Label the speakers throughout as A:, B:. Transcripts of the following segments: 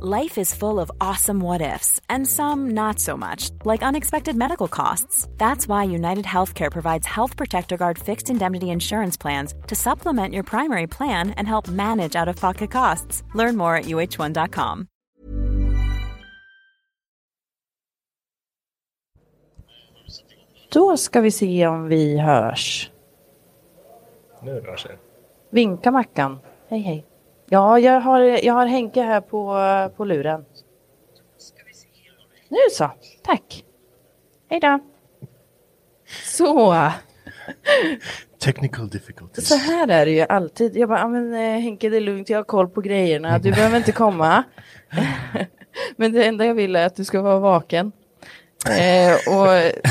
A: Life is full of awesome what ifs, and some not so much, like unexpected medical costs. That's why United Healthcare provides Health Protector Guard fixed indemnity insurance plans to supplement your primary plan and help manage out of pocket costs. Learn more at uh1.com.
B: Då ska vi se om vi hörs.
C: Nu rör sig.
B: Vinka Mackan. Hej hej. Ja, jag har, jag har Henke här på, på luren. Nu så, tack. Hej då. Så,
C: Technical difficulties.
B: så här är det ju alltid. Jag bara, "Ja, men, eh, Henke det är lugnt, jag har koll på grejerna, du behöver inte komma. men det enda jag vill är att du ska vara vaken. Eh, och,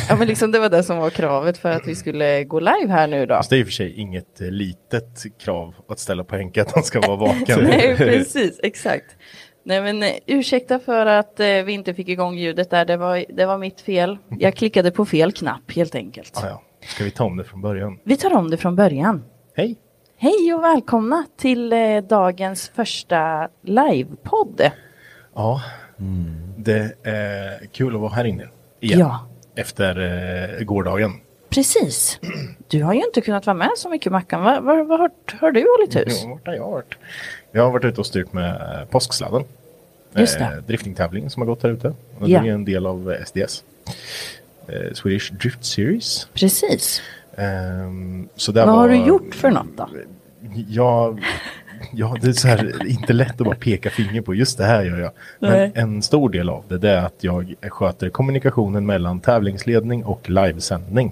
B: ja, men liksom, det var det som var kravet för att vi skulle gå live här nu då.
C: Fast det är i och för sig inget eh, litet krav att ställa på Henke att han ska vara vaken.
B: Nej, precis, exakt. Nej, men eh, ursäkta för att eh, vi inte fick igång ljudet där. Det var, det var mitt fel. Jag klickade på fel knapp helt enkelt.
C: ah, Mhm. ja. Ska vi ta om det från början?
B: Vi tar om det från början.
C: Hej!
B: Hej och välkomna till eh, dagens första livepodd.
C: Ja, det är kul att vara här inne igen.
B: Ja.
C: Efter eh, gårdagen.
B: Precis. Du har ju inte kunnat vara med så mycket Mackan. Vad va, va, har, har du hållit hus?
C: Ja, vart har jag varit? Jag har varit ute och styrt med eh, påsksladden. Eh,
B: Just det.
C: driftingtävling som har gått här ute. Och
B: Ja.
C: Det är en del av eh, SDS. Eh, Swedish Drift Series.
B: Precis.
C: Ehm, så där
B: Vad har
C: var-
B: du gjort för något då?
C: Ja, ja, det är så här, inte lätt att bara peka finger på just det här gör jag. Men
B: Nej.
C: en stor del av det, det är att jag sköter kommunikationen mellan tävlingsledning och livesändning.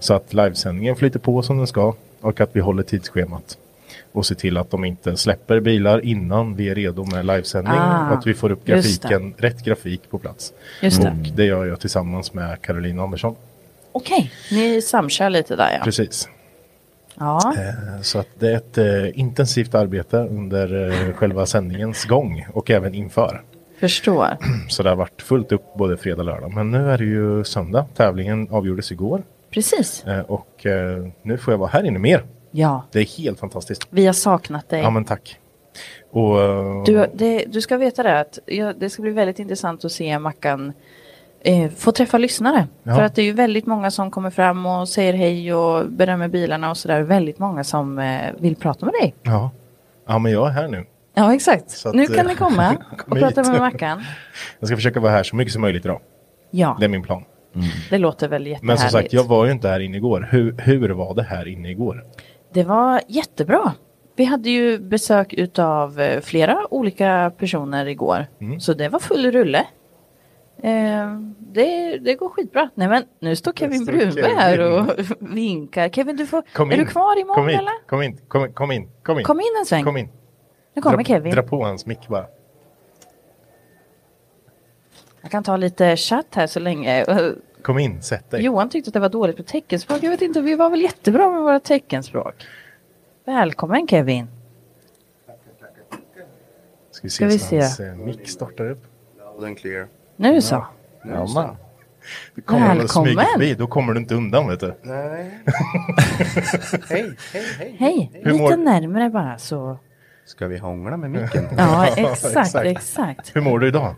C: Så att livesändningen flyter på som den ska och att vi håller tidsschemat. Och se till att de inte släpper bilar innan vi är redo med livesändning.
B: Ah,
C: och att vi får upp
B: just det.
C: grafiken, rätt grafik på plats.
B: Just det.
C: Och det gör jag tillsammans med Caroline Andersson.
B: Okej, ni samkör lite där ja.
C: Precis.
B: Ja,
C: Eh, Så att det är ett eh, intensivt arbete under eh, själva sändningens gång och även inför.
B: förstår.
C: Så det har varit fullt upp både fredag och lördag. Men nu är det ju söndag. Tävlingen avgjordes igår
B: Precis.
C: eh, och eh, nu får jag vara här inne mer.
B: Ja,
C: Det är helt fantastiskt.
B: vi har saknat dig.
C: Ja men tack. Och, eh,
B: Du, det, du ska veta det att jag, det ska bli väldigt intressant att se Mackan eh, få träffa lyssnare.
C: Ja.
B: För att det är ju väldigt många som kommer fram och säger hej och berömmer bilarna och sådär. Väldigt många som eh, vill prata med dig.
C: ja. ja men jag är här nu.
B: Ja, exakt.
C: Så att,
B: nu
C: eh,
B: kan ni komma och
C: kom hit.
B: prata med Mackan.
C: Jag ska försöka vara här så mycket som möjligt idag.
B: Ja,
C: Det är min plan.
B: det låter väl jättehärligt.
C: Men som sagt, jag var ju inte här inne igår. Hur, hur var det här inne igår?
B: Det var jättebra. Vi hade ju besök utav eh, flera olika personer igår.
C: Mm.
B: Så det var full rulle. Eh, det, det går skitbra. Nej men nu står Kevin
C: står
B: Brunberg
C: Kevin.
B: här och vinkar. Kevin du får,
C: Kom
B: är
C: in.
B: du kvar imorgon
C: Kom in,
B: eller?
C: kom in, kom in, kom in, kom in.
B: Kom in en sväng.
C: Kom in.
B: Nu kommer
C: dra,
B: Kevin.
C: Dra på hans mick bara.
B: Jag kan ta lite chatt här så länge. Eh,
C: Kom in, sätt dig.
B: Johan tyckte att det var dåligt på teckenspråk. Jag vet inte, vi var väl jättebra med våra teckenspråk. Välkommen Kevin.
C: Ska vi se
B: Ska vi
C: så
B: se.
C: hans eh, mick startar upp.
D: Loud and clear.
B: Nu så.
D: Ja,
C: Du kommer och
B: Välkommen.
C: smyger förbi, då kommer du inte undan vet du.
D: Nej. hej, hej, hej.
B: Hej,
C: Hur mår
B: lite
C: du?
B: närmare bara så.
D: Ska vi hångla med micken?
C: Ja,
B: Ja,
C: exakt.
B: exakt, exakt.
C: Hur mår du idag?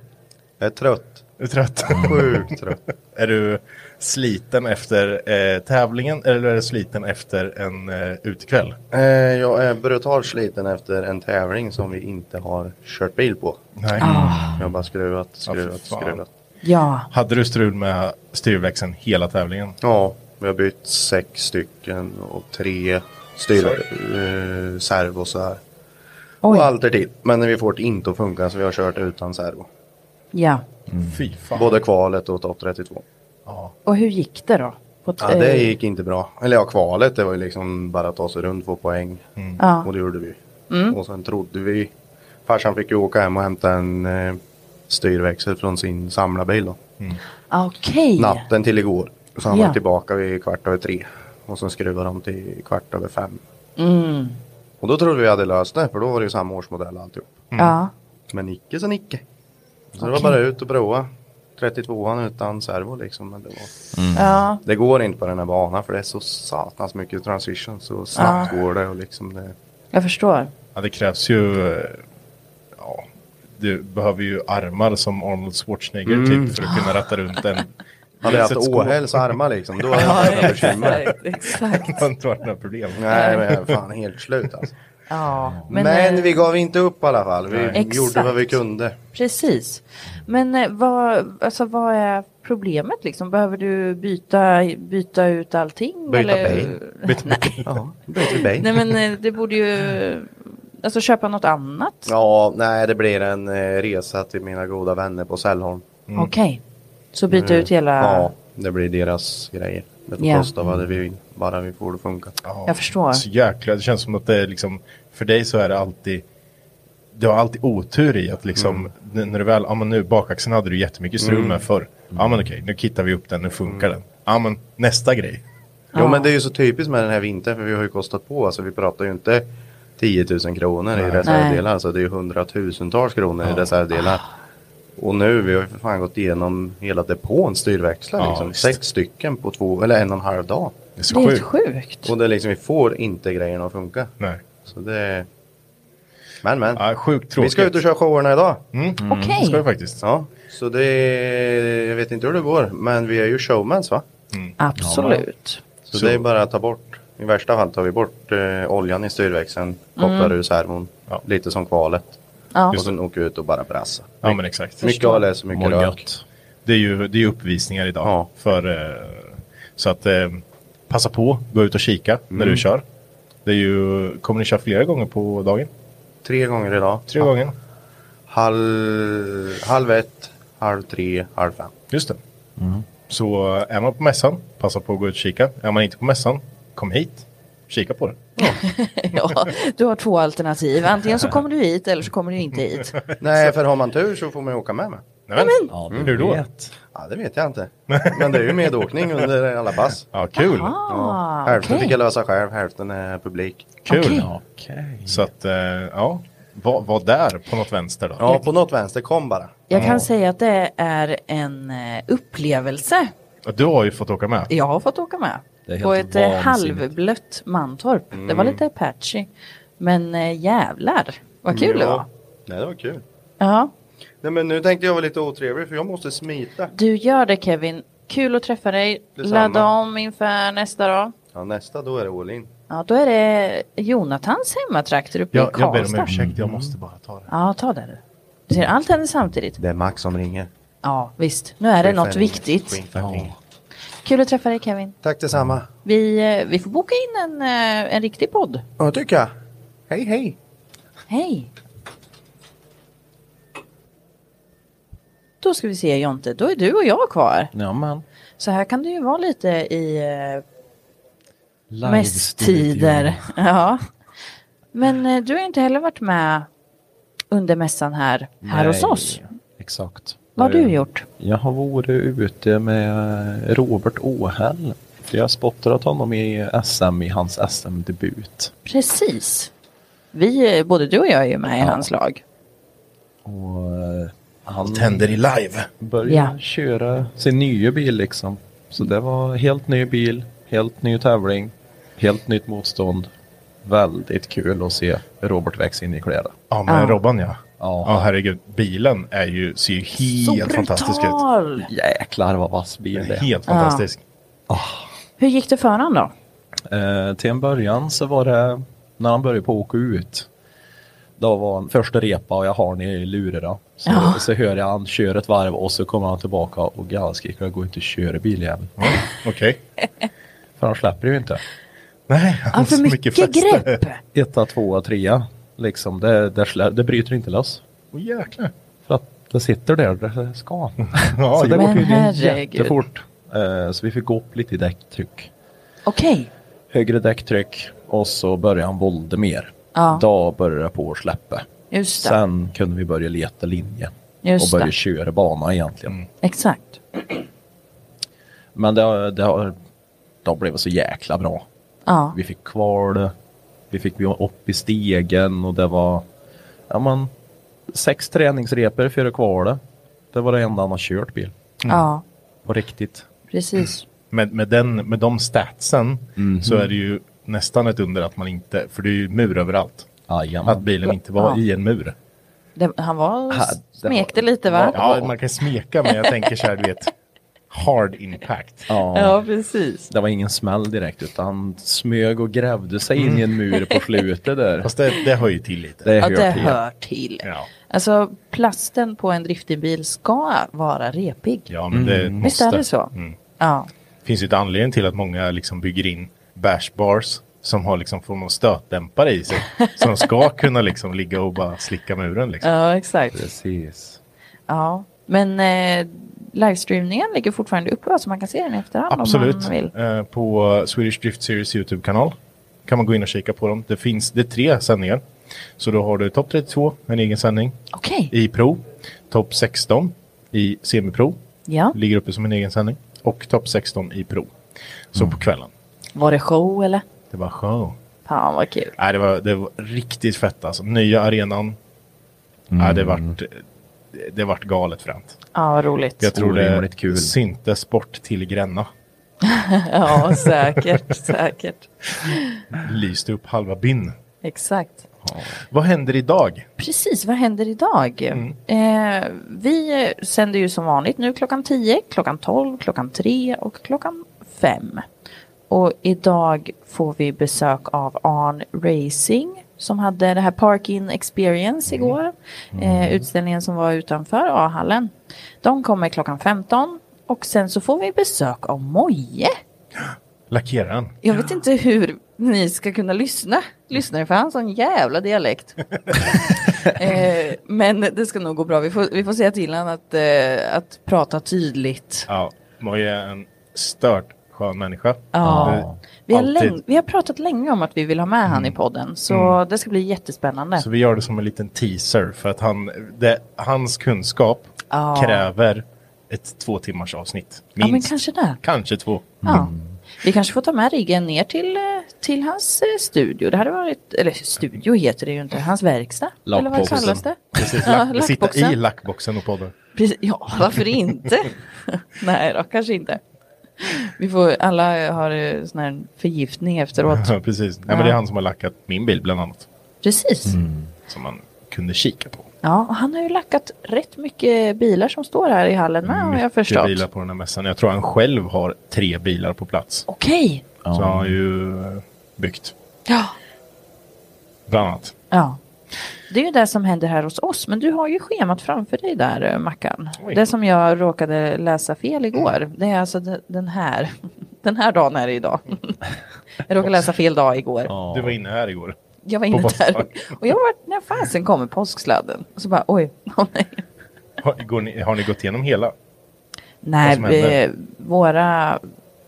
D: Jag är trött.
C: Är du trött?
D: Sjukt trött.
C: är du sliten efter eh, tävlingen eller är du sliten efter en eh, utekväll?
D: Eh, jag är brutalt sliten efter en tävling som vi inte har kört bil på.
C: Nej.
B: Ah.
D: Jag har bara skruvat,
C: Ja, för
D: skruvat,
C: fan.
D: skruvat.
B: Ja,
C: Hade du strul med styrväxeln hela tävlingen?
D: Ja, vi har bytt sex stycken och tre styr, eh, servo så här.
B: Oj.
D: Och allt är till. Men vi får det inte att funka så vi har kört utan servo.
B: ja.
C: Fy fan.
D: Både kvalet och topp 32.
B: Och hur gick det då? På t-
D: Ja, det
B: eh,
D: gick inte bra. Eller ja, kvalet det var ju liksom bara att ta sig runt, få poäng.
B: Ja.
D: Och det gjorde vi.
B: eh, mm.
D: Och sen trodde vi. Farsan fick ju åka hem och hämta en eh, styrväxel från sin samlarbil då.
E: 嗯
B: Okej.
D: Natten till igår. Så han
B: Ja.
D: var tillbaka vid kvart över tre. Och sen skruvade de till kvart över fem.
B: Mm.
D: Mm. Och då trodde vi hade löst det, för då var det ju samma årsmodell alltihop.
B: Ja.
D: Men icke så icke. Så det var bara ut och prova. 32an utan servo liksom. Men det, var...
B: Ja.
D: det går inte på den här banan för det är så satans mycket transition. Så snabbt går det och liksom det.
B: Jag förstår.
C: Ja, det krävs ju... eh, Ja, du behöver ju armar som Arnold Schwarzenegger typ för att kunna ratta runt en.
D: Hade jag haft
C: skåp.
D: Åhälls armar liksom, då hade jag haft några bekymmer.
B: Exakt.
C: Det har inte varit några problem.
D: Nej men jag är fan helt slut alltså.
B: Ja.
D: Men,
B: eh,
D: vi gav inte upp i alla fall. Vi
B: Exakt.
D: gjorde vad vi kunde.
B: Precis. Men eh, vad, alltså, vad är problemet liksom? Behöver du byta, byta ut allting?
D: Byta
B: eller?
D: bil. Ja, byter
B: Nej
D: bil.
B: men eh, det borde ju, alltså köpa något annat.
D: Ja, nej det blir en eh, resa till mina goda vänner på Sällholm.
B: Okej. Så byta ut hela,
D: Mm. Ja, det blir deras grejer. Det får
B: Ja.
D: kosta vad det vill, bara vi får det funka.
B: jag förstår.
C: Så jäkla, det känns som att det är liksom, för dig så är det alltid, du har alltid otur i att liksom,
D: Mm.
C: n- när du väl, ja men nu bakaxeln hade du jättemycket strul med förr. Ja men okej, nu kittar vi upp den, nu funkar den. Ja men nästa grej.
D: Mm. Jo men det är ju så typiskt med den här vintern för vi har ju kostat på. Alltså vi pratar ju inte 10 000 kronor i reservdelar. Alltså det är ju hundratusentals kronor i reservdelar. Och nu, vi har ju för fan gått igenom hela depån styrväxlar.
C: Ja,
D: liksom.
C: visst.
D: Sex stycken på två, eller en och en halv dag.
C: Det är så
B: Det är helt
C: sjukt.
B: sjukt.
D: Och det är liksom, vi får inte grejerna att funka.
C: Nej.
D: Så det... Men men.
C: Ja, sjukt
D: vi
C: tråkigt.
D: ska ut och köra showerna idag.
B: Okej.
C: Det Mm, ska vi faktiskt.
D: Ja, så det... Jag vet inte hur det går, men vi är ju showmans va?
B: Absolut.
D: Så, det är bara att ta bort. I värsta fall tar vi bort eh, oljan i styrväxeln, kopplar ur servon,
C: Ja.
D: lite som kvalet.
B: Ja.
D: Och sen åker vi ut och bara brassa.
C: Ja men exakt.
D: Mycket ALS och mycket
B: Mår
D: rök.
C: Det är ju det är ju uppvisningar idag.
D: Ja.
C: För, eh, så att eh, passa på, gå ut och kika
D: Mm.
C: när du kör. Det är ju, kommer ni köra flera gånger på dagen?
D: Tre gånger idag.
C: Tre gånger?
D: Halv, halv ett, halv tre, halv fem.
C: Just det.
B: Mm.
C: Så eh, är man på mässan, passa på att gå ut och kika. Är man inte på mässan, kom hit. Kika på det.
B: Ja, du har två alternativ. Antingen så kommer du hit eller så kommer du inte hit.
D: Nej, för har man tur så får man ju åka med mig.
C: Nej, men.
F: Ja,
C: Mm.
F: du
C: Hur då?
F: vet.
D: Ja, det vet jag inte. Men det är ju medåkning under alla pass.
C: Ja, kul.
B: Ah,
D: hälften
B: okej.
D: fick jag lösa själv, hälften är publik.
C: Kul.
B: Okej.
F: Okej.
C: Så att, eh, ja. Var, var där på något vänster då.
D: Ja, på något vänster, kom bara.
B: Jag kan säga att det är en eh, upplevelse.
C: Du har ju fått åka med.
B: Jag har fått åka med.
F: Det är helt
B: På ett eh,
F: vansinnigt. Mm.
B: halvblött Mantorp. Det var lite patchy. Men eh, jävlar vad kul det var.
D: Nej, det var kul.
B: Ja,
D: Nej, men nu tänkte jag vara lite otrevlig för jag måste smita.
B: du gör det Kevin. Kul att träffa dig.
D: Detsamma.
B: Ladda om inför nästa dag.
D: Ja, nästa då är det all in.
B: Ja, då är det Jonathans hemmatrakter uppe i
C: Jag, jag ber om
B: Karlstad.
C: ursäkt, jag måste bara ta det.
B: ja, ta det du. Du ser, allt händer samtidigt.
D: Det är Max som ringer.
B: Ja, visst. Nu är det något
D: Chefen ringer.
B: viktigt.
D: Chefen ringer.
B: Kul att träffa dig Kevin.
D: Tack detsamma.
B: Vi, eh, vi får boka in en, eh, en riktig podd.
D: Ja, det tycker jag. Hej, hej.
B: Hej! Då ska vi se Jonte, då är du och jag kvar.
F: Ja, men.
B: Så här kan det ju vara lite i eh,
F: Live
B: mässtider.
F: studio.
B: Ja. Men eh, du har inte heller varit med under mässan här, här hos
F: Nej,
B: oss.
F: Exakt.
B: Vad har
F: Eh,
B: du gjort?
F: Jag har varit ute med Robert Åhäll. Jag har spottat honom i SM i hans SM-debut.
B: Precis. Vi, eh, både du och jag är ju med i hans lag.
F: Och eh, han
C: Allt händer i live.
F: började
B: Ja.
F: köra sin nya bil liksom. Så det var helt ny bil, helt ny tävling, helt nytt motstånd. väldigt kul att se Robert växa in i kläder.
C: Ja, men Robban ja.
F: Ja.
C: Ja, herregud. Bilen är ju, ser ju helt fantastisk ut.
B: brutal!
F: Jäklar vad vass bil det är.
C: Helt fantastisk.
B: Hur gick det för honom då?
F: Eh, till en början så var det när han började på att åka ut. Då var han första repa och jag har ni i lurarna. Så, så hör jag han kör ett varv och så kommer han tillbaka och gallskriker och går inte och kör biljäveln.
C: Okej.
F: För han släpper ju inte.
C: Nej, han
B: Ja,
C: har
B: för
C: så mycket
B: mycket
C: fäste.
B: grepp!
F: Etta, tvåa, trea. Liksom det, det, slä, det bryter inte loss.
C: Åh jäklar.
F: För att det sitter där det ska.
C: Ja,
F: så det
C: jo.
F: går tydligen
B: herregud.
F: jättefort. Eh, så vi fick gå upp lite i däcktryck.
B: Okej.
F: Högre däcktryck och så började han volda mer.
B: Ja.
F: Då började det på att släppa.
B: Just det.
F: Sen kunde vi börja leta linjen
B: Just
F: och börja
B: det.
F: köra bana egentligen.
C: Mm.
B: Exakt.
F: Men det, har- det, har- det blev det så jäkla bra.
B: Ja.
F: Vi fick kvar det. Vi fick gå upp i stegen och det var ja, man, sex träningsrepor för att kvar det. Det var det enda han har kört bil.
B: Ja.
F: På riktigt.
B: Precis.
C: Mm. Med, med, den, med de statsen
F: Mhm.
C: så är det ju nästan ett under att man inte, för det är ju mur överallt. Att
F: Jajamän.
C: bilen inte var
B: Ja.
C: i en mur.
B: Det, han var
F: Ja, det
B: smekte
F: var-
B: lite va?
C: Ja, man kan smeka men jag tänker så här, du vet, hard impact.
F: Ja,
B: precis.
F: det var ingen smäll direkt utan han smög och grävde sig in i en mur på slutet där.
C: Fast det, det hör ju till lite.
F: Det
B: Mm. Ja,
F: hör
B: det
F: till.
B: hör till.
C: Ja,
B: Alltså plasten på en driftig bil ska vara repig.
C: ja men det
F: Mm.
C: måste. Mm.
B: Visst är det så? Ja.
C: finns ju ett anledning till att många liksom bygger in bash bars som har liksom form av stötdämpare i sig. Så de ska kunna liksom ligga och bara slicka muren. Liksom.
B: ja, exakt.
F: Precis.
B: Ja. Men eh, livestreamningen ligger fortfarande uppe va? så man kan se den i efterhand om
C: Absolut.
B: man vill.
C: Eh, på Swedish Drift Series YouTube-kanal kan man gå in och kika på dem. Det finns det är tre sändningar. Så då har du topp 32, en egen sändning,
B: Okej.
C: i pro. Topp 16 i semipro,
B: Ja.
C: ligger uppe som en egen sändning. Och topp 16 i pro. Så
B: Mm.
C: på kvällen.
B: Var det show eller?
C: Det var show.
B: Fan vad kul.
C: Nej, det, var, det var riktigt fett alltså. Nya arenan. Nej, det vart, det vart galet fränt.
B: Mm. Ja, vad roligt.
C: Jag tror det
F: Orimligt kul.
C: syntes bort till Gränna.
B: Ja, säkert. säkert.
C: Lyste upp halva byn.
B: Exakt.
C: Vad händer idag?
B: Precis, vad händer idag? Eh, vi sänder ju som vanligt nu klockan 10, klockan 12, klockan 3 och klockan 5. Och idag får vi besök av Arn Racing som hade det här Park-In Experience igår. Eh, utställningen som var utanför A-hallen. De kommer klockan 15 och sen så får vi besök av Moje.
C: Lackeraren.
B: Jag vet inte hur ni ska kunna lyssna. Lyssnar för han har sån jävla dialekt. eh, men det ska nog gå bra. Vi får, vi får säga till honom att, eh, att prata tydligt.
C: Ja, Moje är en stört skön människa. Eh,
B: Ja. Vi har,
C: Alltid. Mm.
B: länge, vi har pratat länge om att vi vill ha med han i podden. Så det ska bli jättespännande.
C: Så vi gör det som en liten teaser för att han, det, hans kunskap kräver ett två timmars avsnitt.
B: ja,
C: Minst.
B: men kanske det.
C: Kanske två. Mm.
B: Ja. Vi kanske får ta med riggen ner till, eh, till hans eh, studio. Det hade varit, eller studio heter det ju inte, hans verkstad. Eller vad
F: Lackboxen.
B: kallas det?
C: Precis,
B: Ja,
C: lack, sitta
B: lackboxen.
C: i lackboxen och podda.
B: Precis, ja, varför inte? Nej då, kanske inte. Vi får, alla har eh, sån här förgiftning efteråt.
C: Ja, precis. Nej, men det är han som har lackat min bil bland annat.
B: Precis.
C: Som man kunde kika på.
B: Ja, och han har ju lackat rätt mycket bilar som står här i hallen med har jag
C: Mm, Mycket
B: förstått.
C: bilar på den här mässan. Jag tror han själv har tre bilar på plats.
B: Okej.
C: Så han har ju eh, byggt.
B: Ja.
C: Bland annat.
B: ja. Det är ju det som händer här hos oss, men du har ju schemat framför dig där, eh, Mackan.
C: Oj.
B: Det som jag råkade läsa fel igår, det är alltså de- den här. Den här dagen är det idag. Jag råkade läsa fel dag igår.
C: Mm. Du var inne här igår.
B: Jag var inne
C: På
B: där
C: påskdagen.
B: och jag var när fasen kommer påsksladden. Och så bara oj, åh nej.
C: Har, går ni, har ni gått igenom hela?
B: Nej,
C: som händer?
B: vi, våra,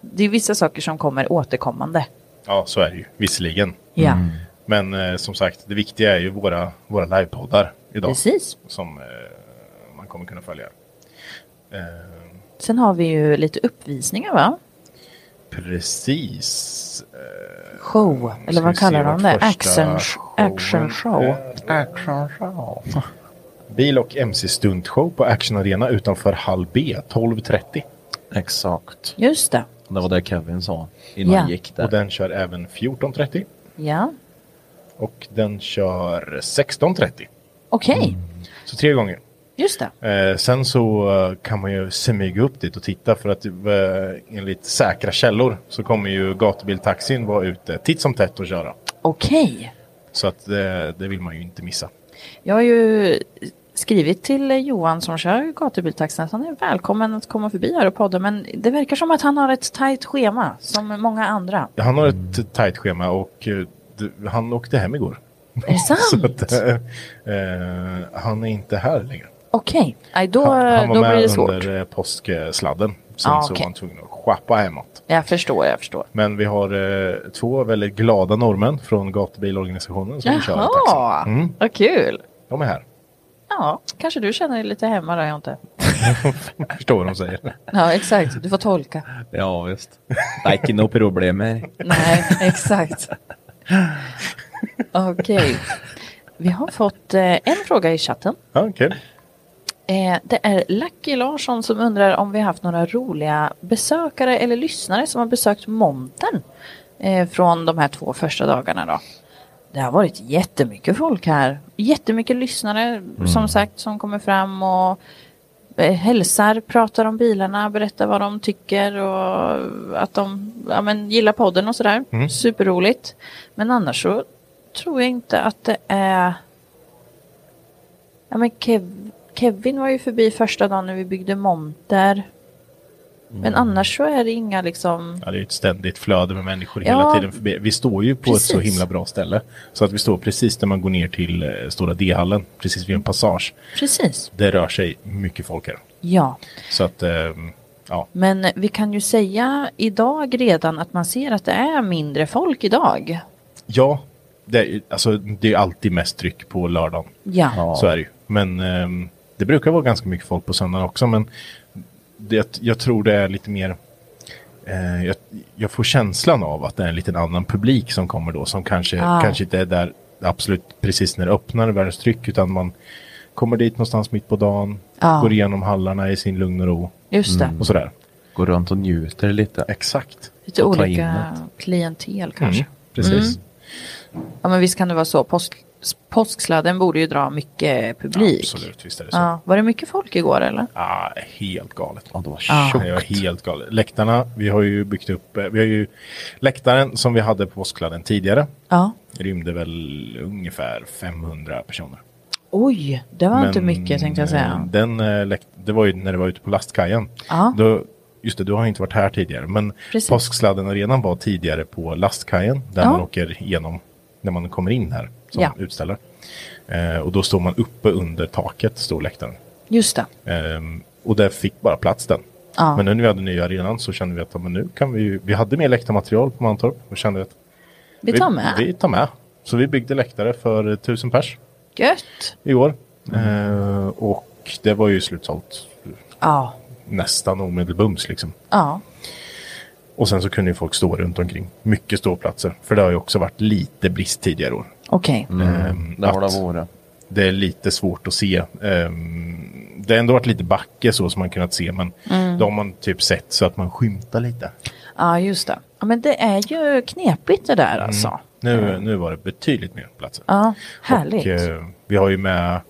B: det är vissa saker som kommer återkommande.
C: Ja, så är det ju. Visserligen.
B: Ja,
C: Men eh, som sagt, det viktiga är ju våra, våra livepoddar idag.
B: precis.
C: Som eh, man kommer kunna följa. Eh,
B: Sen har vi ju lite uppvisningar va?
C: precis. Eh,
B: Show, eller
C: Ska vi
B: vad
C: se
B: kallar de
C: vart
B: det?
C: första
B: Action,
C: showen
B: action show.
C: är. Bil och mc-stuntshow på Action Arena utanför hall B 12.30.
F: Exakt.
B: Just det.
F: Det var det Kevin sa innan
B: Ja.
F: han gick där.
C: Och den kör även 14.30.
B: Ja,
C: och den kör 16.30.
B: Okej,
C: Så tre gånger.
B: just det.
C: Eh, sen så eh, kan man ju smyga upp dit och titta för att eh, enligt säkra källor så kommer ju gatubiltaxin vara ute titt som tätt och köra.
B: Okej.
C: Så att eh, det vill man ju inte missa.
B: Jag har ju skrivit till Johan som kör gatubiltaxin att han är välkommen att komma förbi här och podda men det verkar som att han har ett tajt schema som många andra.
C: Han har
F: Mm.
C: ett tajt schema och eh, d- han åkte hem igår.
B: Är det sant?
C: Så att, eh, eh, han är inte här längre.
B: Okej, Nej, då,
C: han, han var
B: då
C: med
B: blir det svårt.
C: under eh, påsksladden. Sen
B: Ah,
C: så var
B: okej.
C: han tvungen att schappa hemåt.
B: Jag förstår, jag förstår.
C: Men vi har eh, två väldigt glada norrmän från gatubilorganisationen som kör taxin.
B: Jaha,
C: Mm.
B: vad kul.
C: De är här.
B: Ja, kanske du känner dig lite hemma där, jag inte.
C: Förstår vad de säger.
B: Ja, exakt. Du får tolka.
G: Ja, visst. Det är inte några problem här.
B: Nej, exakt. Okej. Vi har fått eh, en fråga i chatten.
C: Ja, kul.
B: Eh, det är Lucky Larsson som undrar om vi haft några roliga besökare eller lyssnare som har besökt montern eh, från de här två första dagarna då. Det har varit jättemycket folk här. Jättemycket lyssnare som sagt som kommer fram och eh, hälsar, pratar om bilarna, berättar vad de tycker och att de ja, men, gillar podden och sådär. Superroligt. Men annars så tror jag inte att det är Ja, men Kev Kevin var ju förbi första dagen när vi byggde monter. Men annars så är det inga liksom...
C: Ja, det är ju ett ständigt flöde med människor
B: Ja.
C: hela tiden förbi. Vi står ju på ett så
B: Precis.
C: himla bra ställe. Så att vi står precis när man går ner till eh, Stora D-hallen, precis vid en passage.
B: Precis.
C: Det rör sig mycket folk här.
B: Ja.
C: Så att, eh, ja.
B: Men vi kan ju säga idag redan att man ser att det är mindre folk idag.
C: Ja, det är, ju- alltså, det är ju alltid mest tryck på lördagen.
B: Ja.
C: Så är det ju. Men ehm, det brukar vara ganska mycket folk på söndagen också. Men det, jag tror det är lite mer... Eh, jag, jag får känslan av att det är en liten annan publik som kommer då. Som kanske,
B: Ah.
C: kanske inte är där absolut precis när det öppnar världens tryck. Utan man kommer dit någonstans mitt på dagen.
B: Ah.
C: Går igenom hallarna i sin lugn och ro. Mm.
B: Just det.
C: Och sådär.
G: Går runt och njuter lite.
C: Exakt.
B: Lite
G: Och ta in
B: olika klientel kanske. Mm.
C: Mm, precis.
B: Ja men visst kan det vara så. Påsk, påsksladden borde ju dra mycket publik.
C: Absolut, visst är det så.
B: Ja. Var det mycket folk igår eller?
C: Ah, helt galet.
G: Ja, det var
B: Ja.
C: Det var helt galet. Läktarna, vi har ju byggt upp, eh, vi har ju läktaren som vi hade på påskkladden tidigare
B: Ja.
C: rymde väl ungefär 500 personer.
B: Oj, det var inte
C: Men,
B: mycket tänkte jag
C: eh,
B: säga.
C: Den, eh, läkt- det var ju när det var ute på lastkajen.
B: Ja.
C: Då, just det, du har ju inte varit här tidigare. Men
B: Precis.
C: påsksladden arenan var tidigare på lastkajen där
B: Ja.
C: man åker igenom när man kommer in här som
B: Ja.
C: utställare. Eh, och då står man uppe under taket, står läktaren.
B: Just det.
C: Ehm, och där fick bara plats den.
B: Ja.
C: Men nu när vi hade nya arenan så kände vi att ja, men nu kan vi ju- vi hade mer läktarmaterial på Mantorp och kände att
B: Vi tar med.
C: Vi, tar med. Så vi byggde läktare för tusen pers
B: Gött.
C: i år.
B: Mm.
C: Ehm, och det var ju slutsålt
B: Ja.
C: nästan omedelbums liksom.
B: Ja.
C: Och sen så kunde ju folk stå runt omkring. Mycket ståplatser. För det har ju också varit lite brist tidigare år.
B: Okej.
C: Ehm,
G: Mm. Det har
C: att-
G: det varit.
C: det är lite svårt att se. Ehm, det har ändå varit lite backe så som man kunnat se men
B: Mm.
C: då har man typ sett så att man skymtar lite. Mm.
B: Ja, just det. Ja, men det är ju knepigt det
C: Mm.
B: där alltså.
C: Nu, nu var det betydligt mer platser.
B: Ja, härligt.
C: Och, eh, vi har ju med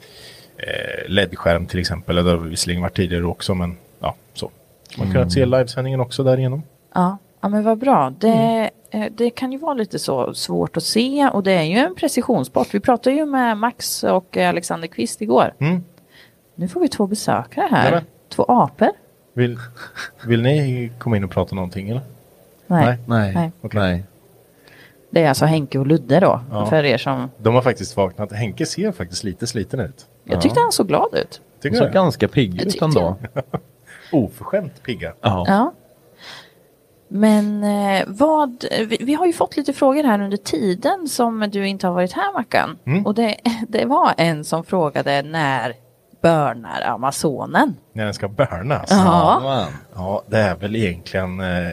C: eh, LED-skärm till exempel. Det har visserligen varit tidigare också men ja, så. Man har kunnat se
G: Mm.
C: livesändningen också därigenom.
B: ja. ja, men vad bra. Det,
C: Mm.
B: eh, det kan ju vara lite så svårt att se och det är ju en precisionssport. Vi pratade ju med Max och eh, Alexander Kvist igår.
C: Mm.
B: Nu får vi två besökare här.
C: Nämen.
B: Två apor.
C: Vill, vill ni komma in och prata någonting eller?
B: Nej.
C: Nej.
G: Nej.
B: Nej.
G: Nej.
B: Det är alltså Henke och Ludde då.
C: Ja.
B: För er som...
C: De har faktiskt vaknat. Henke ser faktiskt lite sliten ut.
B: Jag tyckte han såg glad ut.
G: Hon
C: Tycker
G: såg
C: du? det?
G: ganska pigg ut
B: tyckte-
G: ändå.
C: Oförskämt pigga.
G: Ja.
B: Ja. Men eh, vad, vi, vi har ju fått lite frågor här under tiden som du inte har varit här Mackan.
C: Mm.
B: Och det, det var en som frågade när börnar Amazonen?
C: När den ska burnas.
G: Man.
C: Ja, det är väl egentligen, eh,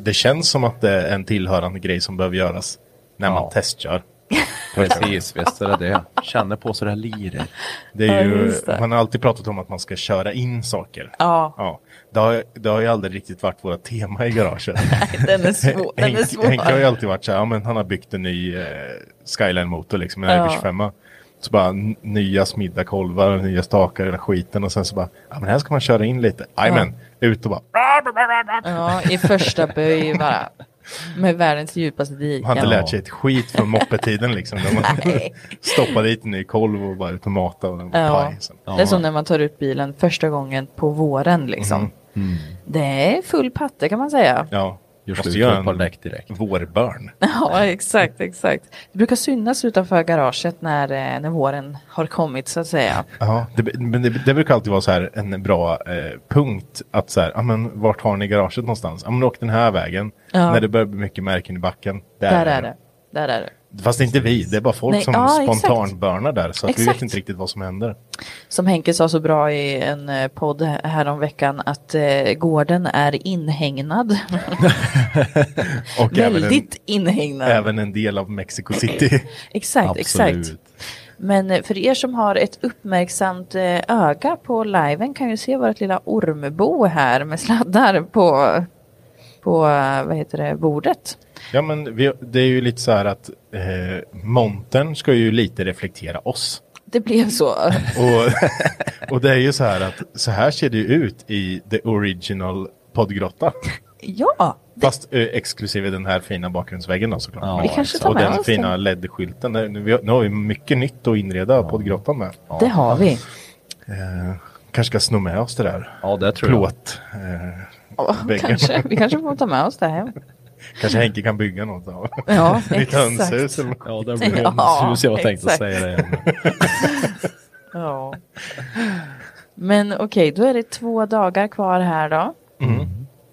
C: det känns som att det är en tillhörande grej som behöver göras när man
G: Ja.
C: testkör.
G: Precis, visst är det det. Känner på så det lirar.
C: Det är
B: Ja,
C: ju,
B: just det.
C: Man har alltid pratat om att man ska köra in saker.
B: Ja.
C: Det, har, det har ju aldrig riktigt varit våra tema i garaget.
B: Den är svår. Den är
C: Henk,
B: svår.
C: Henke har ju alltid varit så här, ja, men han har byggt en ny eh, Skyline-motor, liksom, en
B: Ja.
C: Irish 5. Så bara n- nya smidda kolvar, nya stakar, hela skiten och sen så bara, ja men här ska man köra in lite. Jajamän, ut och bara,
B: Ja, i första böj bara. Med världens djupaste dike.
C: man har inte
G: Ja.
C: lärt sig ett skit från moppetiden liksom. När man stoppar dit en ny kolv och bara ut och matar och den ja.
B: Ja.
C: paj. liksom. Sen.
B: Det är som när man tar ut bilen första gången på våren liksom. Det är full patte kan man säga.
C: Mhm. Ja,
F: Gör
C: måste
F: slut
C: göra
F: på ett par
C: en-
F: däck direkt.
C: vårbörn.
B: Ja, exakt, exakt. Det brukar synas utanför garaget när, eh, när våren har kommit så att säga.
C: Ja, det, men det, det brukar alltid vara så här en bra eh, punkt att så här, ja men vart har ni garaget någonstans? Ja men åk den här vägen.
B: Ja.
C: När det börjar bli mycket märken i backen. Där,
B: Där är det. Där är det.
C: Fast det är inte vi, det är bara folk
B: Nej,
C: som
B: ja, exakt.
C: spontanbörnar där så att vi vet
B: Exakt.
C: inte riktigt vad som händer.
B: Som Henke sa så bra i en eh, podd häromveckan att eh, gården är inhägnad.
C: Och även en,
B: Väldigt inhägnad.
C: även en del av Mexico City.
B: Exakt, exakt.
F: Absolut.
B: Men eh, för er som har ett uppmärksamt eh, öga på liven kan ju se vårt lilla ormbo här med sladdar på, på eh, vad heter det, bordet.
C: ja men vi, det är ju lite så här att eh, montern ska ju lite reflektera oss.
B: Det blev så.
C: Och, och det är ju så här att så här ser det ju ut i the original poddgrotta.
B: ja,
C: Fast eh, exklusive den här fina bakgrundsväggen då såklart.
F: Ja,
B: vi kanske tar
C: och
B: med
C: den
B: oss den.
C: fina LED-skylten. där. Nu, vi har- nu har vi mycket nytt att inreda poddgrottan med.
B: Det har vi.
C: Eh, kanske ska sno med oss det där.
F: Ja, det tror jag.
C: Plåt. Eh, väggen.
B: Kanske, vi kanske får ta med oss det hem.
C: Kanske Henke kan bygga något av.
B: Ja,
C: Nytt hönshus
B: exakt.
C: eller något.
F: Ja, det blir
B: Ja,
F: hönshus. Jag tänkte
B: exakt.
F: säga det.
B: Ja. Men okej, då är det två dagar kvar här då.
F: Mm.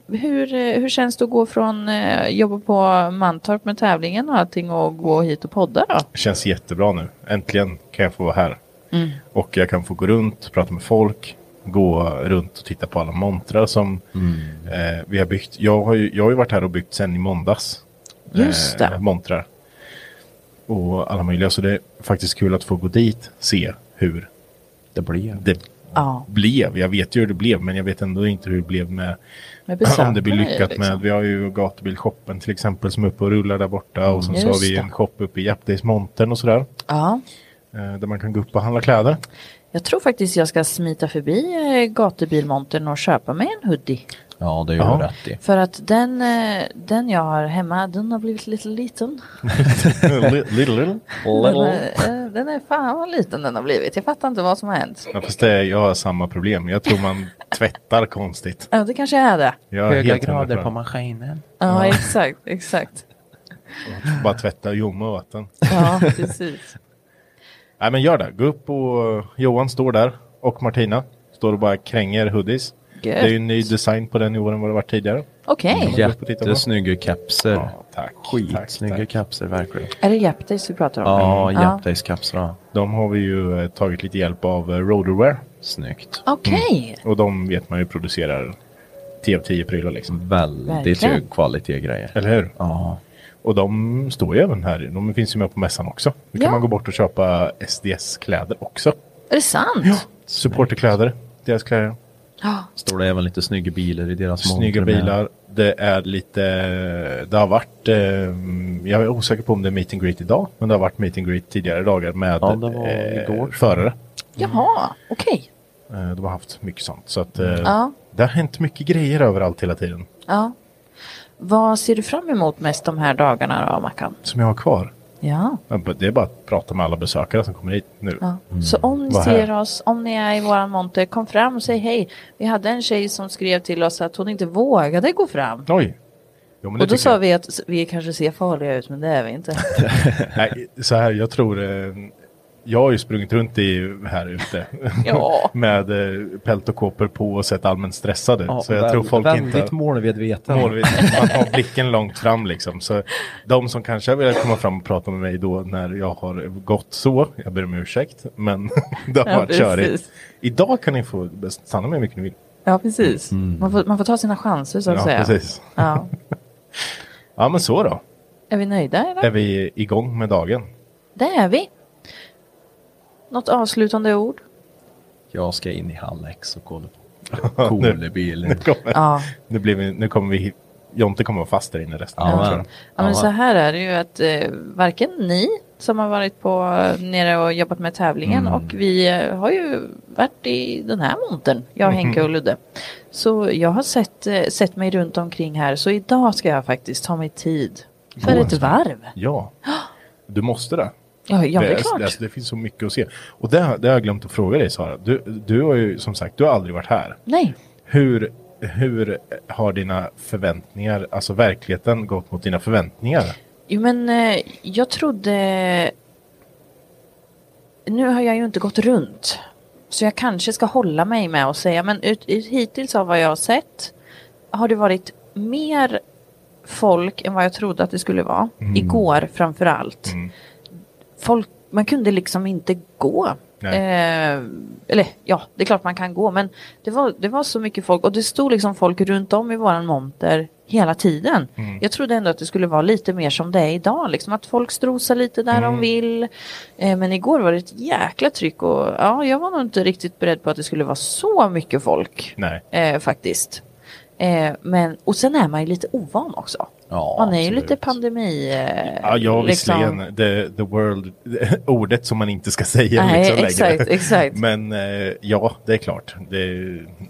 B: Hur, eh, hur känns det att gå från eh, jobba på Mantorp med tävlingen och allting och gå hit och podda då?
C: Känns jättebra nu. Äntligen kan jag få vara här.
B: Mm.
C: Och jag kan få gå runt, prata med folk, gå runt och titta på alla montrar som eh, vi har byggt. Jag har, ju, jag har ju varit här och byggt sen i måndags. eh,
B: Just det.
C: montrar. Och alla möjliga. Så det är faktiskt kul att få gå dit, se hur
G: Det blir.
C: det
B: Ja,
C: blev. Jag vet ju hur det blev, men jag vet ändå inte hur det blev med
B: med
C: om det blir
B: besökarna är
C: lyckat
B: liksom.
C: med. Vi har ju gatubilshoppen till exempel som är uppe och rullar där borta och sen så har
B: Just
C: vi
B: det.
C: en shop uppe i Japdays montern och sådär.
B: Ja.
C: eh, Där man kan gå upp och handla kläder.
B: Jag tror faktiskt jag ska smita förbi eh, gatubilmontern och köpa mig en hoodie.
F: Ja, det
C: Ja.
F: gör du rätt i.
B: För att den, eh, den jag har hemma, den har blivit lite liten.
C: little little.
B: Den, är- eh, den är fan vad liten den har blivit. Jag fattar inte vad som har hänt.
C: Ja, fast det, är- jag har samma problem. Jag tror man tvättar konstigt.
B: Ja, det kanske är det.
C: Jag är
G: Höga
C: helt hundra
G: grader
C: på
G: på
C: det.
G: maskinen.
B: Ja, exakt, exakt.
C: Bara tvätta och ljumma vatten.
B: Ja, precis.
C: Nej men gör det. Gå upp och eh, Johan står där och Martina står och bara kränger hoodies. Det är ju en ny design på den i år än vad det varit tidigare.
B: Okej.
F: Jättesnygga kepser.
C: Ja, tack.
G: Skitsnygga
C: Tack, tack.
G: kapslar verkligen.
B: Är det Japtis vi pratar om?
G: Ja,
B: Ja.
G: Japdays-kapslarna.
C: De har vi ju eh, tagit lite hjälp av eh, Roderwear.
G: Snyggt. Mm.
B: Okej.
C: Och de vet man ju producerar 10 av 10 prylar liksom.
G: Väldigt
B: Verkligen.
G: hög kvalitet grejer.
C: Eller hur?
G: Ja,
C: Och de står ju även här. De finns ju med på mässan också. Då kan
B: Ja.
C: man gå bort och köpa SDS-kläder också.
B: Är det sant?
C: Supporterkläder. Deras kläder.
G: står det även lite snygga bilar i deras
C: Snygga
G: monter med.
C: bilar. Det är lite... Det har varit... Eh, jag är osäker på om det är meet and greet idag. Men det har varit meet and greet tidigare dagar med eh,
G: Ja, det var igår.
C: förare.
B: Jaha, okej.
C: Eh, de har haft mycket sånt. Så att, eh,
B: Ja.
C: Det har hänt mycket grejer överallt hela tiden.
B: Ja. Vad ser du fram emot mest de här dagarna då, Mackan?
C: Som jag har kvar.
B: Ja.
C: Det är bara att prata med alla besökare som kommer hit nu.
B: ja. Så om ni
C: Mm, Vad
B: ser
C: här?
B: oss, om ni är i våran monter, kom fram och säg hej. Vi hade en tjej som skrev till oss att hon inte vågade gå fram.
C: Oj! Jo, men det
B: Och då
C: tycker jag.
B: sa vi att s- vi kanske ser farliga ut, men det är vi inte.
C: Nej, så här, jag tror... Eh, jag har ju sprungit runt i, här ute
B: Ja.
C: med eh, pält och kåpor på och sett allmänt stressad ut.
G: Ja,
C: så jag
G: väl-
C: tror folk
G: väldigt
C: inte...
G: målmedveten.
C: Målvis, man har blicken långt fram liksom. Så de som kanske har velat komma fram och prata med mig då när jag har gått så, jag ber om ursäkt, men det har
B: Ja,
C: varit körigt.
B: precis.
C: Idag kan ni få stanna med hur mycket ni vill.
B: Ja, precis. Man, får, man får ta sina chanser så att
C: Mm. Ja,
B: säga.
C: precis.
B: Ja.
C: Ja, men så då.
B: Är vi nöjda eller?
C: Är vi igång med dagen?
B: Det är vi. Något avslutande ord?
G: Jag ska in i Hallex och kolla på Kolebilen.
B: Ja.
C: Nu, blir vi, nu kommer vi... Jonte kommer vara fast där inne resten av
G: Ja.
C: dagen.
B: Ja, men
G: Ja.
B: så här är det ju att eh, varken ni som har varit på nere och jobbat med tävlingen och vi eh, har ju varit i den här montern, jag, Henke och Ludde. Så jag har sett, eh, sett mig runt omkring här så idag ska jag faktiskt ta mig tid för
C: Gå en
B: ett varv.
C: Ja. Du måste det.
B: Ja, ja
C: det,
B: det är
C: det,
B: klart.
C: det finns så mycket att se. Och det, det har jag glömt att fråga dig Sara. Du, du har ju som sagt, du har aldrig varit här.
B: Nej.
C: Hur, hur har dina förväntningar, alltså verkligheten gått mot dina förväntningar?
B: Jo men eh, jag trodde... Nu har jag ju inte gått runt. Så jag kanske ska hålla mig med att säga men ut, ut, hittills av vad jag har sett har det varit mer folk än vad jag trodde att det skulle vara. Igår framförallt. Folk, man kunde liksom inte gå.
C: Nej.
B: Eh, eller ja, det är klart man kan gå men det var, det var så mycket folk och det stod liksom folk runt om i våran monter hela tiden.
H: Mm.
B: Jag trodde ändå att det skulle vara lite mer som det är idag, liksom att folk strosar lite där de vill. Eh, men igår var det ett jäkla tryck och ja, jag var nog inte riktigt beredd på att det skulle vara så mycket folk
C: Nej.
B: eh, faktiskt. Eh, men, och sen är man ju lite ovan också.
G: Ja,
B: man är ju lite
G: absolut.
B: pandemi... Eh,
C: Ja, ja visserligen.
B: liksom.
C: The, the world, ordet som man inte ska säga
B: Nej,
C: liksom,
B: exakt,
C: längre.
B: exakt.
C: Men eh, ja, det är klart. Det,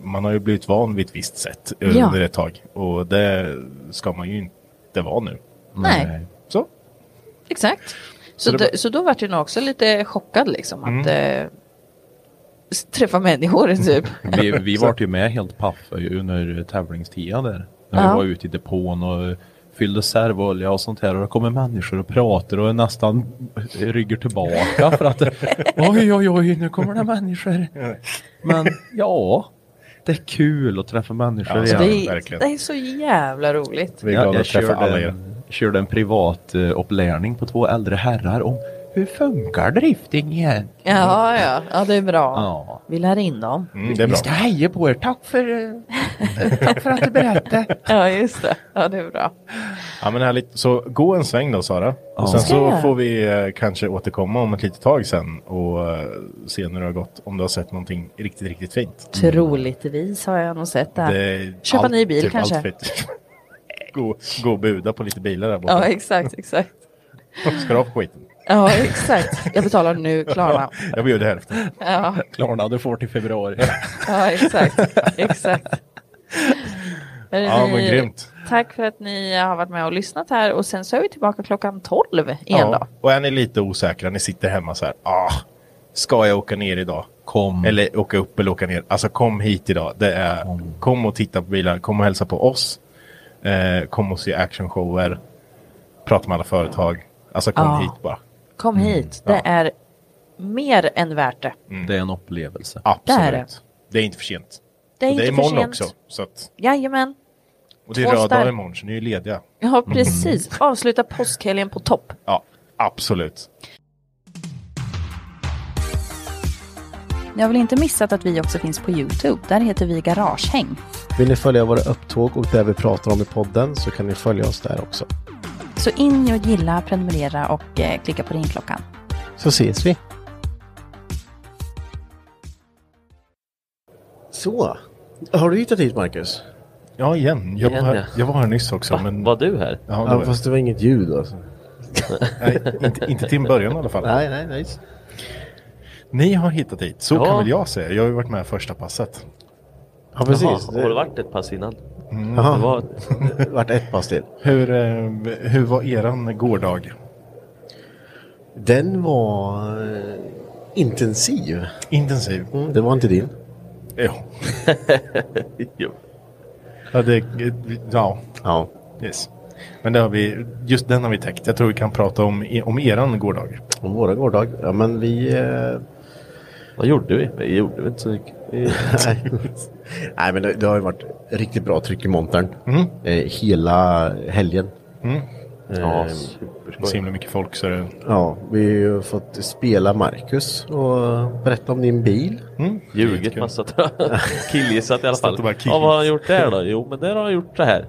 C: man har ju blivit van vid ett visst sätt
B: Ja.
C: under ett tag. Och det ska man ju inte vara nu.
B: Nej,
C: Så.
B: Exakt. Så,
C: det var-
B: d- så då vart jag nog också lite chockad liksom att eh, s- träffa människor typ.
G: Vi, vi vart ju med helt paffa ju under tävlingstiden där. När
B: Ja.
G: vi var ute i depån och fyllde servolja och sånt här och det kommer människor och pratar och nästan rygger tillbaka för att oj oj oj nu kommer det människor. Men ja, det är kul att träffa människor
C: Ja,
G: igen.
C: så
B: det, är,
C: verkligen.
B: det är så jävla roligt.
C: Vi är
G: Jag,
C: glada
G: jag
C: att träffa alla
G: körde,
C: er.
G: en, körde en privat eh, upplärning på två äldre herrar om hur funkar drifting igen?
B: Ja, ja, ja det är bra.
G: Ja.
B: Vi lär in dem.
C: Mm, det är bra.
G: heja på er, tack för, eh, tack för att du berättade.
B: Ja, just det. Ja, det är bra.
C: Ja, men härligt. Så gå en sväng då Sara. Och sen
B: Ska jag
C: så
B: göra?
C: får vi eh, kanske återkomma om ett litet tag sen och eh, se när det har gått. Om du har sett någonting riktigt, riktigt fint.
B: Troligtvis har jag nog sett det. här.
C: Det-
B: Köpa
C: allt-
B: ny bil kanske.
C: outfit. gå, gå och buda på lite bilar där
B: Ja,
C: borta.
B: exakt, exakt.
C: Ska du ha på skiten?
B: Ja, exakt. Jag betalar nu, Klarna.
C: Jag bjuder hälften.
B: Ja,
G: Klarna, du får till februari.
B: ja exakt, exakt. Hörru,
C: Ja, men
B: ni-
C: grymt.
B: Tack för att ni har varit med och lyssnat här och sen så är vi tillbaka klockan 12 igen
C: Ja.
B: då.
C: Och är ni lite osäkra, ni sitter hemma så här. Ah, ska jag åka ner idag?
G: Kom.
C: Eller åka upp eller åka ner. Alltså kom hit idag. Det är, kom och titta på bilar. Kom och hälsa på oss. Eh, kom och se actionshower. Prata med alla företag. Alltså kom
B: Ja.
C: hit bara.
B: Kom
C: Mm.
B: hit, det är mer än värt det.
G: Det är en upplevelse.
C: Absolut. Det
B: Där är
C: är,
B: det.
C: inte för sent.
B: Det är
C: och det
B: inte
C: är
B: för
C: imorgon
B: sent.
C: också. Så att,
B: Jajamän,
C: och det är
B: Två
C: röd dag
B: stark.
C: imorgon så ni är lediga. Mm.
B: ja precis. Avsluta påskhelgen på topp.
C: Ja, absolut.
A: Ni har väl inte missat att vi också finns på Youtube? Där heter vi Garagehäng.
H: Vill ni följa våra upptåg och det vi pratar om i podden så kan ni följa oss där också.
A: Så in och gilla, prenumerera och eh, klicka på ringklockan.
H: Så ses vi! Så, har du hittat hit Marcus?
C: Ja, igen. Jag var,
I: Igen,
C: här,
I: ja.
C: jag var här nyss också. Men,
I: Var du här?
C: Ja, det
H: Ja,
C: var,
H: fast det var inget ljud alltså.
C: nej, inte, inte till en början i alla fall.
H: Nej, nej, nej.
C: Ni har hittat hit. Så
I: Ja.
C: kan väl jag säga. Jag har ju varit med första passet.
H: Ja, precis. Mm.
I: Jaha, har det varit ett pass innan?
H: Jaha,
I: Det var,
H: det vart ett pass till.
C: Hur, eh, hur var eran gårdag?
H: Den var eh, intensiv.
C: Intensiv?
H: Mm, det var inte din.
C: Jo.
I: jo.
C: Ja, det, ja,
H: Ja.
C: yes. Men det har vi, just den har vi täckt. Jag tror vi kan prata om, e- om eran gårdag.
H: Om våra gårdag. Ja, men vi... Eh,
I: Vad gjorde vi? Vi gjorde inte så mycket. Vi,
H: nej. nej, men det, det har ju varit riktigt bra tryck i montern.
C: Mm.
H: Eh, hela helgen. Ehm,
I: ja,
C: Det är Mm. Eh, så
I: superskoj.
C: himla mycket folk så det...
H: Ja, vi har ju fått spela Marcus och berätta om din bil.
C: Mm,
I: Ljugit massa tror jag. Killgissat i alla fall.
C: och bara
I: Ja, vad har han gjort där då? Jo, men där har han gjort så här.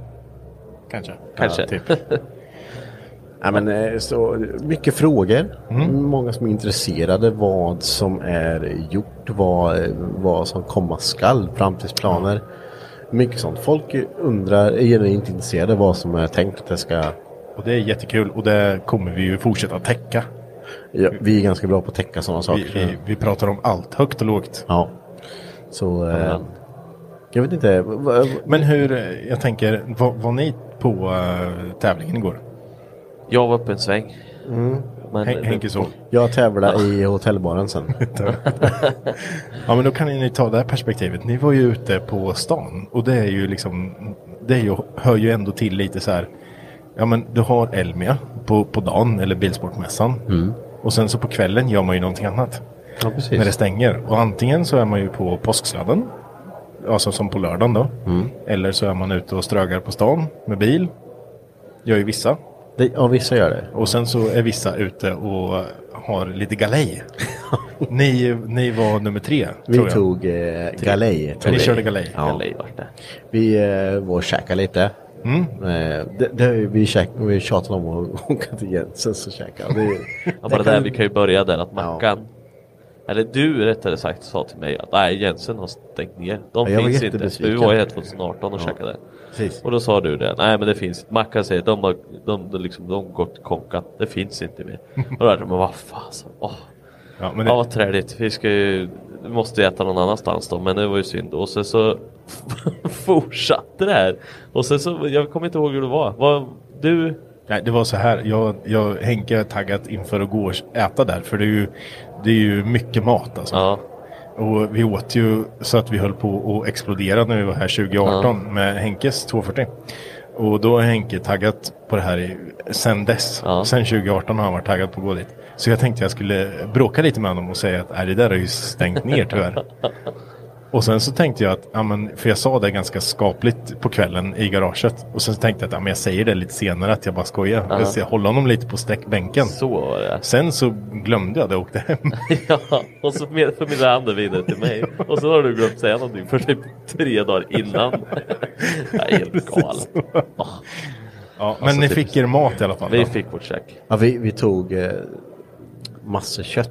C: Kanske.
I: Kanske.
C: Ja, typ.
H: Ja, men, eh, så, mycket frågor.
C: Mm.
H: Många som är intresserade vad som är gjort, vad, eh, vad som komma skall, framtidsplaner. Mycket sånt. Folk undrar, är genuint intresserade vad som är tänkt att det ska...
C: Och det är jättekul och det kommer vi ju fortsätta täcka.
H: Ja, vi är ganska bra på att täcka sådana
C: Vi,
H: saker.
C: vi, vi pratar om allt, högt och lågt.
H: Ja. Så... Eh, jag vet inte. v- v-
C: Men hur, eh, jag tänker, var, var ni på eh, tävlingen igår?
I: Jag var uppe en sväng. Men,
C: Hen- Henke så.
H: Mm. Jag tävlar i hotellbaren sen.
C: Ja men då kan ni ta det här perspektivet. Ni var ju ute på stan och det är ju liksom, det är ju, hör ju ändå till lite så här. Ja men du har Elmia på, på dagen eller Bilsportmässan. Och sen så på kvällen gör man ju någonting annat.
H: Mm. Ja,
C: När det
H: precis.
C: stänger. Och antingen så är man ju på påsksladden. Alltså som på lördagen då. Eller så är man ute och strögar på stan med bil. Gör ju vissa.
H: Det, ja, vissa gör det.
C: Och sen så är vissa ute och har lite galej. ni, ni var nummer tre.
H: Vi
C: tror jag.
H: tog eh, galej.
C: Ni körde galej.
H: Ja.
I: Eller vart det?
H: Vi eh, var och käkade lite.
C: Mm.
H: Eh, det, det, vi, käk, vi tjatade om att åka till Jensens och käka. Det,
I: Ja, bara
H: det
I: där,
H: kan-
I: vi kan ju börja där att
H: Ja.
I: Mackan Eller du rättare sagt sa till mig att nej Jensen har stängt ner. De
H: Ja, jag var
I: finns inte. För vi
H: jättebesviken.
I: var ju här 2018 och käkade.
H: Precis.
I: Och då sa du det. Nej men det finns Mackan säger de har de, de, liksom, de har gått konkat. Det finns inte mer. Och då är det men vad fasen. Åh.
C: Ja, men
I: Ja vad träligt. Vi ska ju vi måste ju äta någon annanstans då men det var ju synd. Och sen så fortsatte det här. Och sen så, jag kommer inte ihåg hur det var. Vad, du
C: Nej, det var så här. Jag, jag, Henke är taggat inför att gå och äta där. För det är ju, det är ju mycket mat alltså.
I: Ja,
C: Och vi åt ju så att vi höll på att explodera när vi var här 2018 med Henkes 240. Och då har Henke taggat på det här i, sen dess.
I: Ja.
C: Sen 2018 har han varit taggad på att gå dit. Så jag tänkte jag skulle bråka lite med honom och säga att "Nej, det där har ju stängt ner tyvärr. Och sen så tänkte jag att, ja, men, för jag sa det ganska skapligt på kvällen i garaget. Och sen så tänkte jag att ja, men jag säger det lite senare att jag bara skojar. Jag ska hålla honom lite på sträckbänken.
I: så var det.
C: Sen så glömde jag det och åkte hem.
I: Ja, och så med- förmedlade han det vidare till mig. Och så har du glömt säga någonting för typ tre dagar innan. Jag är helt galen. Ah. Alltså, typ-
C: Ja, men ni fick er mat i alla fall.
I: Vi
C: då?
I: fick vårt check.
H: Ja, vi, vi tog eh, massor kött.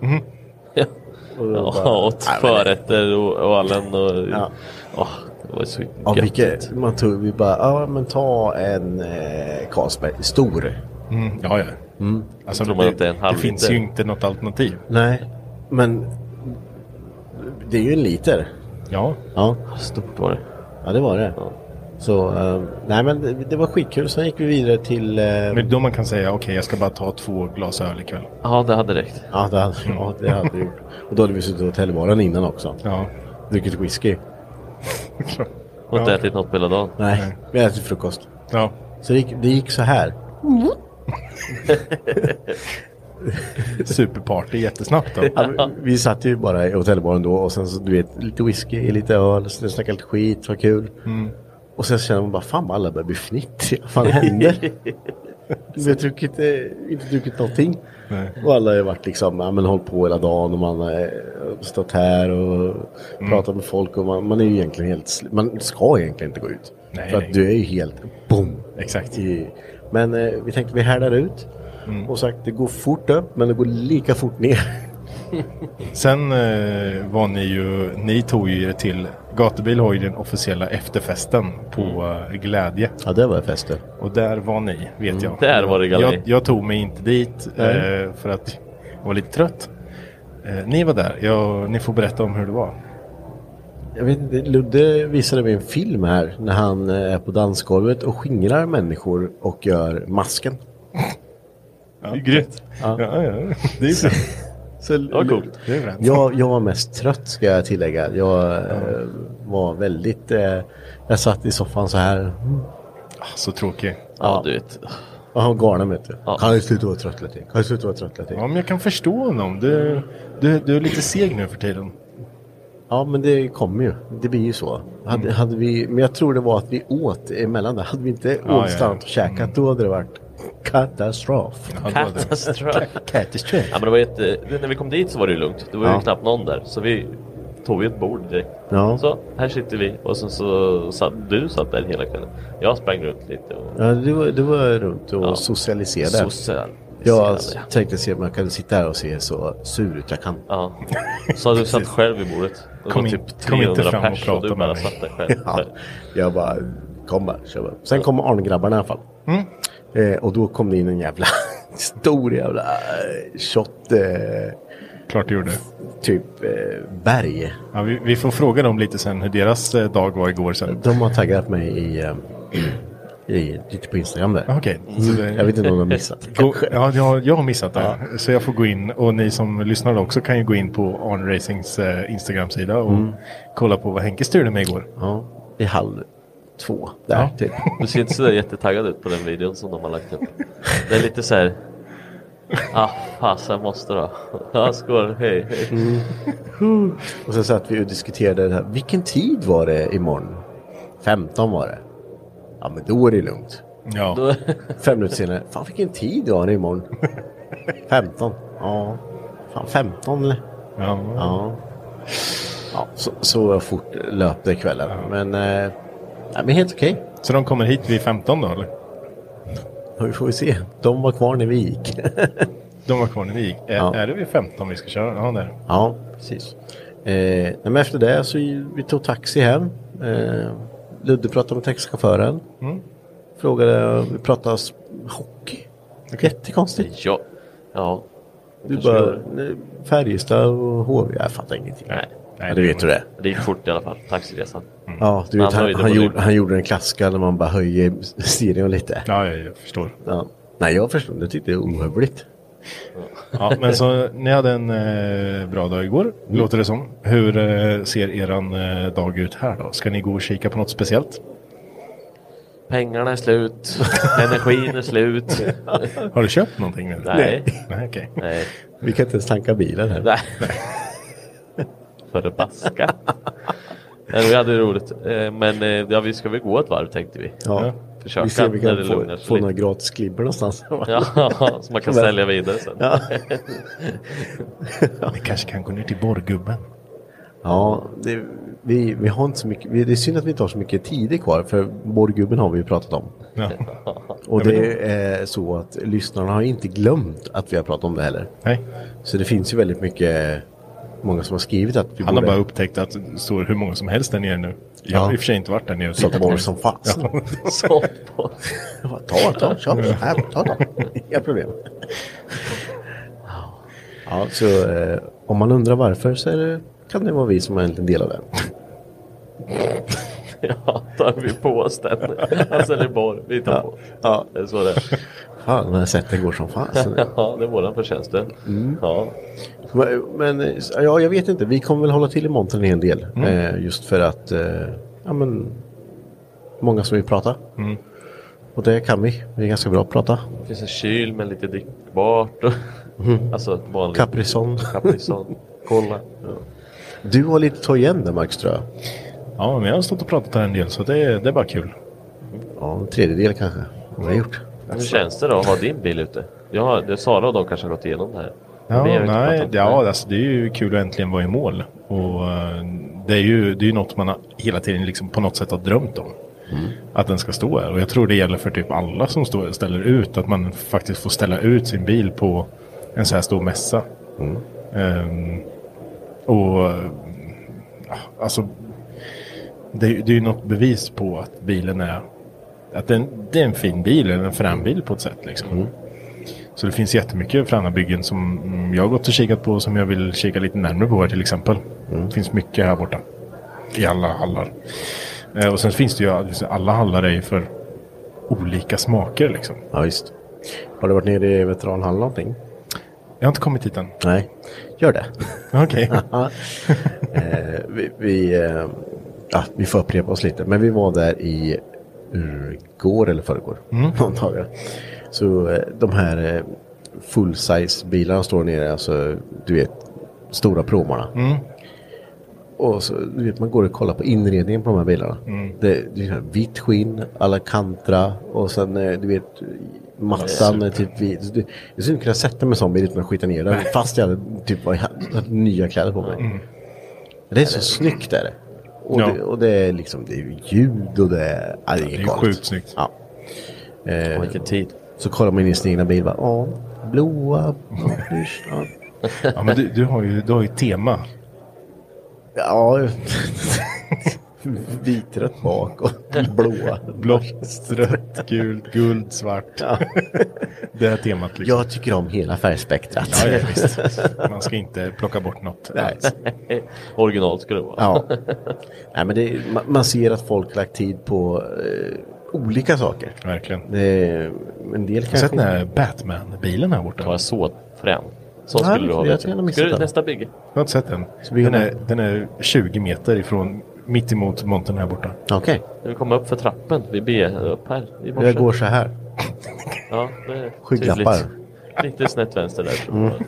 C: Mhm.
I: Ja,
H: Och då
I: Ja,
H: bara-
I: och förrätter och, och allen och... Ja.
H: Ja.
I: det var så
H: Ja,
I: gött.
H: vilket, man tog, vi bara, ja men ta en eh, Carlsberg, stor.
C: Mm, ja, ja. Alltså,
I: Tror man att det är en halv
C: det finns
I: liter?
C: ju inte något alternativ.
H: Nej, men det är ju en liter.
C: Ja.
H: Ja,
I: Stort var det.
H: ja det var det.
I: Ja.
H: Så, eh, nej men det, det var skitkul. Sen gick vi vidare till... Eh,
C: Men då man kan säga okej, jag ska bara ta två glas öl ikväll.
I: Ja, det hade räckt.
H: ja, det hade, ja, det hade vi gjort. Och då hade vi suttit i hotellbaren innan också.
C: Ja.
H: Druckit whisky.
I: Och inte ätit något på hela dagen.
H: Nej, vi hade ätit frukost.
C: ja.
H: Så det gick, det gick så här.
C: Superparty jättesnabbt då.
H: Ja, men vi satt ju bara i hotellbaren då och sen så du vet lite whisky, lite öl, så snackade lite skit, vad kul.
C: Mm.
H: Och sen så känner man bara fan vad alla börjar bli fnittriga, vad fan händer? Vi har druckit, eh, inte druckit någonting. Och alla har ju varit liksom, ja men hållit på hela dagen och man har eh, stått här och
C: Mm.
H: pratat med folk och man, man är ju egentligen helt, sl- man ska egentligen inte gå ut.
C: Nej,
H: för
C: nej.
H: att du är ju helt boom.
C: Exakt. Mm.
H: I, men eh, vi tänkte vi härdar ut. Och sagt det går fort upp men det går lika fort ner.
C: Sen eh, var ni ju, ni tog ju er till, Gatubil har ju den officiella efterfesten på
I: Mm.
C: eh, Glädje.
H: Ja, det var fester.
C: Och där var ni, vet jag.
I: Där var det galej.
C: Jag, jag tog mig inte dit eh, för att jag var lite trött. Eh, ni var där, jag, ni får berätta om hur det var.
H: Jag vet inte, Ludde visade mig en film här när han eh, är på dansgolvet och skingrar människor och gör masken.
C: Ja. Grymt. Ja. Ja, ja. Det är bra.
H: Så
I: var coolt.
C: Det är bra.
H: Jag, jag var mest trött ska jag tillägga. Jag eh, var väldigt... Eh, jag satt i soffan så här
C: Ah, Så tråkig.
I: Ja, du vet.
H: och han garnade mig. vet du.
I: Ja.
H: Kan du sluta vara trött lite? Kan du sluta vara trött lite?
C: Ja, men jag kan förstå honom. Du, du, du är lite seg nu för tiden.
H: Ja, men det kommer ju. Det blir ju så. Hade,
C: Mm.
H: hade vi, men jag tror det var att vi åt emellan där. Hade vi inte åt
C: Ja, ja, Mm. ja.
H: slant och käkat då hade det varit katastrof.
C: Han var det.
I: Katastrof.
H: Katastrof.
I: eh, Ja, men det var jätte... När vi kom dit så var det ju lugnt. Det var ju
H: Ja.
I: knappt någon där. Så vi tog vi ett bord direkt.
H: Ja.
I: Så, här sitter vi. Och sen så satt du satt där hela kvällen. Jag sprang runt lite och
H: Ja, det var, det var runt och
I: Ja.
H: socialiserade.
I: social.
H: jag tänkte se om jag kan sitta här och se så sur ut jag kan.
I: Ja. Så du satt själv vid bordet. Det
C: Kom
I: var
C: in-
I: typ
C: kom inte
I: 300
C: fram och
I: pers och
C: prata
I: du
C: med
I: bara
C: mig.
I: satt där själv.
H: Ja, jag bara, kom bara, kör bara. Sen kom Arngrabbarna i alla fall.
C: Mm.
H: Eh, och då kom det in en jävla stor jävla eh, shot, eh,
C: Klart du gjorde.
H: typ eh, berg.
C: Ja, vi, vi får fråga dem lite sen hur deras eh, dag var igår sen.
H: De har taggat mig i, eh, i, lite på Instagram där. Mm.
C: Okej. så det-
H: Jag vet inte om de har missat.
C: Gå, ja, jag, jag har missat det. Så jag får gå in och ni som lyssnar också kan ju gå in på Arn Racings eh, Instagram-sida och kolla på vad Henke styrde med igår.
H: Mm. Ja, i halv två där
C: Ja.
H: typ.
I: Du ser inte sådär jättetaggad ut på den videon som de har lagt upp. Det är lite såhär... Ah, fasen måste då. Ja, skål, hej, hej.
H: Mm. Och sen satt vi och diskuterade det här. Vilken tid var det imorgon? 15 var det. Ja men då är det lugnt.
C: Ja.
I: Då,
H: Fem minuter senare. Fan vilken tid du har imorgon. 15. Ja. Fan 15 eller?
C: Ja.
H: Ja. Ja, så, så fort löpte kvällen. Men, eh, ja, men helt okej.
C: Så de kommer hit vid 15 då eller?
H: Ja, Vi får vi se. De var kvar när vi gick.
C: De var kvar när vi gick. Är,
H: Ja.
C: är det vid 15 vi ska köra? Ja, det är det.
H: Ja, precis. Eh, nej, men efter det så ju- vi tog taxi hem. Eh, Ludde pratade med taxichauffören.
C: Mm.
H: Frågade, vi pratade s- hockey. Jättekonstigt.
I: ja. Ja.
H: Du
I: kanske
H: bara,
I: gjorde.
H: nej, Färjestad och HV, jag fattar ingenting.
I: Nej.
H: Ja, det vet du
C: Mm.
H: det. Mm.
I: Det gick fort i alla fall, taxiresan.
H: Ja, du
I: Men
H: vet,
I: han
H: han,
I: höjde
H: han,
I: volymen.
H: gjorde, han gjorde en klassiker när man bara höjer stereon lite.
C: Ja, jag, jag förstår.
H: Ja. Nej, jag förstod. Jag tyckte det var ohövligt.
C: Ja, men så ni hade en eh, bra dag igår, låter det som. Hur eh, ser eran eh, dag ut här då? Ska ni gå och kika på något speciellt?
I: Pengarna är slut, energin är slut.
C: Har du köpt någonting nu?
I: Nej.
C: Nej, okej.
I: Nej.
H: Vi kan inte ens tanka bilen här.
I: Nej. Förbaska. Men vi hade roligt. Eh, Men eh, ja, vi ska väl gå ett varv tänkte vi.
H: Ja.
I: Försöka
H: Vi ser om vi
I: när
H: kan
I: det
H: få,
I: lugnar sig
H: få
I: lite.
H: några gratis klibbor någonstans.
I: Ja, som man kan
H: Men-
I: sälja vidare sen.
H: Ja.
C: Ni kanske kan gå ner till borrgubben?
H: Ja, det, vi, vi har inte så mycket, vi, det är synd att vi inte har så mycket tid kvar för borrgubben har vi ju pratat om.
C: Ja.
H: Och det är så att lyssnarna har inte glömt att vi har pratat om det heller.
C: Nej,
H: Så det finns ju väldigt mycket, många som har skrivit att vi
C: han har
H: borde...
C: bara upptäckt att det står hur många som helst där nere nu. Jag har
H: Ja.
C: i och för sig inte varit där nere. och
H: Så
C: tittat.
H: många som fanns.
C: Ja.
I: Så på-
H: Jag bara, Ta, ta, kör. Här, ta, ta. Inga problem. Ja, så eh, om man undrar varför så är det, kan det vara vi som är en del av det.
I: Ja, tar vi på oss den. Han säljer borr, vi tar på.
H: Ja.
I: Det är så det är.
H: Fan, den här sätten går som fan. Mm.
I: Ja, det är våran förtjänst det. Ja.
H: Men- Men eh, ja, jag vet inte, vi kommer väl hålla till i Montern en hel del. Eh, just för att eh, ja, men, många som vill prata. Och det kan vi, vi är ganska bra på att prata.
I: Det finns en kyl med lite drickbart. Och...
H: Mm.
I: Alltså ett vanligt
H: Caprison.
I: Caprison. Kolla.
H: Du har lite att ta igen där Max tror jag.
C: ja, men jag har stått och pratat där en del så det, det är bara kul.
H: Ja, en tredjedel kanske. Vad har jag gjort?
I: Hur känns det då att ha din bil ute? Jag har, det är Sara och de kanske har gått igenom det här.
C: Ja,
I: Vi har ju inte
C: nej,
I: pratat om
C: ja
I: det.
C: alltså, det är ju kul att äntligen vara i mål. Och eh, det är ju det är ju något man har, hela tiden liksom på något sätt har drömt om.
I: Mm.
C: Att den ska stå här. Och jag tror det gäller för typ alla som står, ställer ut. Att man faktiskt får ställa ut sin bil på en så här stor mässa.
I: Mm.
C: Ehm, och eh, ja, alltså det, är ju- det är ju något bevis på att bilen är att den, det är en fin bil, eller en frambil på ett sätt. Liksom.
I: Mm.
C: Så det finns jättemycket Fränabyggen som mm, jag har gått och kikat på som jag vill kika lite närmare på här till exempel.
H: Mm.
C: Det finns mycket här borta. I alla hallar. Eh, och sen finns det ju alla hallar är ju för olika smaker liksom.
H: Ja, visst. Har du varit nere i veteranhallen någonting?
C: Jag har inte kommit hit än.
H: Nej, gör det.
C: Okej.
H: Ja. eh, vi, vi, eh, ja, vi får upprepa oss lite, men vi var där i ur- går eller förrgår.
C: Mm.
H: Någon dag. ja. Så eh, de här eh, full-size bilarna står nere, alltså du vet, stora pråmarna.
C: Mm.
H: Och så, du vet, man går och kollar på inredningen på de här bilarna. Det, det är så här vitt skinn, Alcantara och sen eh, du vet mattan är typ vit. Så det- Jag skulle inte kunna sätta mig i en sån bil utan att skita ner den fast jag hade typ var, hade nya kläder på mig. Det är så snyggt är det. Och,
C: Ja.
H: det, och det är liksom det är ju ljud och det är... Ja, det är,
C: Det är
H: galet.
C: sjukt snyggt.
H: Ja. Eh,
I: Vilken tid.
H: så kollar man in i sin egna bil. bara, Ja, blåa... plysch, ja."
C: Ja, men du, du, har ju, du har ju tema.
H: Ja. Vitrött bak och blåa.
C: Blått, rött, gult, guld, svart. Det är temat liksom.
H: Jag tycker om hela färgspektrat.
C: Ja, ja, visst. Man ska inte plocka bort något.
H: Nej.
I: Originalt skulle det vara.
H: Ja. Nej, men det, man, man ser att folk lagt tid på eh, olika saker.
C: Verkligen. Jag
H: Det, en del
C: har
H: kanske...
C: sett den här Batman-bilen här borta.
I: Det var så frän. Så
H: Nej,
I: skulle du ha
H: jag tror jag har
I: vet.
H: missat
I: Ska du,
H: den.
I: nästa bygge.
C: Jag har inte sett den.
H: Så vi-
C: Den är, den är 20 meter ifrån, mitt emot montern här borta.
H: Okej,
I: När vi kommer upp för trappen, vi ber upp här i morse.
H: jag går så här.
I: Ja, det är tydligt.
H: Skygglappar.
I: Lite snett vänster där. tror jag.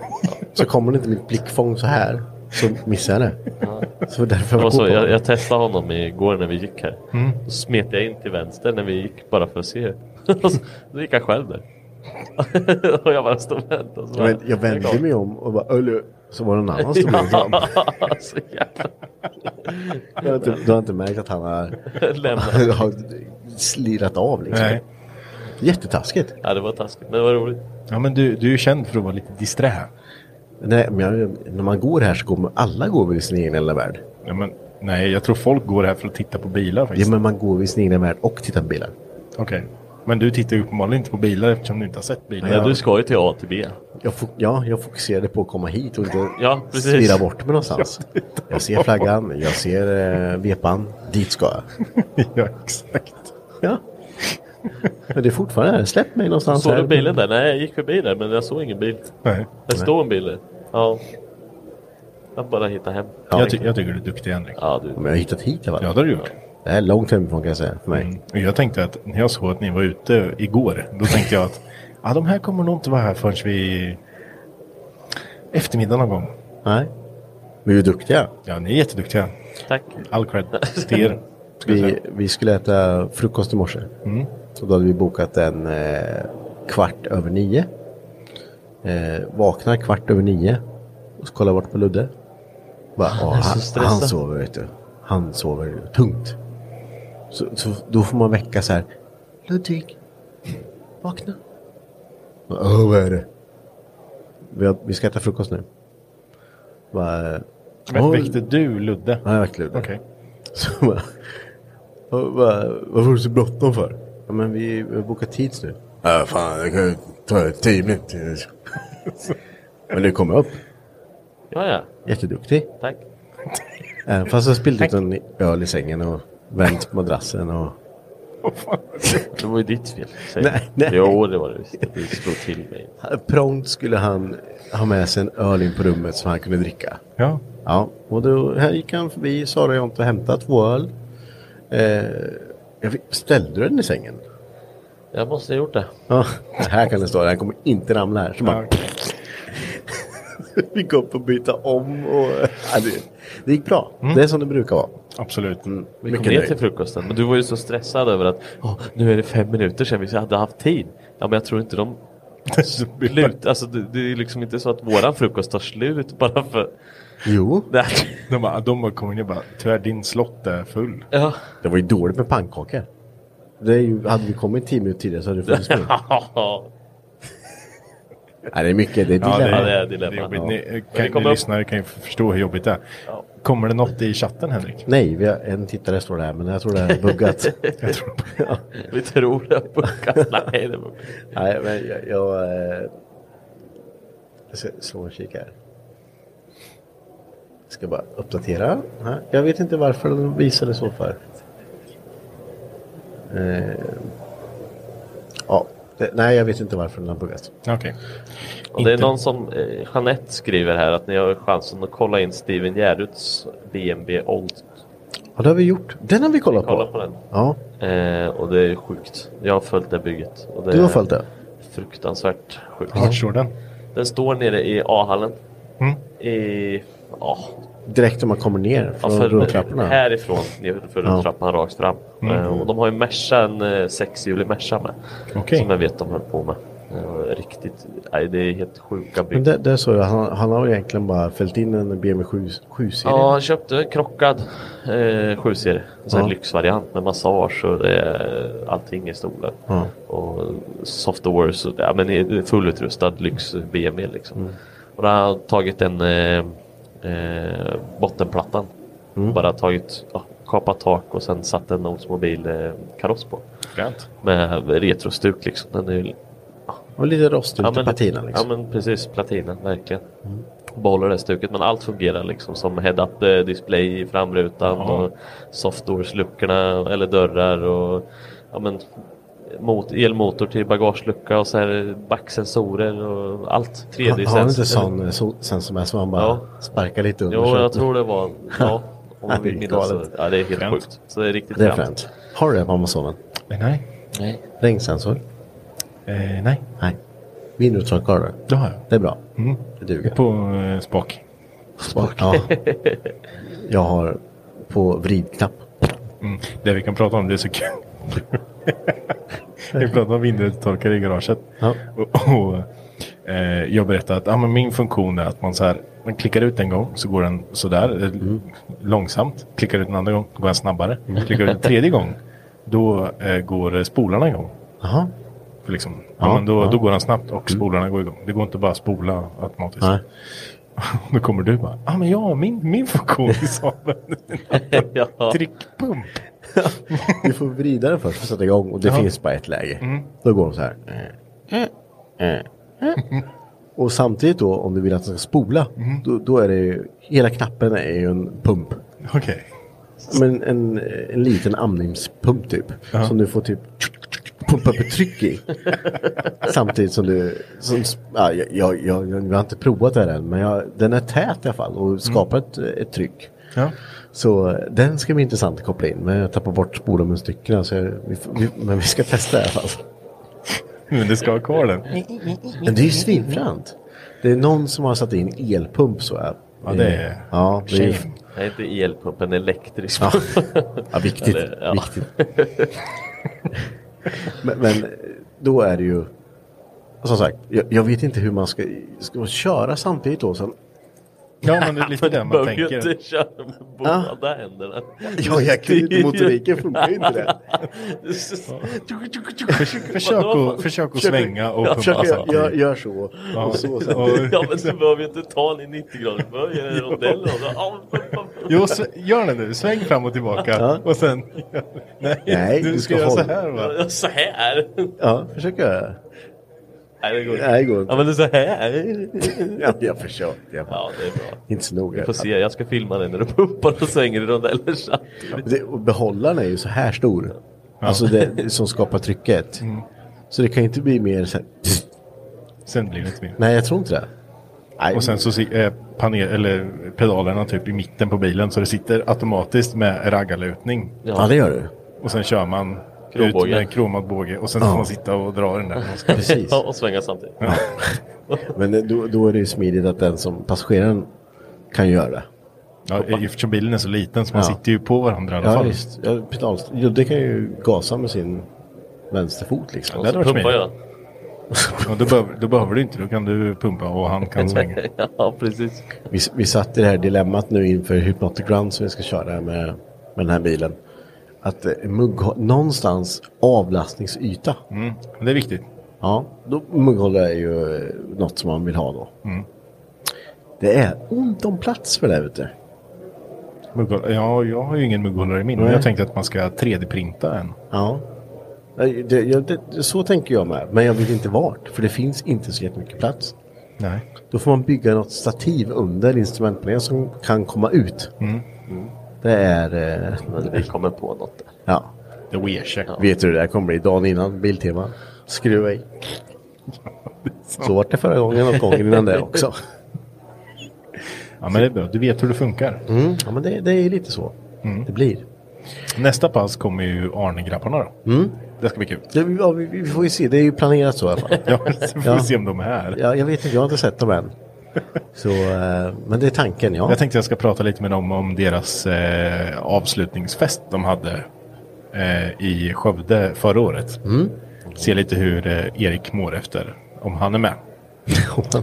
H: Så kommer det inte mitt blickfång så här så missar jag det. Så därför jag
I: Det var
H: går
I: så,
H: på.
I: jag, jag testade honom igår när vi gick här.
C: Mm.
I: Då smet jag in till vänster när vi gick bara för att se. Och så- Då gick han själv där. och jag bara stod och väntade. och så
H: Jag,
I: bara-
H: vänd- jag vände mig om och bara Ölö. Så var det en annan som blev fram.
I: Ja, så jävla
H: Jag har
C: typ,
H: inte- Du har inte märkt att han har,
I: lämnad.
H: har slirat av liksom.
C: Nej.
H: Jättetaskigt.
I: Ja, det var taskigt, men det var roligt.
C: Ja, men du, du är ju känd för att vara lite disträ.
H: Nej, men jag, när man går här så går man, alla går väl i sin egen lilla värld.
C: Ja, men, nej, jag tror folk går här för att titta på bilar
H: Ja,
C: faktiskt.
H: men man går i sin egen värld och tittar på bilar.
C: Okej. Men du tittar ju uppenbarligen inte på bilar eftersom du inte har sett bilar.
I: Nej, du ska ju till A till B.
H: Jag, fo- ja, jag fokuserade på att komma hit och inte
I: Ja, precis.
H: stirra bort mig någonstans. Jag ser flaggan, jag ser eh, vepan, dit ska jag.
C: ja, exakt.
H: Ja. Men det är fortfarande här, släpp mig någonstans
I: Såg
H: här.
I: du bilen där? Nej, jag gick förbi där, men jag såg ingen bil.
C: Nej.
I: Det stod en bil där. Ja. Jag bara hittade hem.
H: Ja,
C: jag, ty- jag tycker du är duktig, Henrik.
I: Ja, du.
H: Men jag har hittat hit i alla
C: Ja, det
H: fall.
C: har du gjort.
H: Det här är långt hemifrån kan jag säga för mig.
C: Mm. Och jag tänkte att när jag såg att ni var ute igår, då tänkte jag att ah, de här kommer nog inte vara här förrän vi eftermiddag någon gång.
H: Nej. Men vi är duktiga.
C: Ja, ni är jätteduktiga.
I: Tack.
C: All cred till er. ska
H: Vi,
C: jag säga.
H: vi skulle äta frukost i morse. Och då hade vi bokat en eh, kvart över nio. Eh, vaknar kvart över nio. Och så kollar jag bort på Ludde. Bara, "Åh,
I: så
H: han,
I: stressad."
H: han sover vet du. Han sover tungt. Så, så då får man väcka så här. Ludvig, vakna. Bara, Åh, vad är det? Vi, har, vi ska äta frukost nu. Bara,
C: Men
H: "Åh."
C: Väckte du Ludde?
H: Ja, jag väckte Ludde.
C: Okej.
H: Så bara, vad, vad, varför har du så bråttom för? Ja, men vi vi har bokat tid nu. Ja, fan, det kan ju ta tio minuter. men du kom upp.
I: Ja, ja.
H: Jätteduktig.
I: Tack.
H: Även fast jag spillde ut en öl i sängen och vänt på madrassen och...
I: Det var ju ditt fel. säger
H: Nej, nej.
I: jag. Jo, det var det visst. Du slog till mig.
H: Prompt skulle han ha med sig en öl in på rummet som han kunde dricka.
C: Ja.
H: Ja, och då här gick han förbi, Sara och inte hämtat två öl. Eh, jag fick- ställde du den i sängen?
I: Jag måste ha gjort det.
H: Ja, här kan det stå. Den kommer inte ramla här. Så bara... Vi går upp och byta om och... Ja, det, det gick bra. Det är som det brukar vara.
C: Absolut. Mm.
I: Mm. Vi kom
H: Mycket
I: ner
H: nöjd.
I: till frukosten, men du var ju så stressad över att "Åh, nu är det fem minuter sedan vi hade haft tid. Ja, men jag tror inte de slut. Alltså, det, det är liksom inte så att våran frukost tar slut bara för...
H: Jo,
I: Nej.
C: De bara, de bara kommer in och bara, tyvärr din slott är full.
I: Ja.
H: det var ju dåligt med pannkakor. Det är ju, hade vi kommit tio minuter tidigare så hade det funnits mer.
I: ja,
H: Nej, det är mycket. Det är
C: Ja,
H: dilemma.
I: det är
C: Det är
I: dilemma.
C: jobbigt.
I: Ja.
C: Ni,
I: Men det
C: kan, ni
I: kommer upp-
C: lyssnare kan ju förstå hur jobbigt det är.
I: Ja.
C: Kommer det något i chatten, Henrik?
H: Nej, vi har en tittare står där, men jag tror det är buggat.
C: Jag tror
I: Vi tror det. Nej, det var...
H: Nej, men jag... Jag, eh, jag ska slå en kik här. Jag ska bara uppdatera. Nej, Jag vet inte varför de visade så för. Eh, ja, det, nej, jag vet inte varför den har buggat.
C: Okej.
I: Och det är
C: Inte-
I: någon som, eh, Jeanette skriver här att ni har chansen att kolla in Steven Gerruds DNB Old.
H: Ja, det har vi gjort. Den har vi kollat
I: Kolla
H: på.
I: på den.
H: Ja,
I: Eh, och det är sjukt. Jag har följt det bygget. Och det
H: du har följt det.
I: Är fruktansvärt sjukt.
C: Vart står den?
I: Den står nere i A-hallen.
C: Mm.
I: I, ja,
H: Direkt när man kommer ner
I: ja,
H: från
I: för,
H: rulltrapporna.
I: härifrån nerför
H: Ja. Mm.
I: rulltrappan rakt fram. Eh, och de har ju Merca, en eh, sexhjulig Merca med.
C: Okej.
I: Som jag vet de höll på med. Eh, riktigt riktigt, nej det är helt sjuka
H: Men
I: byggnader.
H: där, där såg jag, han, han har egentligen bara fällt in en BMW 7, 7-serie.
I: Ja, han köpte en krockad eh, 7-serie. En sån här
H: Ja.
I: lyxvariant med massage och det, är allting i stolen.
H: Ja.
I: Och softwares, och, ja, men i- fullutrustad lyx BMW liksom.
H: Mm.
I: Och då har han tagit den eh, eh, bottenplattan.
H: Mm.
I: Bara tagit, ja, kapat tak och sen satt en Oldsmobile eh, kaross på.
C: Fränt.
I: Med retrostuk liksom. Den är ju
H: Och lite rost ut i
I: men-
H: patinan liksom. Mm.
I: Ja men precis, platina, verkligen. Behåller det stuket men allt fungerar liksom som head-up eh, display i framrutan och softdoors-luckorna eller dörrar och ja, men, mot, elmotor till bagagelucka och så här backsensorer och allt. 3D
H: han, har han inte sån så, sensor med som han bara
I: Ja.
H: sparkar lite under?
I: Jo,
H: så-
I: jag tror det var, ja. Om
H: Det är
I: vi minns så,
H: galet.
I: ja, det är helt
C: Fränt.
I: sjukt. Så det är riktigt
H: Det är
I: fränt.
H: fränt. Har du det på Amazonen?
C: Men Eh, nej.
I: Nej.
H: Regnsensor?
C: Eh, nej,
H: Nej. Vindrutetak har du?
C: det har jag.
H: Det är bra.
C: Mm.
H: Det
C: Det
H: duger.
C: är På eh, spak.
H: Spark. Ja. Jag har på vridknapp.
C: Mm. Det vi kan prata om, det är så kul. vi pratade om vindrutetorkare i garaget.
H: Ja.
C: Och, och, eh, jag berättade att ah, men min funktion är att man, så här, man klickar ut en gång så går den sådär eh, långsamt. Klickar ut en andra gång går den snabbare.
H: Mm.
C: Klickar ut en tredje gång då eh, går spolarna igång.
H: Jaha.
C: För Liksom. Ja,
H: Ja,
C: men då,
H: ja. Mm.
C: då går den snabbt och spolarna går igång. Det går inte bara att spola automatiskt.
H: Nej.
C: Då kommer du bara, ah, men ja, min, min funktion i salen.
I: Ja.
C: Tryckpump.
H: Du får vrida den först för att sätta igång och det
C: Ja. Mm.
H: finns bara ett läge. Då går de så här. Eh, eh, eh. Och samtidigt då om du vill att den ska spola
C: Mm.
H: då, då är det ju, hela knappen är ju en pump.
C: Okej.
H: Men en, en liten amningspump typ. Som du får typ pumpa upp ett tryck i. Samtidigt som du, som, ja, jag, jag, jag, jag har inte provat det här än men jag, den är tät i alla fall och skapar ett, ett tryck.
C: Mm. Ja.
H: Så den ska bli intressant att koppla in men jag tappar bort spolen med stycken så jag, vi, får- vi, men vi ska testa i alla fall.
C: Men det ska ha kvar den.
H: Men det är ju svinfränt. Det är någon som har satt in elpump så här.
C: Ja, det är-
H: Eh, Ja, det är
C: Shame.
I: Nej, inte elpump, en elektrisk
H: Ja.
I: pump.
H: Ja, viktigt.
I: Eller, ja.
H: viktigt. men, men då är det ju... Som sagt, jag, jag vet inte hur man ska, ska man köra samtidigt då. Sen,
C: Ja, men det är lite det man
I: Behöver ju
C: tänker.
I: inte köra med båda händerna.
H: ja, jag kan ju inte, motoriken funkar ju inte det.
C: Försök att, försök att svänga
H: Jag
C: och pumpa
H: försöker, jag, jag
C: samtidigt.
H: gör så.
C: Ja,
H: Och så, och så.
C: och-
I: Ja men du behöver ju inte ta den i 90 graders böj eller en rondell. och så, ja,
C: Jo, sv- gör det nu. Sväng fram och tillbaka.
H: Ja.
C: Och sen... Nej,
H: Nej,
C: du
H: du
C: ska
H: ska
C: göra
H: hålla.
C: så här va?
I: ja, Så här.
H: Ja, försöker
I: Nej det går inte.
H: Nej, det går inte.
I: Ja men det är så här.
H: jag. Jag försöker. Jag,
I: Ja det är bra.
H: inte så noga.
I: Vi får se, jag ska filma dig när du pumpar och svänger i rondeller samtidigt.
H: Det, och behållaren är ju så här stor. Alltså det, det som skapar trycket.
C: Mm.
H: Så det kan ju inte bli mer så här,
C: Sen blir det inte mer.
H: Nej, jag tror inte det. Nej,
C: Och sen så eh, si- är panel, eller pedalerna typ i mitten på bilen så det sitter automatiskt med raggarlutning.
H: ja, det gör du.
C: Och sen kör man ut
I: Kronbåge.
C: med en kromad båge och sen får man sitta och dra den där.
H: Precis.
I: Ja, och svänga samtidigt.
H: Men det- då, då är det ju smidigt att den som passageraren kan göra det.
C: Ja, eftersom bilen är så liten så man
H: Ja.
C: sitter ju på varandra i alla
H: Ja,
C: fall.
H: visst. Ja, pedals- jo, det kan ju gasa med sin vänsterfot liksom.
C: det hade
I: Och
C: varit
I: så pumpar
C: smidigt.
I: jag.
C: Och då, behöver, då behöver du inte, då kan du pumpa och han kan svänga.
I: Ja precis.
H: Vi, vi satt i det här dilemmat nu inför Hypnotic Run som vi ska köra med, med den här bilen. Att eh, mugghå- någonstans avlastningsyta.
C: Mm. Det är viktigt.
H: Ja, då, mugghållare är ju eh, något som man vill ha då.
C: Mm.
H: Det är ont om plats för det här ute.
C: Mugghåll- Ja, jag har ju ingen mugghållare i min. Men
H: Nej.
C: jag tänkte att man ska 3D-printa en.
H: Ja. Nej, Det, jag, det, så tänker jag med. Men jag vet inte vart. För det finns inte så jättemycket plats.
C: Nej.
H: Då får man bygga något stativ under instrumentpanelen som kan komma ut. Mm. Det är... Eh,
I: Vi kommer på något där.
H: ja.
C: The Weircheck.
H: Vet du hur det här kommer bli? Dagen innan, Biltema. Skruva i. Så var det förra gången och gången innan det också.
C: Ja, men det är bra. Du vet hur det funkar. Mm.
H: Mm. Ja, men det, det är lite så det blir.
C: Nästa pass kommer ju Arne-grabbarna då. Det ska bli kul.
H: Det, Mm. ja, vi, vi får ju se, det är ju planerat så i alla fall.
C: Ja, så får
H: Ja.
C: vi se om de är här.
H: Ja, jag vet inte, jag har inte sett dem än. Så, eh, men det är tanken, ja.
C: Jag tänkte jag ska prata lite med dem om deras eh, avslutningsfest de hade eh, i Skövde förra året. Se lite hur eh, Erik mår efter om han är med.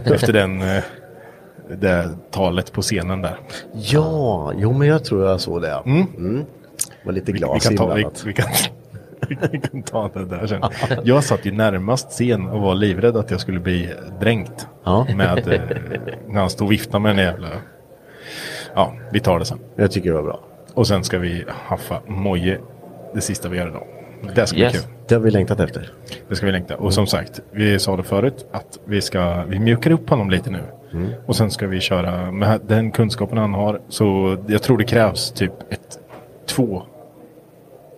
C: Efter den, eh, det talet på scenen där.
H: Ja, jo men jag tror jag såg det. ja.
C: Mm.
H: Mm. Var lite
C: Vi, vi,
H: glas
C: kan ta, vi,
H: inblandat.
C: vi, kan, vi kan ta det där sen. Jag satt ju närmast scen och var livrädd att jag skulle bli dränkt.
H: Ja.
C: Med, eh, när han stod och viftade med den jävla... Ja, vi tar det sen.
H: Jag tycker det var bra.
C: Och sen ska vi haffa Moje det sista vi gör idag. Det ska
I: Yes.
C: bli kul.
H: Det har vi längtat efter.
C: Det ska vi längta. Och som sagt, vi sa det förut att vi ska vi mjukar upp honom lite nu.
H: Mm.
C: Och sen ska vi köra med den kunskapen han har. Så jag tror det krävs typ ett två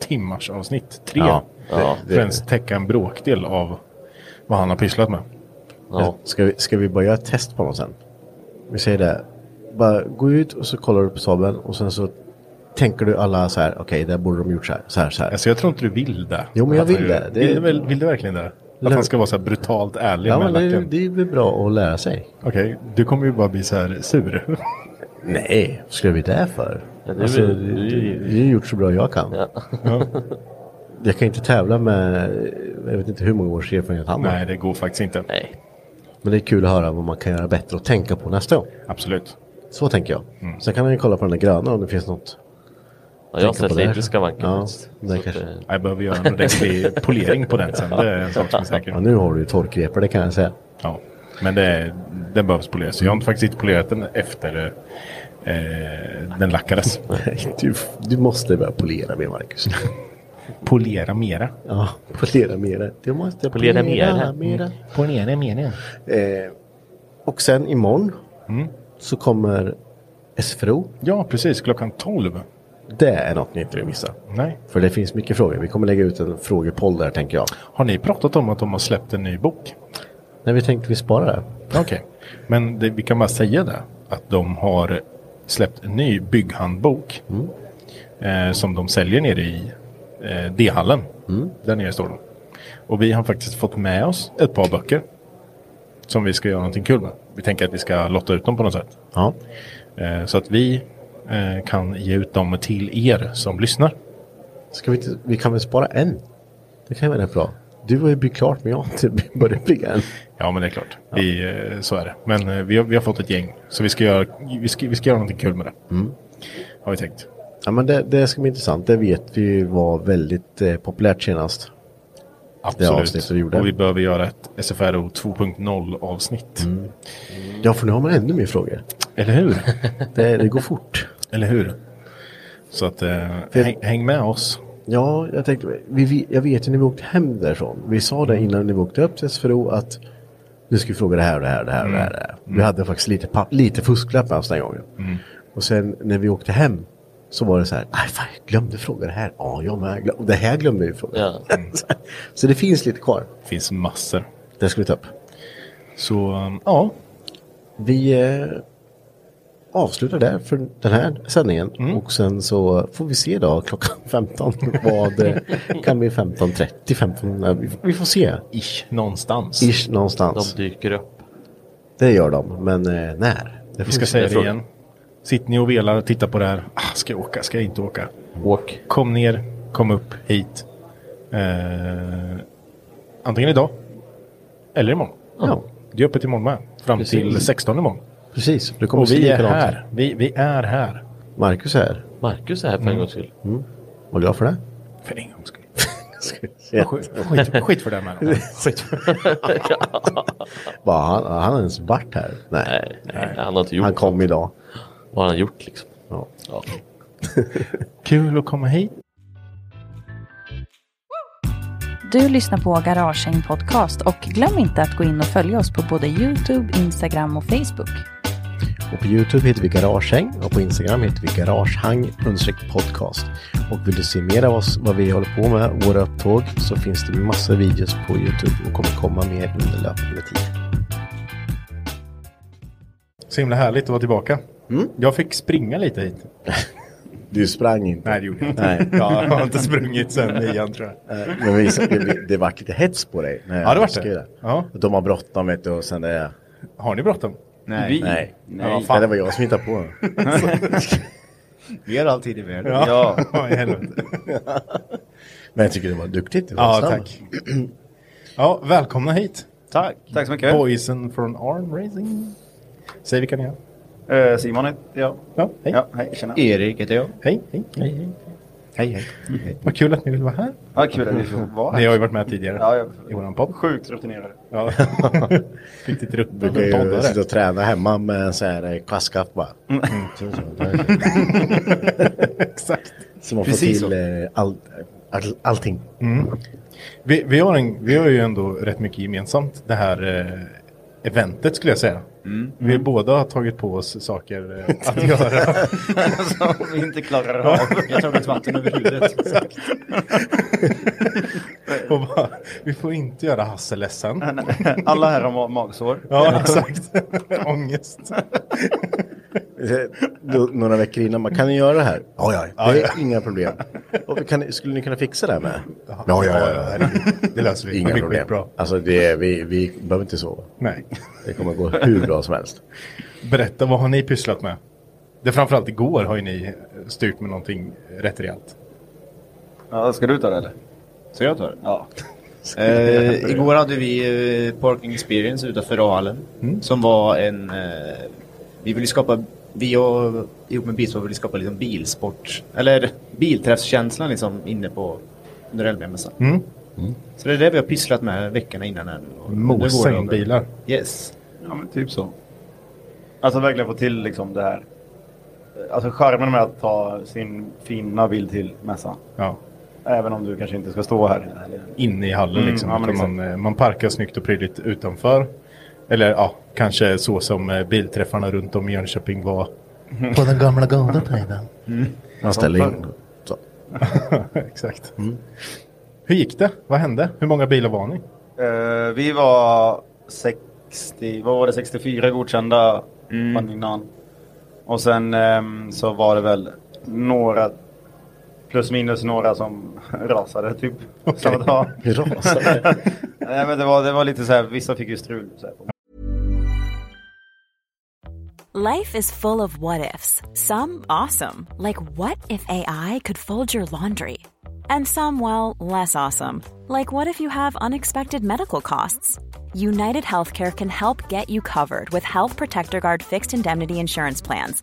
C: timmars avsnitt. Tre.
H: Ja, ja,
C: för
H: det-
C: ens täcka en bråkdel av vad han har pysslat med.
I: Ja.
H: Ska, vi, ska vi bara göra ett test på honom sen? Vi säger det. Bara gå ut och så kollar du på sabeln och sen så tänker du alla så här. Okej, där borde de gjort så här, så här, så här.
C: Alltså jag tror inte du vill det.
H: Jo, men jag
C: Att han
H: vill
C: gör-
H: det. Det-
C: Vill, du väl- vill du verkligen det? Att
H: Lä-
C: han ska vara så här brutalt ärlig
H: Ja,
C: med
H: men det,
C: lacken.
H: det är väl bra att lära sig.
C: Okej, du kommer ju bara bli så här sur.
H: Nej, vad ska vi det för?
I: Ja, det
H: alltså,
I: är
H: det,
I: väl- det är
H: det,
I: ju-
H: det är gjort så bra jag kan.
I: Ja.
H: Jag kan inte tävla med, jag vet inte hur många års erfarenhet han
C: Nej,
H: har.
C: det går faktiskt inte.
I: Nej.
H: Men det är kul att höra vad man kan göra bättre och tänka på nästa gång.
C: Absolut. Mm.
H: Så tänker jag. Sen kan man ju kolla på den där gröna om det finns något.
I: Ja, jag har
H: Tänka på
I: sett
H: det här.
I: lite skavanker
H: Ja,
I: faktiskt.
H: det
I: Så att,
H: kanske-
I: eh,
C: Jag behöver göra en ordentlig polering på den sen. Det är en sak som är
H: Ja,
C: säker.
H: nu har du ju torkrepor, det kan jag säga.
C: Ja. Men det, den behövs poleras. Jag har inte faktiskt inte polerat den efter eh, den lackades.
H: Nej, du, du måste börja polera mer, Marcus.
C: Polera mera.
H: Ja, polera mera. Du måste
I: Polera
H: polera,
I: mera. Mm.
H: mera.
C: Polera mera.
H: Eh, och sen imorgon så kommer SFRO.
C: Mm. Ja, precis. Klockan 12.
H: Det är något ni inte vill missa.
C: Nej.
H: För det finns mycket frågor. Vi kommer lägga ut en frågepoll där tänker jag.
C: Har ni pratat om att de har släppt en ny bok?
H: Nej, vi tänkte vi sparar det.
C: Okej. Men det, vi kan bara säga det. Att de har släppt en ny bygghandbok.
H: Mm.
C: Eh, som de säljer nere i eh, D-hallen. Där nere står de. Och vi har faktiskt fått med oss ett par böcker. Som vi ska göra någonting kul med. Vi tänker att vi ska lotta ut dem på något sätt.
H: Ja.
C: Eh, så att vi eh, kan ge ut dem till er som lyssnar.
H: Ska vi, inte, vi kan väl spara en? Det kan ju vara rätt bra. Du har ju byggt klart men jag har inte börjat bygga än.
C: Ja men det är klart. Vi, eh, så är det. Men eh, vi, har, vi har fått ett gäng. Så vi ska göra, vi ska, vi ska göra någonting kul med det. Mm. Har vi tänkt.
H: Mm. Ja, men det, det ska bli intressant. Det vet vi ju var väldigt eh, populärt senast. avsnittet vi gjorde.
C: Och vi behöver göra ett SFRO 2.0 avsnitt.
H: Mm. Ja, för nu har man ännu mer frågor.
C: Eller hur?
H: Det, det går fort.
C: Eller hur? Så att eh, häng, häng med oss.
H: Ja, jag tänkte, vi- vi, jag vet ju när vi åkte hem därifrån. Vi sa
C: Mm.
H: det innan vi åkte upp till SFRO att nu ska vi fråga det här och det här och det här. Och det här, och det här.
C: Mm.
H: Vi hade faktiskt lite, papp- lite fusklapp med oss den gången. Och sen när vi åkte hem så var det så här, nej fan jag glömde fråga det här. Ja, jag med. Glö- Och det här glömde vi fråga.
I: Ja.
H: så det finns lite kvar.
C: Det finns massor.
H: Det ska vi ta upp.
C: Så eh, ja,
H: Vi eh, avslutar där för den här sändningen.
C: Mm.
H: Och sen så får vi se då klockan 15. Vad eh, kan bli 15.30, 15? eh, vi- Vi får se.
C: ish någonstans.
H: Ish någonstans.
I: De dyker upp.
H: Det gör de, men eh, när? Det får
C: Vi ska
H: se.
C: säga
I: Jag
C: det
I: tror-
C: igen. Sitter ni och velar och tittar på det här. Ah, ska jag åka? Ska jag inte åka?
I: Åk.
C: Kom ner, kom upp hit. Eh, antingen idag eller imorgon.
H: Ja,
C: Det är öppet imorgon med. Fram
I: Precis.
C: till 16 imorgon.
H: precis. Det kommer
C: Och
H: se
C: vi är
H: likadant.
C: här. Vi, vi är här.
H: Marcus är här.
I: Marcus är här för en gångs skull.
H: Var glad för det.
C: Mm. För en gångs skull.
H: Ja.
C: Skit, skit för det med dem.
H: Bara, han, han har ens varit här. Nej,
I: Nej, nej, han har inte gjort
H: han kom idag.
I: vad har han gjort liksom.
H: Ja.
I: Ja.
C: Kul att komma hit.
A: Du lyssnar på Garagehäng Podcast och glöm inte att gå in och följa oss på både Youtube, Instagram och Facebook.
H: Och på Youtube heter vi Garagehäng och på Instagram heter vi Garagehang podcast. Och vill du se mer av oss, vad vi håller på med, våra upptåg, så finns det massor av videos på Youtube och kommer komma mer under löpande tid.
C: Så himla härligt att vara tillbaka. Jag fick springa lite hit.
H: Du sprang inte.
C: Nej, det gjorde jag inte.
H: Nej.
C: Jag har inte sprungit sen nian tror jag.
H: Eh, Men vi, det, det vart lite hets på dig. när jag
C: Ja, det vart
H: skrev
C: det. Ja.
H: De har bråttom vet du och sen det.
C: Har ni bråttom?
J: Nej,
H: Nej.
J: Nej.
H: Ja, fan. Det var jag som hittade på.
J: vi har alltid i världen.
C: Ja. i helvete.
H: Men jag tycker det var duktigt. Det var
C: Ja,
H: snabbt.
C: tack. Ja, välkomna hit.
J: Tack. Tack så mycket.
C: Poison från Arm Racing. Säg vilka ni är.
J: Eh, Simon heter jag.
C: Ja, hej.
J: Ja, hej, tjena.
C: Erik
J: heter jag.
C: Hej, hej. Hej, hej. Hej, hej. Vad kul att ni vill vara här.
J: Ja, kul att vi får vara här.
C: Ni har ju varit med tidigare
J: Ja, jag-
C: i våran podd.
J: Sjukt rutinerade.
C: Ja. Riktigt
H: brukar
C: ruttnade
H: ju sitta
C: poddare. Mm.
H: och träna hemma med en sån här eh, kvastskaft bara. Mm, Så, så, där.
C: Exakt.
H: Så man får
C: Precis
H: till
C: så.
H: eh, all, all, allting.
C: Mm. Vi, vi, har en, vi har ju ändå rätt mycket gemensamt det här eh, eventet skulle jag säga. Vi båda har tagit på oss saker eh, att göra.
J: Som vi inte klarar av. Jag tar ett vatten över huvudet.
C: och bara, vi får inte göra Hasse ledsen.
J: Alla här har ma- magsår.
C: Ja, exakt. Ångest.
H: Eh, då- Några veckor innan, man kan ni göra det här? Ja, ja,
C: Ja,
H: det är
C: ja.
H: inga problem. Och vi kan, skulle ni kunna fixa det här med? Ja,
C: herregud. Det löser vi.
H: Inga
C: det blir
H: problem.
C: skitbra.
H: Alltså, det är, vi, vi behöver inte sova.
C: Nej.
H: Det kommer gå hur bra som helst.
C: Berätta, vad har ni pysslat med? Det framförallt igår har ju ni styrt med någonting rätt rejält.
J: Ja, ska du ta det eller?
K: Så jag tar det?
J: Ja.
K: Eh, igår hade vi eh, Parking Experience utanför A-hallen. Som var en... Eh, vi ville skapa... Vi och ihop med Bilsport ville skapa liksom bilsport. Eller bilträffskänslan liksom inne på... Under Elmia-mässan.
C: Mm.
K: Så det är det vi har pysslat med veckorna innan. här nu. Och under
C: Mosa in
K: gårdagen.
C: bilar.
K: Yes.
J: Ja, men typ så. Alltså verkligen få till liksom det här. Alltså charmen med att ta sin fina bild till mässan.
C: Ja.
J: Även om du kanske inte ska stå här.
C: Inne i hallen
J: Mm,
C: liksom.
J: ja, men
C: Utan man, eh, man parkar snyggt och prydligt utanför. Eller ja, kanske så som eh, bilträffarna runt om i Jönköping var.
H: På den gamla goda tiden.
C: Mm.
H: Man ställer in. Så.
C: Exakt. Hur gick det? Vad hände? Hur många bilar var ni?
J: Eh, vi var 60, vad var det, 64 godkända mm. innan. Och sen ehm, så var det väl några, plus minus några som rasade typ. Samma dag.
H: Rasade?
J: Nej men det var, det var lite så här, vissa fick ju strul. Så här.
A: Life is full of what ifs. Some awesome, like what if AI could fold your laundry? And some, well, less awesome, like what if you have unexpected medical costs? United Healthcare can help get you covered with Health Protector Guard fixed indemnity insurance plans.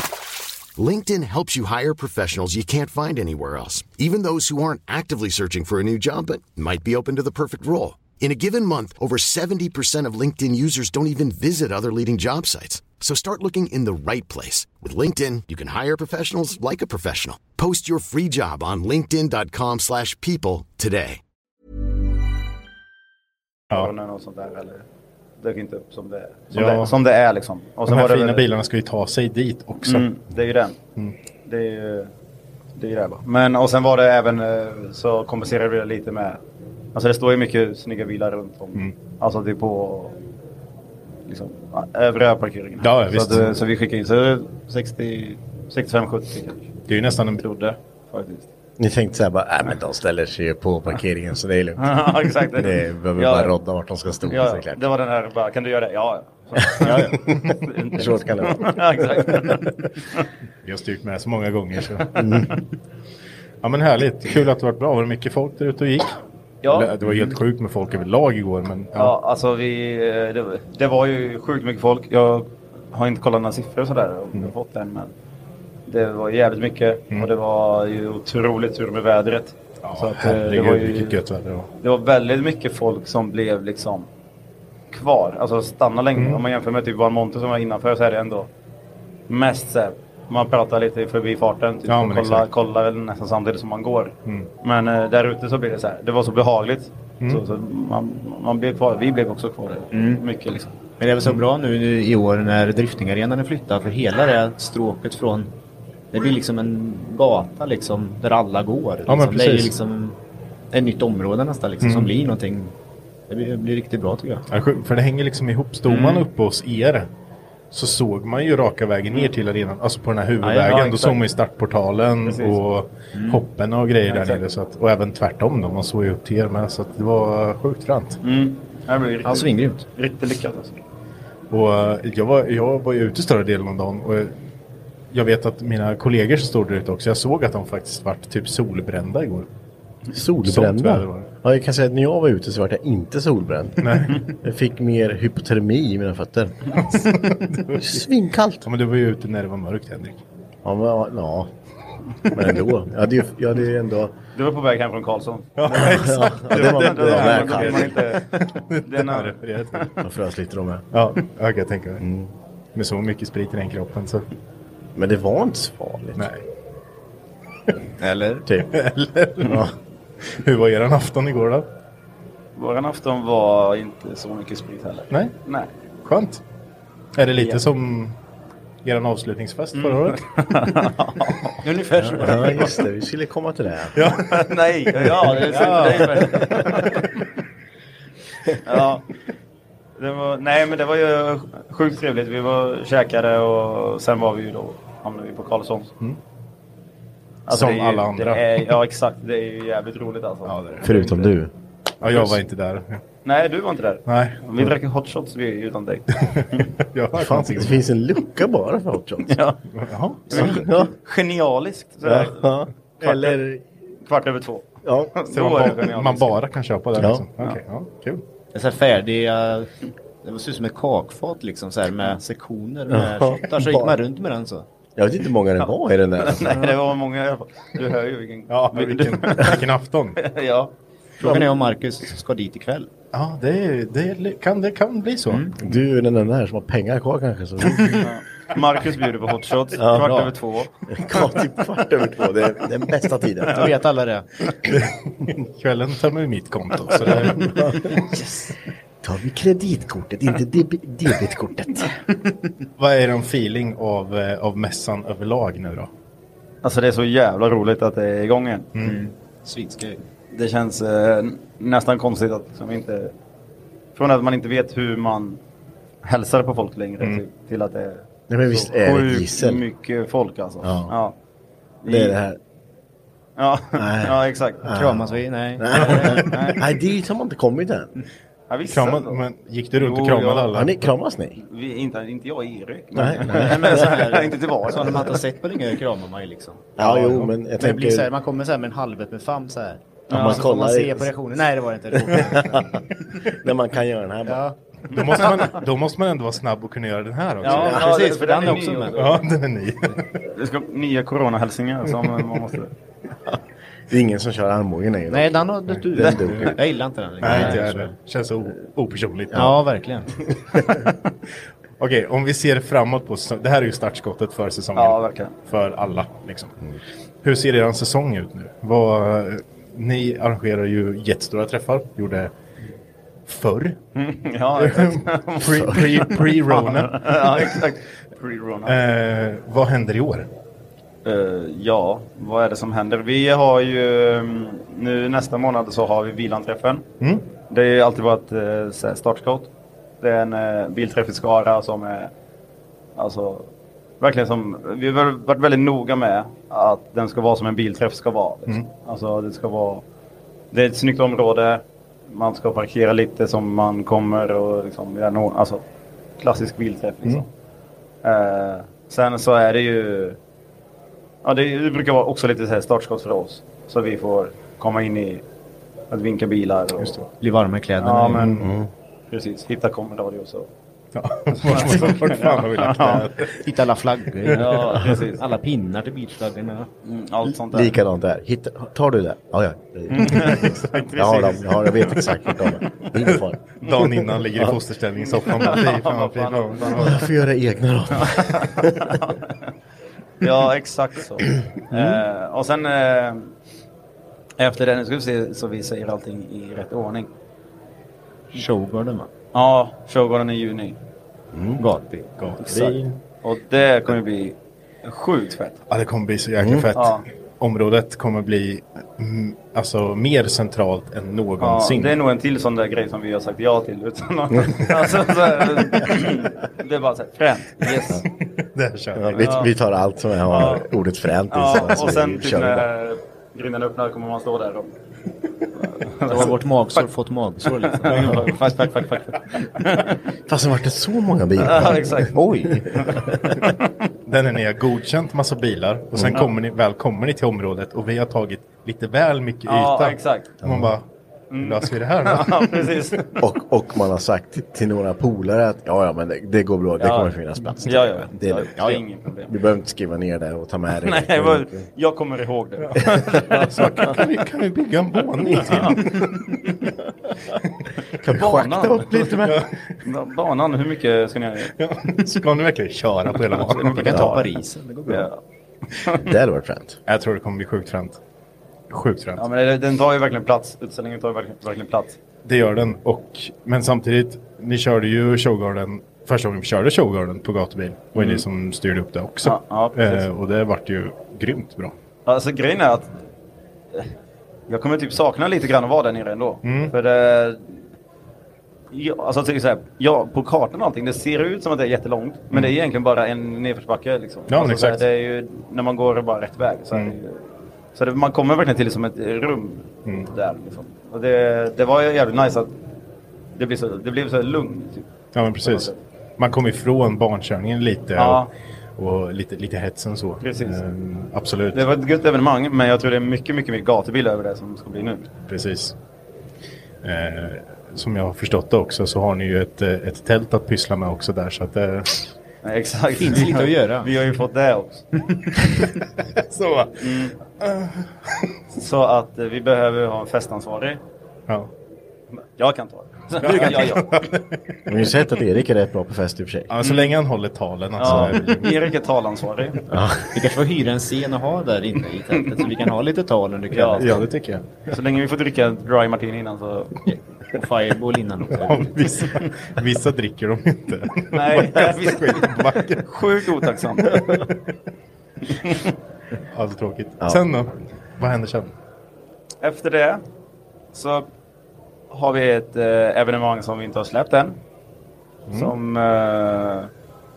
E: LinkedIn helps you hire professionals you can't find anywhere else, even those who aren't actively searching for a new job but might be open to the perfect role. In a given month, over 70% of LinkedIn users don't even visit other leading job sites. So start looking in the right place. With LinkedIn, you can hire professionals like a professional. Post your free job on linkedin.com/people slash people today.
J: Ja. Och sånt där, eller, dök inte upp som det, som
C: Ja.
J: det, som det är liksom. Och sen
C: de här
J: var det
C: fina
J: väl-
C: bilarna ska ju ta sig dit också.
J: Mm, det är ju den.
C: Mm.
J: Det är ju det, är ju det bara. Men och sen var det även eh, så kompenserade vi det lite med. Alltså det står ju mycket snygga bilar runt om.
C: Mm.
J: Alltså det är på liksom, ja, övriga parkeringen. här.
C: Ja, ja,
J: så,
C: visst.
J: eh, så vi skickade in så 60, 65-70 kanske.
C: Det är ju nästan en...
J: Trodde faktiskt.
H: Ni tänkte så här bara, äh, men de ställer sig ju på parkeringen så det är lugnt.
J: Ja, exakt.
H: Det behöver
J: Ja.
H: bara rodda vart de ska stå.
J: Ja,
H: så är det klart.
J: det var den här bara, kan du göra det? Ja, ja. Så, ja, ja.
H: Så svårt kan det vara.
J: Ja, exakt.
C: Vi har styrt med så många gånger. Så.
J: Mm.
C: Ja men härligt. Kul att det varit bra. Var det mycket folk där ute och gick?
J: Ja.
C: Eller, Det var helt sjukt med folk överlag igår. Men, ja.
J: Ja, alltså vi, eh, det, det var ju sjukt mycket folk. Jag har inte kollat några siffror och sådär om jag fått än, men det var jävligt mycket
C: Mm.
J: och det var ju otroligt tur med vädret. så att, eh,
C: herregud,
J: det, var ju,
C: vilket gött väder det var.
J: det var väldigt mycket folk som blev liksom kvar, alltså stanna länge.
C: Mm.
J: Om man jämför med typ Van Monte som var innanför så är det ändå mest så här, man pratar lite förbi farten, typ,
C: Ja,
J: och
C: men
J: kollar,
C: exakt.
J: kollar nästan samtidigt som man går.
C: Mm.
J: Men eh, där ute så blir det så här. Det var så behagligt.
C: Mm.
J: Så, så man, man blev kvar. Vi blev också kvar där. Mycket liksom.
K: Men det är väl så bra nu i år när driftingarenan är flyttad för hela det här stråket från det blir liksom en gata liksom där alla går. Liksom.
C: men
K: Det är ju
C: precis. Mm.
K: liksom ett nytt område nästan liksom som blir
C: Alltså,
K: någonting. Det blir, det blir riktigt bra tycker jag.
J: Mm.
C: Ja, sjukt, För det hänger liksom ihop. Stod man uppe hos er så såg man ju raka vägen ner till arenan, alltså på den här
J: Ja,
C: huvudvägen.
J: ja,
C: då
J: exakt.
C: såg man ju startportalen
J: Precis.
C: och
J: Mm.
C: hoppen och grejer
J: Ja,
C: där
J: exakt.
C: nere. Så att, och även tvärtom då, man såg ju upp till er med. Så att det var sjukt fränt.
J: Mm. Det här blir riktigt,
C: Ja, svingrymt.
J: Riktigt lyckat alltså.
C: Och eh, jag var, jag var ju ute större delen av dagen. Och eh, jag vet att mina kollegor som stod där ute också, jag såg att de faktiskt vart typ solbrända igår. Sånt väder var
H: Solbrända?
C: det.
H: Ja, jag kan säga att när jag var ute så var jag inte solbränd.
C: Nej.
H: Jag fick mer hypotermi i mina fötter. Svinkallt.
C: Ja, men du var ju ute när det var mörkt Henrik.
H: Ja, men, ja, ja. men ändå. Jag hade ju, jag hade ju ändå...
J: Du var på väg hem från Karlsson.
C: Ja,
H: exakt.
J: Det, det, det, det,
H: Det var
J: det, det,
H: väl
J: man inte... Det är nära.
H: Jag frös lite då med.
C: Ja, jag kan tänka mig. Med så mycket sprit i den kroppen så.
H: Mm. Men det var inte så farligt.
C: Nej.
K: Eller?
H: Typ.
C: Eller?
H: Ja.
C: Hur var eran afton igår då?
J: Våran afton var inte så mycket sprit heller.
C: Nej?
J: Nej.
C: Skönt. Är det lite
J: Ja. Mm.
C: som eran avslutningsfest förra året?
J: Ungefär så.
H: Ja, just det. Vi skulle komma till det. här.
C: Ja.
J: Nej, ja, det är
C: Ja.
J: sant. ja. Det var, nej, men det var ju sjukt trevligt. Vi var käkade och sen var vi ju då, hamnade vi på Karlssons.
C: Mm.
J: det
C: Som
J: är ju,
C: alla andra.
J: Det är, ja, exakt. Det är ju jävligt roligt alltså.
H: Förutom du.
C: Ja, jag var inte där.
J: Nej, du var inte där.
C: Nej.
J: Vi drack ju hot shots vi, utan dig.
C: Jag har hört
H: Fan,
C: någonting.
H: det finns en lucka bara för hot shots. Mm.
J: Ja.
C: Jaha.
H: Ja.
J: Genialiskt. Så här,
H: Ja. Eller...
J: Kvart över två.
H: Ja.
C: Så
J: Då
C: man,
J: är det
C: bara,
J: genialiskt.
C: man bara kan köpa där
H: Ja.
C: liksom? Okej, ja. Kul.
K: Det är så här färdiga... Det ser ut som ett kakfat liksom, så här med sektioner med
H: Ja.
K: shottar. Så gick man runt med den så.
H: Jag vet inte hur många det var i den där.
J: Nej, det var många i alla fall. Du hör ju vilken...
C: Ja, vilken, vilken afton.
J: ja.
K: Frågan är om Marcus ska dit ikväll.
C: Ja, det, är- det, är- kan, det kan bli så.
H: Du är den enda här som har pengar kvar kanske. Så...
J: Marcus bjuder på hot shots.
H: Ja,
J: kvart
H: bra.
J: över två.
H: Kom till kvart över två. Det är den bästa tiden.
K: Då vet alla det.
C: Kvällen tar man ju mitt konto. Så det,
H: Tar vi kreditkortet, inte deb- debitkortet.
C: vad är er feeling av, eh, av mässan överlag nu då?
J: Alltså det är så jävla roligt att det är igång igen.
C: Mm.
K: Svinskoj.
J: Det känns eh, n- nästan konstigt att liksom inte... Från att man inte vet hur man hälsar på folk längre
C: Mm.
J: till, till att det är
H: Nej men visst är det ett
J: sjukt
H: gissel?
J: mycket folk alltså.
H: Ja.
J: Ja.
H: Det är det här.
J: Ja,
H: Nej.
J: ja exakt.
K: Kramas vi? Nej.
J: Nej.
H: Ah. Nej, dit har man inte kommit än.
J: Ja, visst,
C: Kramad,
J: alltså.
C: men gick du runt och
J: Jo,
C: kramade
J: jag-
H: Har
C: alla?
H: ni, kramas ni?
J: Vi, inte, inte jag och Erik. Men,
H: Nej, nej.
J: nej, men så här, inte till var.
K: Sådana man inte har sett på länge kramar man ju liksom.
H: Ja, jo, men jag
K: Men det blir så här,
H: tänker...
K: man kommer så här med en halvöppen famn så här.
H: Ja,
K: Ja,
H: man
K: man, så får man
H: kollar i-
K: se på reaktionen. Nej, det var det inte. Det var-
H: När man kan göra den här bara.
K: Ja.
C: Då måste, man, då måste man ändå vara snabb och kunna göra den här också.
J: Ja,
K: Ja,
J: precis. För den är
K: ny
J: också med.
C: Ja, den är ny.
J: Det ska nya coronahälsningar som man måste...
H: Det är ingen som kör armbågen längre.
K: Nej, den har dött
H: Den
K: ut.
H: dog ju.
K: Jag gillar inte den längre.
C: Nej, inte jag heller. Känns så o- opersonligt.
K: Ja, verkligen.
C: Okej, om vi ser framåt på säsongen. Det här är ju startskottet för säsongen.
J: Ja, verkligen.
C: för alla. Liksom. Hur ser er säsong ut nu? Vad, ni arrangerar ju jättestora träffar. Gjorde förr.
J: Ja, exakt.
C: Pre- pre- Pre-rona.
J: ja, exakt. Pre-rona.
C: eh, vad händer i år?
J: Eh, ja, vad är det som händer? Vi har ju mm, nu nästa månad så har vi bilanträffen.
C: Mm.
J: Det har ju alltid varit eh, så här startskott. Det är en eh, bilträff i Skara som är alltså verkligen som vi har väl varit väldigt noga med att den ska vara som en bilträff ska vara. Liksom. Alltså det ska vara. Det är ett snyggt område. Man ska parkera lite som man kommer och liksom göra no- alltså klassisk bilträff liksom. Eh, sen så är det ju Ja, det, det brukar vara också lite så här startskott för oss. Så vi får komma in i att vinka bilar och
K: Bli varma i kläderna.
J: ja, men,
H: Mm.
K: Mm.
C: Mm.
J: precis, hitta kommendarios. Och,
C: Ja, vart- vart fan har vi lagt det här?
K: Hitta alla flaggor.
J: Ja, precis.
K: Alla pinnar till bilflaggorna.
J: mm, allt sånt där.
H: Likadant där. Hitta, tar du det? Ja, ja.
J: Mm.
H: Jag har dem. Jag, har, jag vet exakt vart de är. Det är ingen fara.
C: Dagen innan ligger i fosterställning i soffan. Bara, Fy fan, fy fan.
H: Jag får göra egna då.
J: Ja, exakt så.
K: Mm.
J: Eh, och sen eh, efter det, nu ska vi se så vi säger allting i rätt ordning.
K: Showgarden va?
J: Ja, showgården i juni.
K: Gatbil.
J: Exakt. Och det kommer bli sjukt fett.
H: Mm.
C: Ja, det kommer bli så jäkla fett.
J: Ja.
C: området kommer bli mm, alltså, mer centralt än
J: Ja,
C: någonsin.
J: det är nog en till sån där grej som vi har sagt ja till utan något. alltså, så här, Det är bara så här, fränt. Yes.
C: Där kör
H: Ja, vi,
J: Ja.
H: vi tar allt som har ordet fränt i. så-
J: Ja,
H: så
J: och
H: vi
J: sen typ
H: kör det bara.
J: när grindarna öppnar kommer man stå där och...
K: Har vårt magsår fått magsår liksom?
J: Fuck, fuck, fuck, fuck.
H: Fast det har varit så många bilar.
J: Ja, exakt.
H: Oj!
C: Där är ni har godkänt massa bilar och sen
J: Mm.
C: kommer ni, väl kommer ni till området och vi har tagit lite väl mycket
J: Ja,
C: yta.
J: exakt. Mm.
C: Och man bara, hur löser vi det här då?
J: Ja, precis.
H: Och, och man har sagt till- till några polare att ja, ja, men det, det går bra, det
J: Ja.
H: kommer finnas plats.
J: Ja, ja.
H: Det är
J: ja,
H: lugnt.
J: ja, inget problem.
H: Vi behöver inte skriva ner det och ta med det.
J: Nej, det var, jag kommer ihåg det.
C: Så kan, kan, vi, kan vi bygga en våning till?
H: Kan vi schakta upp lite med?
J: Banan, hur mycket ska ni ha?
C: Ska ni verkligen köra på hela banan?
J: Vi kan ta
K: Paris. Det går bra.
J: Ja.
H: Det hade varit fränt.
C: Jag tror det kommer bli sjukt fränt. Sjukt fränt.
J: Ja, men det- den tar ju verkligen plats. Utställningen tar ju verkligen, verkligen plats.
C: Det gör den. Och, men samtidigt, ni körde ju Showgarden. Första gången vi körde Showgarden på gatubil var mm. ni som styrde upp det också.
J: Ja, ja, precis.
C: eh, och det vart ju grymt bra.
J: Alltså grejen är att eh, jag kommer typ sakna lite grann att vara där nere ändå.
C: Mm.
J: För eh, ja, alltså typ så här, ja, på kartan och allting, det ser ut som att det är jättelångt. Men det är egentligen bara en nedförsbacke liksom.
C: Mm. Ja, men
J: alltså, så här,
C: exakt. Mm.
J: det är ju när man går bara rätt väg. Så, här, det är ju- så det, man kommer verkligen till som ett rum
C: Mm.
J: där liksom. Och det, det var ju jävligt nice att det blev så, det blev så här lugnt. Typ.
C: Ja men precis. Man kom ifrån barnkörningen lite.
J: Ja.
C: Och, och lite, lite hetsen så.
J: Precis.
C: Ehm, absolut.
J: Det var ett gött evenemang men jag tror det är mycket, mycket mer gatubil över det som ska bli nu.
C: Precis. Eh, som jag har förstått det också så har ni ju ett, eh, ett tält att pyssla med också där. Så att, eh,
J: Nej, Exakt.
K: Finns lite att göra.
J: Vi har ju fått det också. Mm.
C: så.
J: Så att eh, vi behöver ha en festansvarig.
C: Ja.
J: Jag kan ta det. Du kan ja, ja.
H: Men vi har sett att Erik är rätt bra på fest i och för sig.
C: Ja, men så länge han håller talen. Alltså,
J: Ja.
C: är det ju-
J: Erik är talansvarig.
K: Vi kanske får hyra en scen och ha där inne i tältet så vi kan ha lite tal under
J: Ja.
K: kvällen.
C: ja det tycker jag.
J: Så länge vi får dricka dry martini innan så...
K: Och fireball innan också.
C: Ja, vissa, vissa dricker de inte.
J: Nej,
C: Vissa skiter på backen.
J: sjukt otacksamt.
C: Alltså tråkigt. Sen då? Vad händer sen?
J: Efter det så har vi ett eh, evenemang som vi inte har släppt än.
C: Mm.
J: Som... Eh,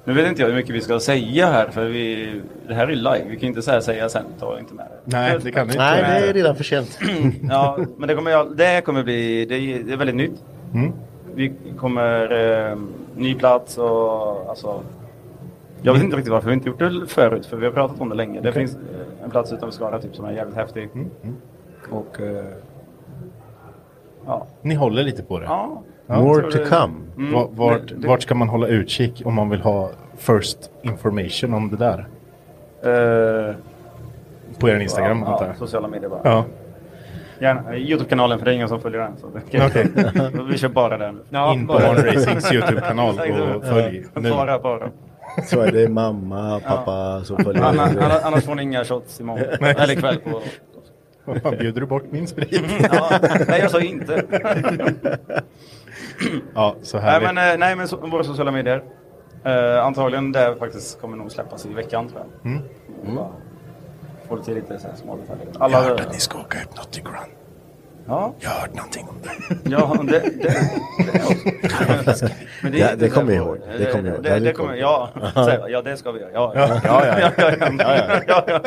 J: nu vet inte jag hur mycket vi ska säga här för vi, det här är ju live. Vi kan ju inte så här säga sen, ta inte med det.
C: Nej, det kan vi inte.
H: Nej, det är redan för sent.
J: Ja, men det kommer, jag, det kommer bli, det är, det är väldigt nytt.
C: Mm.
J: Vi kommer, eh, ny plats och alltså. Jag vet inte riktigt varför vi inte gjort det förut, för vi har pratat om det länge. Det finns eh, en plats utanför Skara typ, som är jävligt häftig.
C: Mm,
J: Och eh, ja.
C: Ni håller lite på det.
J: ja.
H: More
J: jag
H: to
J: tror det-
H: come.
J: Mm.
C: Va- Vart,
J: Det- det-
C: vart ska man hålla utkik om man vill ha first information om det där?
J: eh,
C: På er Instagram
J: ja,
C: antar
J: ja,
C: jag?
J: sociala medier bara.
C: Ja.
J: Gärna, eh, Youtube-kanalen för det är ingen som följer den. Så det,
C: Okej.
J: vi kör bara den.
C: In på Barnracings YouTube-kanal
J: Ja.
C: och följ nu.
J: Bara, bara.
H: Så är det mamma, pappa, så följer
J: Anna,
H: det.
J: anna, annars får ni inga shots imorgon. Eller ikväll. På...
C: Vad fan, bjuder du bort min sprit?
J: Ja, nej, jag sa ju inte.
C: ja, så
J: nej,
C: härligt.
J: men, eh, nej, men so- våra sociala medier. Eh, antagligen det faktiskt kommer nog släppas i veckan tror jag.
C: Mm.
J: Bara Få lite, lite så här små detaljer. Alla,
C: ska åka upp något i Grand.
J: ja,
C: Jag har hört någonting om det.
J: ja, det, det, det också. Men
H: Ja,
J: inte
H: det kommer
J: där
H: jag
J: på-
H: ihåg. Det kommer jag ihåg.
J: Det,
H: Det
J: det,
H: hade jag
J: kommer,
H: koll
J: ja, Så här, ja, det ska vi göra. Ja, ja, ja. ja, ja, ja, ja, ja,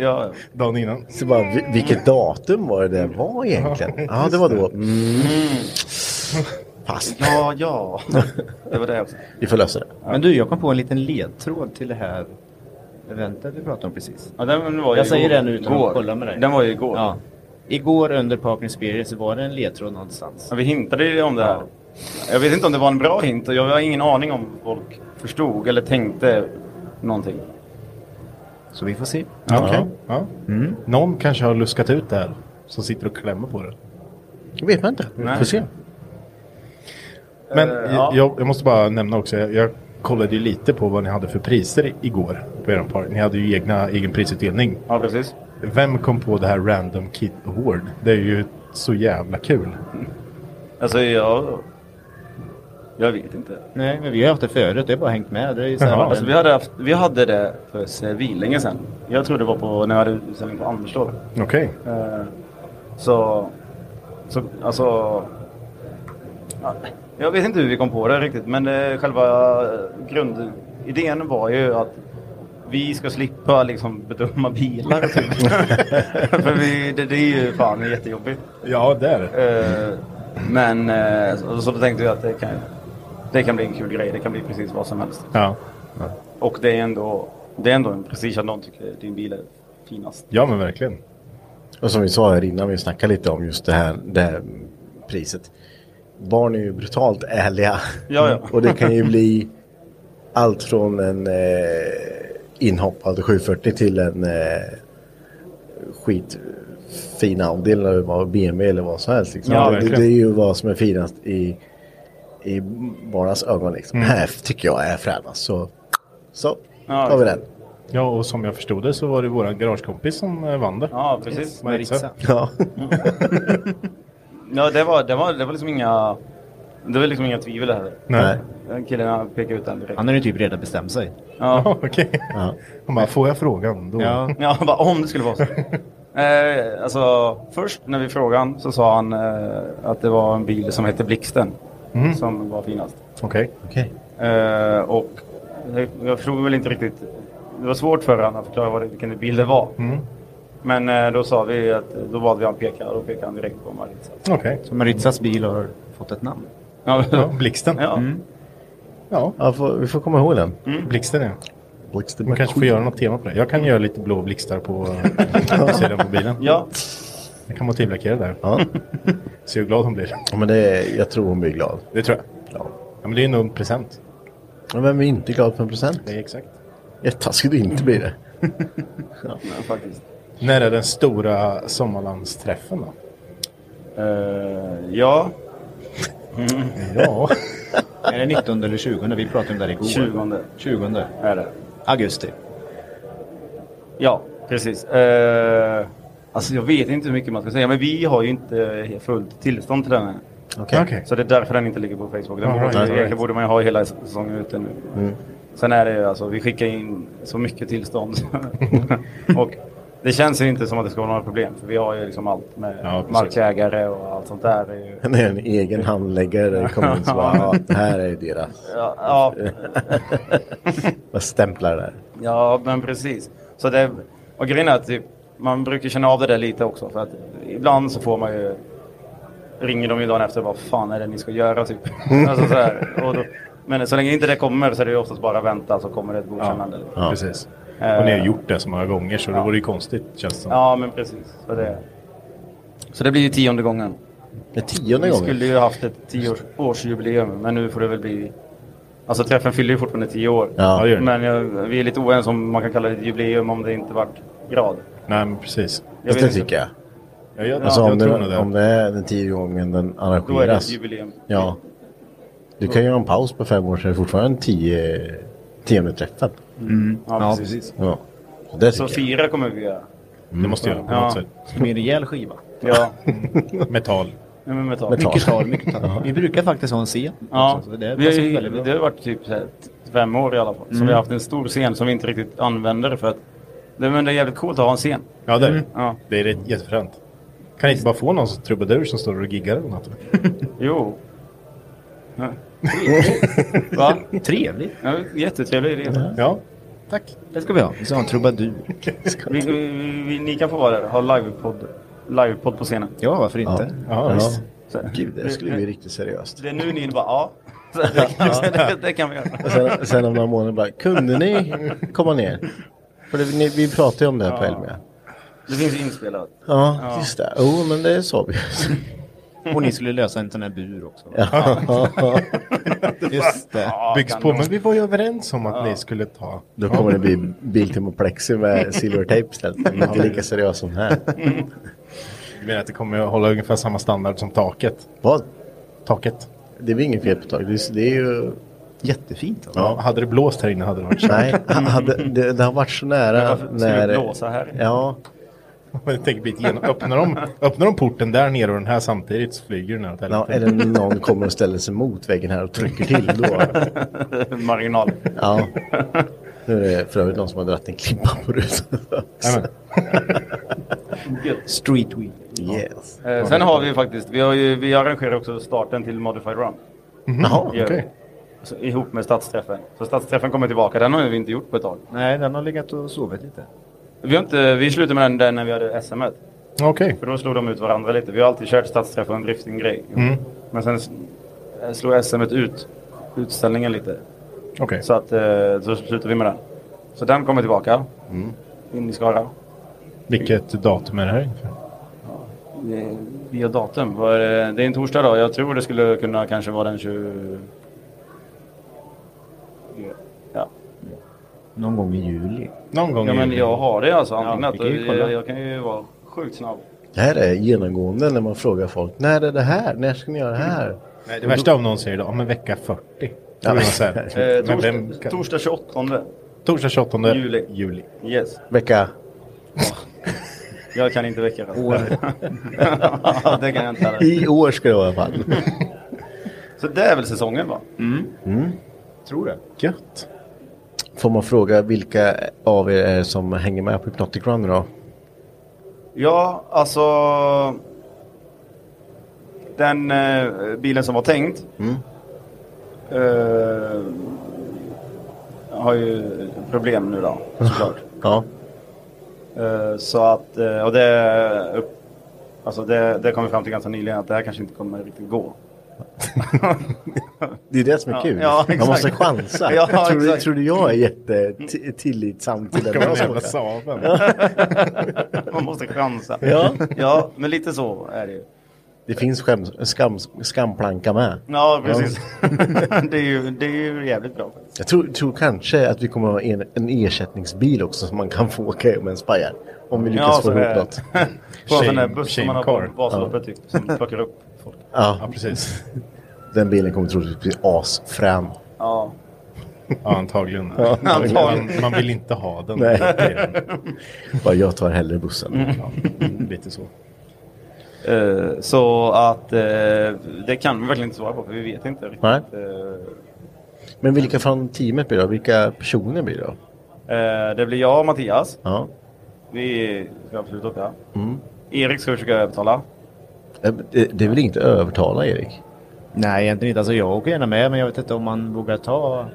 J: ja. ja.
C: Dagen innan.
H: Så bara, vi- vilket datum var det det var egentligen? Ja, det var då. Mm. Fast,
J: Ja, ja. Det var det också.
H: vi får lösa det.
K: Men du, jag kom på en liten ledtråd till det här eventet vi pratade om precis.
J: Ja, den var ju
K: Jag säger
J: igår.
K: det nu utan
J: Igår.
K: att kolla med dig.
J: Den var ju igår.
K: Ja. Igår under Parking Spirit så var det en ledtråd någonstans.
J: Ja, Vi hintade ju om det här. Jag vet inte om det var en bra hint och jag har ingen aning om vad folk förstod eller tänkte någonting.
K: Så vi får se.
C: Ja, okej. ja.
H: Mm.
C: Någon kanske har luskat ut det här. Som sitter och klämmer på det.
H: Det vet man inte. Vi
J: Nej.
H: får se.
C: Men
J: Eh, ja.
C: jag, jag, jag måste bara nämna också, jag, jag kollade ju lite på vad ni hade för priser i- igår på er party. Ni hade ju egna, egen prisutdelning.
J: Ja, precis.
C: Vem kom på det här Random Kid Award? Det är ju så jävla kul.
J: Alltså, jag... Jag vet inte.
K: Nej, men vi har haft det förut. Det har bara hängt med. Det är ju så här,
J: Ja, alltså, vi, hade haft, vi hade det för svin länge sedan. Jag tror det var på, när jag hade utställning på Anderslov.
C: Okej.
J: Eh, så, så, alltså... ja, Jag vet inte hur vi kom på det riktigt, men eh, själva eh, grundidén var ju att vi ska slippa liksom bedöma bilar typ. För vi, det, det är ju fan jättejobbigt.
C: Ja, det är det.
J: Eh, men eh, så, så tänkte jag att det kan, det kan bli en kul grej. Det kan bli precis vad som helst.
C: Ja.
J: Och det är ändå, det är ändå en prestige att någon tycker din bil är finast.
C: Ja, men verkligen.
H: Och som vi sa här innan, vi snackade lite om just det här, det här priset. Barn är ju brutalt ärliga.
J: Ja, ja.
H: Och det kan ju bli allt från en eh, inhoppad 740 till en eh, skitfin Audi eller vad, BMW eller vad som helst. Liksom.
C: Ja,
H: det,
C: verkligen.
H: det är ju vad som är finast i, i barnas ögon. Liksom.
C: Mm.
H: Här tycker jag är fränast. Så, så tar vi den.
C: Ja, och som jag förstod det så var det våran garagekompis som eh, vann det.
J: Ja, precis.
C: Maritza.
H: Ja.
J: Ja, det var, det var, det var liksom inga... Det var liksom inga tvivel heller.
C: Nej.
J: Den killen han pekade ut den direkt.
K: Han har ju typ redan bestämt sig.
J: Ja.
C: Okej. Han bara, får jag frågan då?
J: Ja. ja, bara om det skulle vara så. Eh, alltså, först när vi frågade han så sa han eh, att det var en bil som hette Blixten.
C: Mm.
J: Som var finast.
C: Okej.
J: Eh, och jag, jag förstod väl inte riktigt. Det var svårt för honom att förklara vad det, vilken bil det var.
C: Mm.
J: Men eh, då sa vi att då valde vi han pekar och då pekade han direkt på Maritza.
C: Okej.
K: Så Maritzas bil har fått ett namn. Mm.
J: Ja,
C: Ja, blixten.
J: Ja.
C: Ja.
H: får, vi får komma ihåg den.
J: Mm.
C: Blixten ja.
H: Blixten
C: Man kanske får göra något tema på det. Jag kan göra lite blå blixtar på sidan på bilen.
J: Ja.
C: Jag kan motivlackera där.
H: Ja.
C: Se hur glad hon blir.
H: Ja, men det, jag tror hon blir glad.
C: Det tror jag.
H: Ja.
C: Ja, men det är ju nog en present.
H: Men vem är inte glad för en present?
C: Det är exakt.
H: Jättetaskigt att inte bli det.
J: Ja, faktiskt.
C: När är den stora sommarlandsträffen då?
J: Eh, ja. Mm.
C: Ja.
K: Är det 19 eller 20? Vi pratade om det här igår.
J: 20
K: 20.
J: är det.
K: Augusti.
J: Ja, precis. Eh, alltså jag vet inte hur mycket man ska säga, men vi har ju inte fullt tillstånd till den här.
H: Okej.
J: Så det är därför den inte ligger på Facebook. Den
C: All
J: borde,
C: right, all right.
J: Egentligen borde man ju ha hela säsongen ute nu.
H: Mm.
J: Sen är det ju alltså, vi skickar in så mycket tillstånd. och det känns ju inte som att det ska vara några problem. För vi har ju liksom allt med
C: Ja, precis.
J: markägare och allt sånt där. Det är ju-
H: Han är en egen handläggare. Kommer in så bara, ja, det här är deras.
J: Ja, ja,
H: Jag stämplar där.
J: Ja, men precis. Så det, och grejen är att typ, man brukar känna av det där lite också. För att ibland så får man ju... Ringer de ju dagen efter och bara fan är det ni ska göra typ.
C: Mm.
J: alltså, så här. Och då, men så länge inte det kommer så är det ju oftast bara vänta så kommer det ett godkännande. Ja,
H: Ja.
C: Precis.
J: Eh.
C: Och ni har gjort det så många gånger så det vore ju konstigt känns det som.
J: men precis. Så det, så det blir ju tionde gången.
H: Det är tionde
J: Vi
H: gången.
J: skulle ju haft ett tioårsjubileum men nu får det väl bli... Alltså träffen fyller ju fortfarande tio år.
C: Ja, det gör det.
J: Men jag, vi är lite oense om man kan kalla det ett jubileum om det inte vart grad.
C: Nej, men precis.
J: Jag
H: Fast
J: vet
H: det
J: inte.
H: tycker jag.
C: Ja, jag,
H: Alltså,
C: jag
H: om,
C: tror nog
H: det,
C: det.
H: om det är den tio gången den
J: Då är det ett
H: arrangeras.
J: jubileum.
H: Ja. Du kan göra en paus på fem år så är det fortfarande tio, tionde träffen.
J: Mm. Ja, precis.
H: Ja. Så det
J: Så
H: tycker jag.
J: fyra kommer vi göra.
C: Mm. det måste jag göra på
J: Ja.
C: något sätt.
K: Det blir en rejäl skiva.
J: Ja,
C: Metall.
J: nej, men metall.
H: Metall.
K: Mycket tal, mycket tal. Vi brukar faktiskt ha en scen.
J: Ja,
K: också, så det
J: vi har,
K: passar
J: ju-
K: väldigt bra. Mm.
J: det har varit typ så här, t- fem år i alla fall. Så vi har haft en stor scen som vi inte riktigt använder för att det, men det är jävligt coolt att ha en scen. Mm.
C: Ja, det är det.
J: Ja.
C: Det är rätt- jättefränt. Kan inte bara få någon som trubadur som står och giggar eller något?
J: Jo. Ja. Trevligt. Va?
K: Trevligt.
J: Ja, jättetrevlig idé.
C: Ja, tack.
K: Det ska vi ha. Vi ska ha en trubadur.
J: Vi, vi, vi, ni kan få vara där ha livepodd livepodd på scenen.
K: Ja, varför inte?
C: Ja,
H: Ja.
C: visst.
J: Så, här.
H: Gud, det skulle bli riktigt seriöst.
J: det är nu ni bara ja. Så, det, det kan vi göra.
H: Och sen, sen om några månader bara, kunde ni komma ner? För det, ni, vi pratade ju om det här på Elmia.
J: Det finns ju inspelat.
H: Ja,
J: Ja.
H: just det. Jo, men det sa vi.
K: Och ni skulle lösa en sån här bur också.
H: Ja.
K: Just det.
C: Byggs på.
J: kanon.
C: Men vi var ju överens om att ni skulle ta...
H: Då kommer det bli Biltimoplexi med silvertejp istället.
C: Mm.
H: Den är Inte lika seriös som här.
K: Mm.
C: Du menar att det kommer att hålla ungefär samma standard som taket?
H: Vad?
C: Taket.
H: Det är väl inget fel på taget. Det är- Det är ju
K: Jättefint. Alltså.
C: Ja. Hade det blåst här inne hade det varit så.
H: Nej, ha- hade, det, det har varit så nära
J: Varför ska vi
H: när...
J: blåsa här?
H: Ja,
C: Jag tänker bit igenom. Öppnar de, öppnar de porten där nere och den här samtidigt så flyger den här åt
H: Ja,
C: helvete.
H: eller någon kommer och ställer sig mot väggen här och trycker till då.
J: Marginal.
H: Ja. Nu är det för övrigt någon som har dragit en klibba på rutan.
C: Jajamän.
K: Street weed.
H: Yes.
J: Eh, sen har vi ju faktiskt, vi, har ju, vi arrangerar också starten till Modified Run.
C: Mhm.
H: Jaha,
J: Gör vi.
H: okej.
J: Så, ihop med stadsträffen. Så stadsträffen kommer tillbaka, den har vi inte gjort på ett tag.
K: Nej, den har legat och sovit lite.
J: Vi, har inte, vi slutade med den där när vi hade SM. -et.
C: Okej.
J: För då slog de ut varandra lite. Vi har alltid kört stadsträff och en driftinggrej.
C: Mm.
J: Men sen s- eh, slog SM ut utställningen lite.
C: Okej.
J: Så att eh, så slutade vi med den. Så den kommer tillbaka.
K: Mm.
J: In i Skara.
C: Vilket datum är det här ungefär?
J: Det- Via datum. Vad är det? det är en torsdag då. Jag tror det skulle kunna kanske vara den 20... Ja.
K: Någon gång i juli.
C: Någon gång
J: ja
C: i
J: men
C: juli.
J: jag har det alltså
K: Ja,
J: antecknat.
K: vi kan ju
J: jag,
K: kolla.
J: jag kan ju vara sjukt snabb.
H: Det här är genomgående när man frågar folk. När är det här? När ska ni göra det här?
C: Nej, det värsta om någon säger då, om en vecka 40. Då
H: Ja,
C: blir man
H: men-
C: så här,
J: Eh,
C: men
J: torsdag,
C: vem kan-
J: torsdag 28.
C: Torsdag 28
J: Juli.
C: juli.
J: Yes.
H: Vecka?
J: Jag kan inte väcka den. det kan jag inte heller.
H: I år ska det vara i alla fall.
J: Så det är väl säsongen va?
K: Tror det.
C: Gött.
H: Mm. Får man fråga vilka av er är som hänger med på Hypnotic Run idag?
J: Ja, alltså... Den eh, bilen som var tänkt
H: Mm.
J: eh, har ju problem nu då, såklart.
H: Ja.
J: Eh, så att, eh, och det, upp, alltså det, det kom vi fram till ganska nyligen att det här kanske inte kommer riktigt gå.
H: Det är det som är
J: Ja,
H: kul.
J: ja,
H: man
J: exakt.
H: måste chansa.
J: Ja,
H: tror, du,
J: exakt.
H: tror du jag är jättetillitsam till
C: Ska man
H: den
C: jävla
H: här
C: sabeln?
J: Man måste chansa.
H: Ja.
J: ja, men lite så är det ju.
H: Det finns skäms, skam, skamplanka med.
J: Ja, precis. det, är ju, det är ju jävligt bra. faktiskt.
H: Jag tror, tror kanske att vi kommer ha en, en ersättningsbil också som man kan få åka med en spajar. Om vi lyckas
J: Ja, så
H: få ihop
J: är det.
H: något.
J: På en sån där
C: Shame-
J: buss som man har på
C: shamecar.
J: Vasaloppet typ, som plockar upp folk.
C: Ja,
H: Ja,
C: precis.
H: den bilen kommer troligtvis bli asfrän.
J: Ja.
C: Ja, antagligen.
J: antagligen.
C: Man, man vill inte ha den.
H: Nej.
C: Det
H: Bara jag tar hellre bussen.
C: är- ja, lite så.
J: Eh, så att eh, det kan vi verkligen inte svara på för vi vet inte riktigt.
H: Nej.
J: Eh,
H: Men vilka från teamet blir det då? Vilka personer blir det då?
J: eh, det blir jag och Mattias.
H: Ja.
J: Vi ska absolut åka.
H: Mm.
J: Erik ska vi försöka övertala.
H: Eh, Det, det vill inte övertala Erik.
K: Nej, egentligen inte. Alltså jag åker gärna med, men jag vet inte om man vågar ta...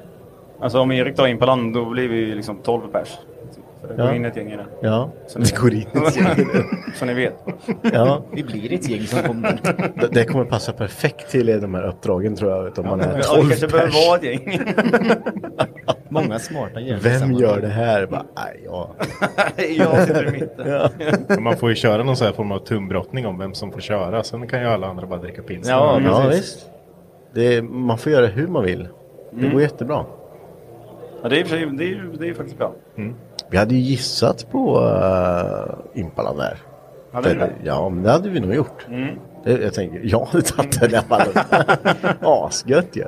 J: Alltså om Erik tar in på land då blir vi ju liksom 12 pers. Så det går
H: Ja.
J: in ett gäng i det.
H: Ja,
J: Som det
H: går in.
J: så ni vet.
H: Ja.
K: Vi blir ett gäng som kommer.
H: Det- Det kommer passa perfekt till de här uppdragen tror jag. Om man är
J: Ja, det
H: 12
J: kanske behöver
H: pers.
J: vara ett gäng.
K: Många smarta jävlar.
H: Vem
K: tillsammans.
H: gör det här? Bara, "Aj, ja.
J: jag sitter i mitten.
C: Men Man får ju köra någon sån här form av tumbrottning om vem som får köra. Sen kan ju alla andra bara dricka pilsner.
J: Ja,
C: Mm.
H: Ja,
J: precis.
H: visst. Det är, man får göra hur man vill. Det
J: Mm.
H: går jättebra.
J: Ja, det, är i och för sig, det, är, ju- det är ju faktiskt bra.
H: Vi hade ju gissat på uh, Impalan där.
J: Ja, det Mm. är
H: För-
J: bra.
H: ja, men det hade vi nog gjort. Det, jag tänker, jag hade tagit den i alla fall. Asgött ju.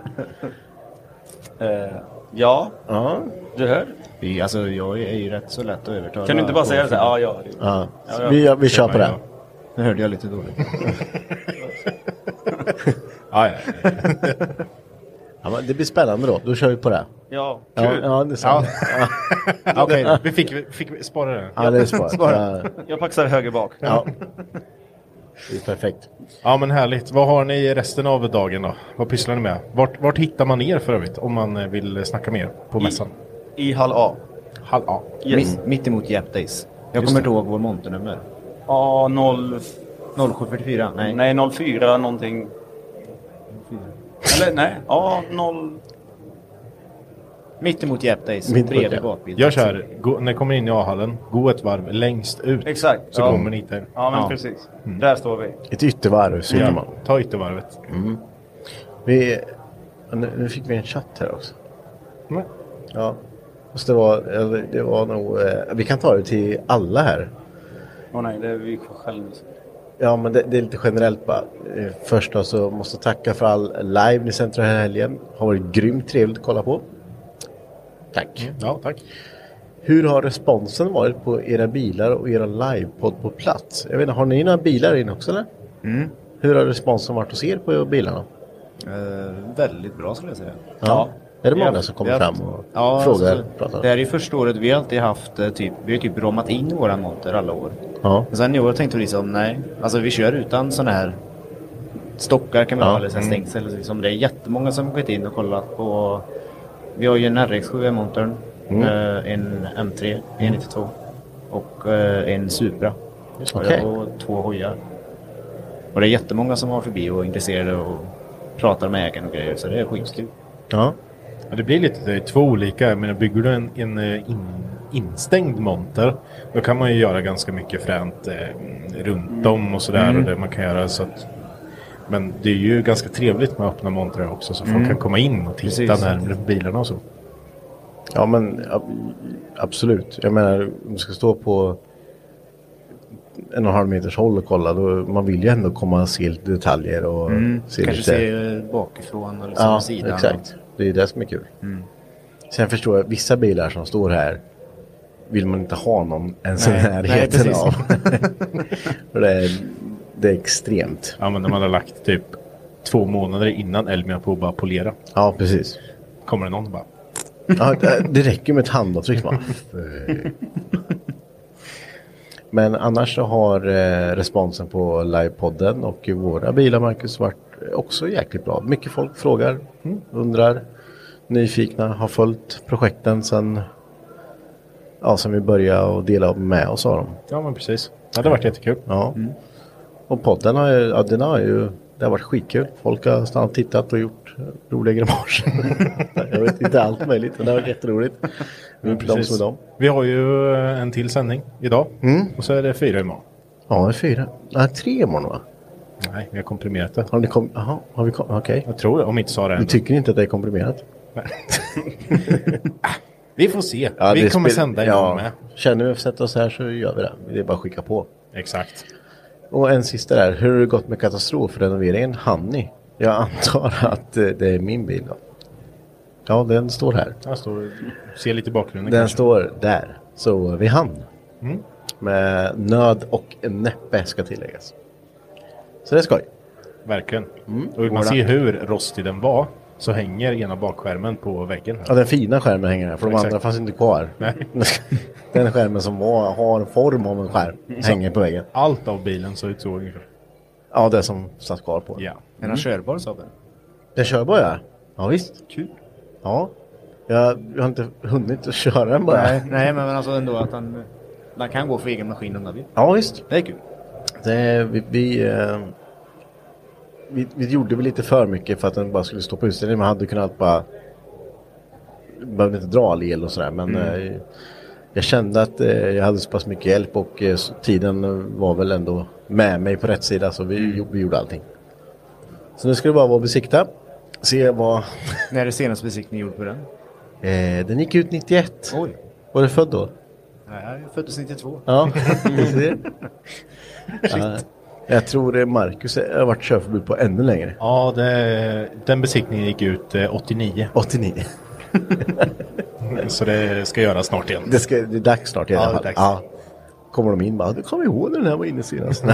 J: Eh, ja,
H: Ja.
J: du hör.
K: Vi, alltså jag är ju rätt så lätt att övertala.
J: Kan du inte bara säga så här? Ja, ja. det-
H: Ja.
J: Ja, ja.
H: Vi, vi kör på den.
K: Nu hörde jag lite dåligt.
C: Ja, ja, ja.
H: Ja, men det blir spännande då. Då kör vi på det.
J: Ja, kul.
H: Ja, ja det är sant. Ja. Okej,
C: Vi fick, vi fick vi spara den.
H: ja, det är smart. Ja,
J: Jag paxar höger bak.
H: ja. Det är perfekt.
C: Ja men härligt. Vad har ni i resten av dagen då? Vad pysslar ni med? Vart, vart hittar man er för övrigt om man eh, vill snacka med er på mässan?
J: I hall A.
C: Hall A.
J: Yes.
K: Mitt, mitt emot Jap Days. Jag
C: Just
K: kommer
C: det.
K: inte ihåg vår monternummer.
J: A0...
K: 0744? Nej.
J: Nej, 04 någonting. Eller nej, A0...
K: Mitt emot Jap Days.
H: Mitt emot
K: bredvid
H: Jap.
K: bakbilden.
C: Jag kör. Gå, när ni kommer in i A-hallen, gå ett varv längst ut.
J: Exakt.
C: Så
J: ja.
C: kommer ni hitta er.
J: Ja, men
K: Ja.
J: precis.
C: Mm.
J: Där står vi.
H: Ett yttervarv så hittar man. Mm.
C: Ja, ta yttervarvet.
H: Vi, nu nu fick vi en chatt här också.
C: Mm.
H: Ja. Fast det var, eller det var nog, eh, vi kan ta det till alla här.
J: Åh nej, det är vi själva.
H: Ja men det, det är lite generellt bara. Eh, Först då så måste jag tacka för all live ni sänt den här helgen. Har varit grymt trevligt att kolla på. Tack.
C: Ja, tack.
H: Hur har responsen varit på era bilar och era livepodd på plats? Jag vet inte, har ni några bilar in också eller?
K: Mm.
H: Hur har responsen varit hos er på bilarna?
K: Eh, väldigt bra skulle jag säga.
H: Ja. Är det
K: Vi har-
H: många som
K: vi
H: kommer
K: har
H: fram
K: haft-
H: och
K: ja,
H: frågar?
K: alltså,
H: pratar?
K: det här är ju första året vi har alltid haft eh, typ, vi har typ ramat in våra monter alla år.
H: Ja.
K: Sen i år tänkte vi liksom nej, alltså vi kör utan sådana här stockar kan man
H: Ja.
K: ha eller så här
H: Mm.
K: stängsel. Liksom. Det är jättemånga som har gått in och kollat på. Vi har ju en RX7 i montern,
H: Mm.
K: eh, en E M3, en 92 och eh, en Supra.
H: Just
K: Och
H: det.
K: jag har två hojar. Och det är jättemånga som har förbi och är intresserade och pratar med ägaren och grejer så det är skitkul.
H: Ja.
C: Ja, det blir lite det är två olika. Jag menar, bygger du en, en eh, in, instängd monter då kan man ju göra ganska mycket fränt eh, runt om och sådär.
K: Mm.
C: Och det man kan göra så att, men det är ju ganska trevligt med öppna montrar också så
H: Mm.
C: folk kan komma in och titta
H: Precis.
C: närmare på bilarna och så.
H: Ja men ab- absolut. Jag menar om du ska stå på en och en halv meters håll och kolla. Då, man vill ju ändå komma och se lite detaljer och Mm. se
K: Mm.
H: liksom
K: Kanske
H: lite.
K: se eh, bakifrån eller
H: ja,
K: som sidan.
H: exakt. Det är det som är kul. Sen förstår jag vissa bilar som står här vill man inte ha någon ens i
C: Nej, nej,
H: närheten
C: precis.
H: av. För det, är, det är extremt.
C: Ja, men när man har lagt typ två månader innan Elmia på att bara polera.
H: Ja, precis.
C: Kommer det någon och bara...
H: Ja, det- det räcker med ett handavtryck. bara. Men annars så har eh, responsen på livepodden och i våra bilar, Marcus, varit också jäkligt bra. Mycket folk frågar, mm, undrar, nyfikna, har följt projekten sen, ja, sen vi började och dela med oss av dem.
C: Ja, men precis. Det hade varit jättekul. Mm.
H: Ja. Och podden har ju, ja, den har ju, det har varit skitkul. Folk har stannat och tittat och gjort eh, roliga grimaser. Jag vet inte allt möjligt, men det har varit jätteroligt.
C: Ja,
H: de
C: Mm, precis.
H: som är de.
C: Vi har ju eh, en till sändning idag. Och så är det fyra imorgon.
H: Mm. Ja, det är fyra. Nej, tre imorgon va?
C: Nej, vi har komprimerat det.
H: Har ni kom... Jaha, har vi kom... Okej.
C: Jag tror det, om inte sa det
H: Du
C: än.
H: tycker inte att det är komprimerat?
C: Vi får se. vi
H: det
C: kommer
H: spel-
C: sända imorgon
H: ja.
C: med.
H: Känner vi att sätta oss här så gör vi det. Det är bara att skicka på.
C: Exakt.
H: Och en sista där. Hur har det gått med katastrofrenoveringen? Hann ni? Jag antar att eh, det är min bil då. Ja, den står här.
C: Jag står, ser lite i bakgrunden
H: Den
C: kanske.
H: står där. Så vi hann.
C: Mm.
H: Med nöd och näppe ska tilläggas. Så det är skoj.
C: Verkligen. Och vill
H: Våra.
C: man se hur rostig den var så hänger ena bakskärmen på väggen. Här.
H: Ja, den fina skärmen hänger här för de
C: Exakt.
H: andra fanns inte kvar.
C: Nej.
H: Den skärmen som var, har form av en skärm hänger på väggen.
C: Allt av bilen såg ut så ungefär.
H: Ja, det som satt kvar på.
C: Ja.
K: Är den körbar Saben?
H: Den kör bara ja. Ja visst.
K: Kul.
H: Ja. Jag, jag har inte hunnit att köra den bara.
K: Nej, nej men men alltså ändå att han, man kan gå för egen maskin om man vill.
H: Ja visst.
K: Det är kul.
H: Det, vi, vi, eh, vi, vi gjorde väl lite för mycket för att den bara skulle stå på utställningen. Man hade kunnat bara... Behövde inte dra all el och sådär men
K: Mm.
H: eh, jag kände att eh, jag hade så pass mycket hjälp och eh, så tiden var väl ändå med mig på rätt sida så vi,
K: Mm.
H: gjo- vi gjorde allting. Så nu ska det bara vara att besikta. Se vad...
K: När är det senaste besiktningen gjord på den?
H: Eh, den gick ut 91.
K: Oj.
H: Var du född då?
K: Nej, jag är föddes 92.
H: Ja, du ser. Ja, jag tror eh, Marcus eh, har varit körförbud på ännu längre.
C: Ja, det, den besiktningen gick ut eh, 89.
H: 89.
C: Så det ska göras snart igen.
H: Det, ska, det är dags snart i
C: Ja,
H: alla
C: det är
H: fall.
C: dags.
H: Ja. Kommer de in bara, du kommer ihåg när den här var inne senast.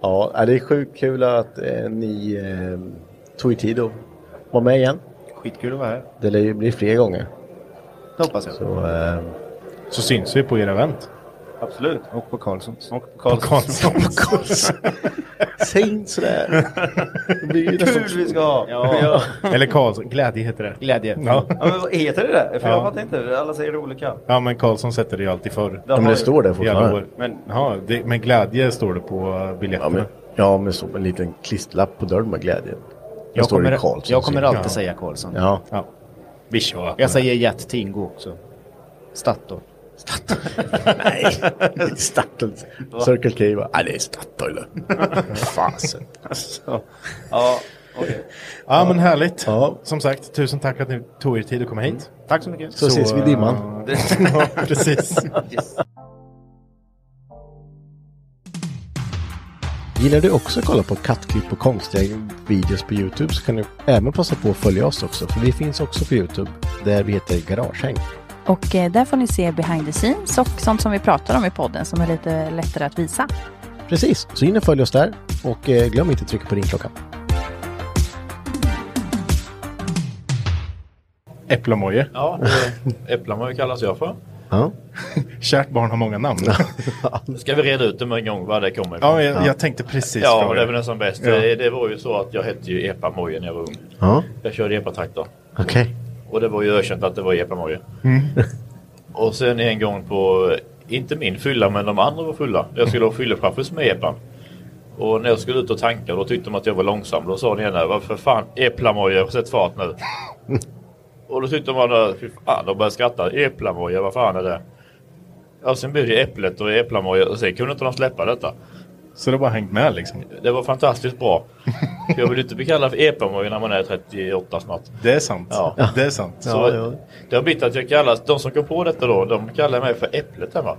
H: ja, eh, det är sjukt kul att eh, ni eh, tog er tid att vara med igen.
K: Skitkul att vara här.
H: Det lär ju bli fler gånger.
K: Det hoppas jag.
H: Så, eh,
C: Så syns vi på era event.
J: Absolut.
K: Och på Karlssons.
J: Och på Karlsson.
C: Karlsson.
H: säg inte sådär. Det blir ju nästan-
J: Kul vi ska ha! Ja. Ja.
C: Eller Karlsson. Glädje heter det.
K: Glädje.
C: Ja,
J: men vad heter det där? För jag
C: Ja.
J: fattar inte. Alla säger olika.
C: ja men Karlsson sätter det ju alltid förr.
H: Ja, men
J: har-
H: det står där
C: I alla
H: fortfarande.
C: år.
J: Men
C: Ja, det, men glädje står det på eh,
H: Ja,
C: biljetterna.
H: men, ja, men så en liten klisterlapp på dörren med glädje. Jag
C: Jag
H: står
C: kommer-
H: i Karlsson.
K: Jag kommer alltid
C: Ja.
K: säga Karlsson.
H: Ja,
C: ja. Vi kör.
K: Jag säger Jet Tingo också. Statoil.
H: nej. Det är Statoil. Circle K va? Nej, det är Statoil. Fasen.
K: Alltså.
J: ja, okej.
C: Ja, men härligt.
H: Ja.
C: Som sagt, tusen tack att ni tog er tid att komma hit.
K: Mm. Tack så mycket.
H: Så ses vi i dimman.
C: ja, precis.
H: Gillar du också att kolla på kattklipp och konstiga videos på Youtube så kan du även passa på att följa oss också för vi finns också på Youtube där vi heter Garagehäng.
B: Och eh, där får ni se behind the scenes och sånt som vi pratar om i podden som är lite lättare att visa.
H: Precis, så in och följ oss där och eh, glöm inte att trycka på ringklockan.
C: Äpplemoje.
L: Ja, det- Äpplemoje kallas jag för.
H: Ja.
C: Kärt barn har många namn.
L: Ska vi reda ut det med en gång var det kommer ifrån?
C: ja, jag, jag tänkte precis
L: Ja,
C: fråga
L: det var nästan bäst.
C: Ja.
L: Det, det var ju så att jag hette ju Epamoje när jag var ung.
H: Ja,
L: Jag körde epatraktor.
H: okej.
L: Och det var ju ökänt att det var epamoja.
C: Mm.
L: Och sen en gång på, inte min fylla men de andra var fulla. Jag skulle ha fyllechaffis med epan. Och när jag skulle ut och tanka då tyckte de att jag var långsam. Då sa den ena, varför fan eplamoja, sätt fart nu. och då tyckte de andra, fy fan, de började skratta. Eplamoja, vad fan är det? Ja, sen blev det äpplet och eplamoja och sen kunde inte de släppa detta.
C: Så det har bara hängt med liksom.
L: Det var fantastiskt bra. Jag vill inte bli kallad för epamoja när man är 38 snart.
C: Det är sant.
L: Ja.
C: Det är sant.
L: Så Det har blivit att jag kallas, de som kom på detta då, de kallar mig för Äpplet hemma.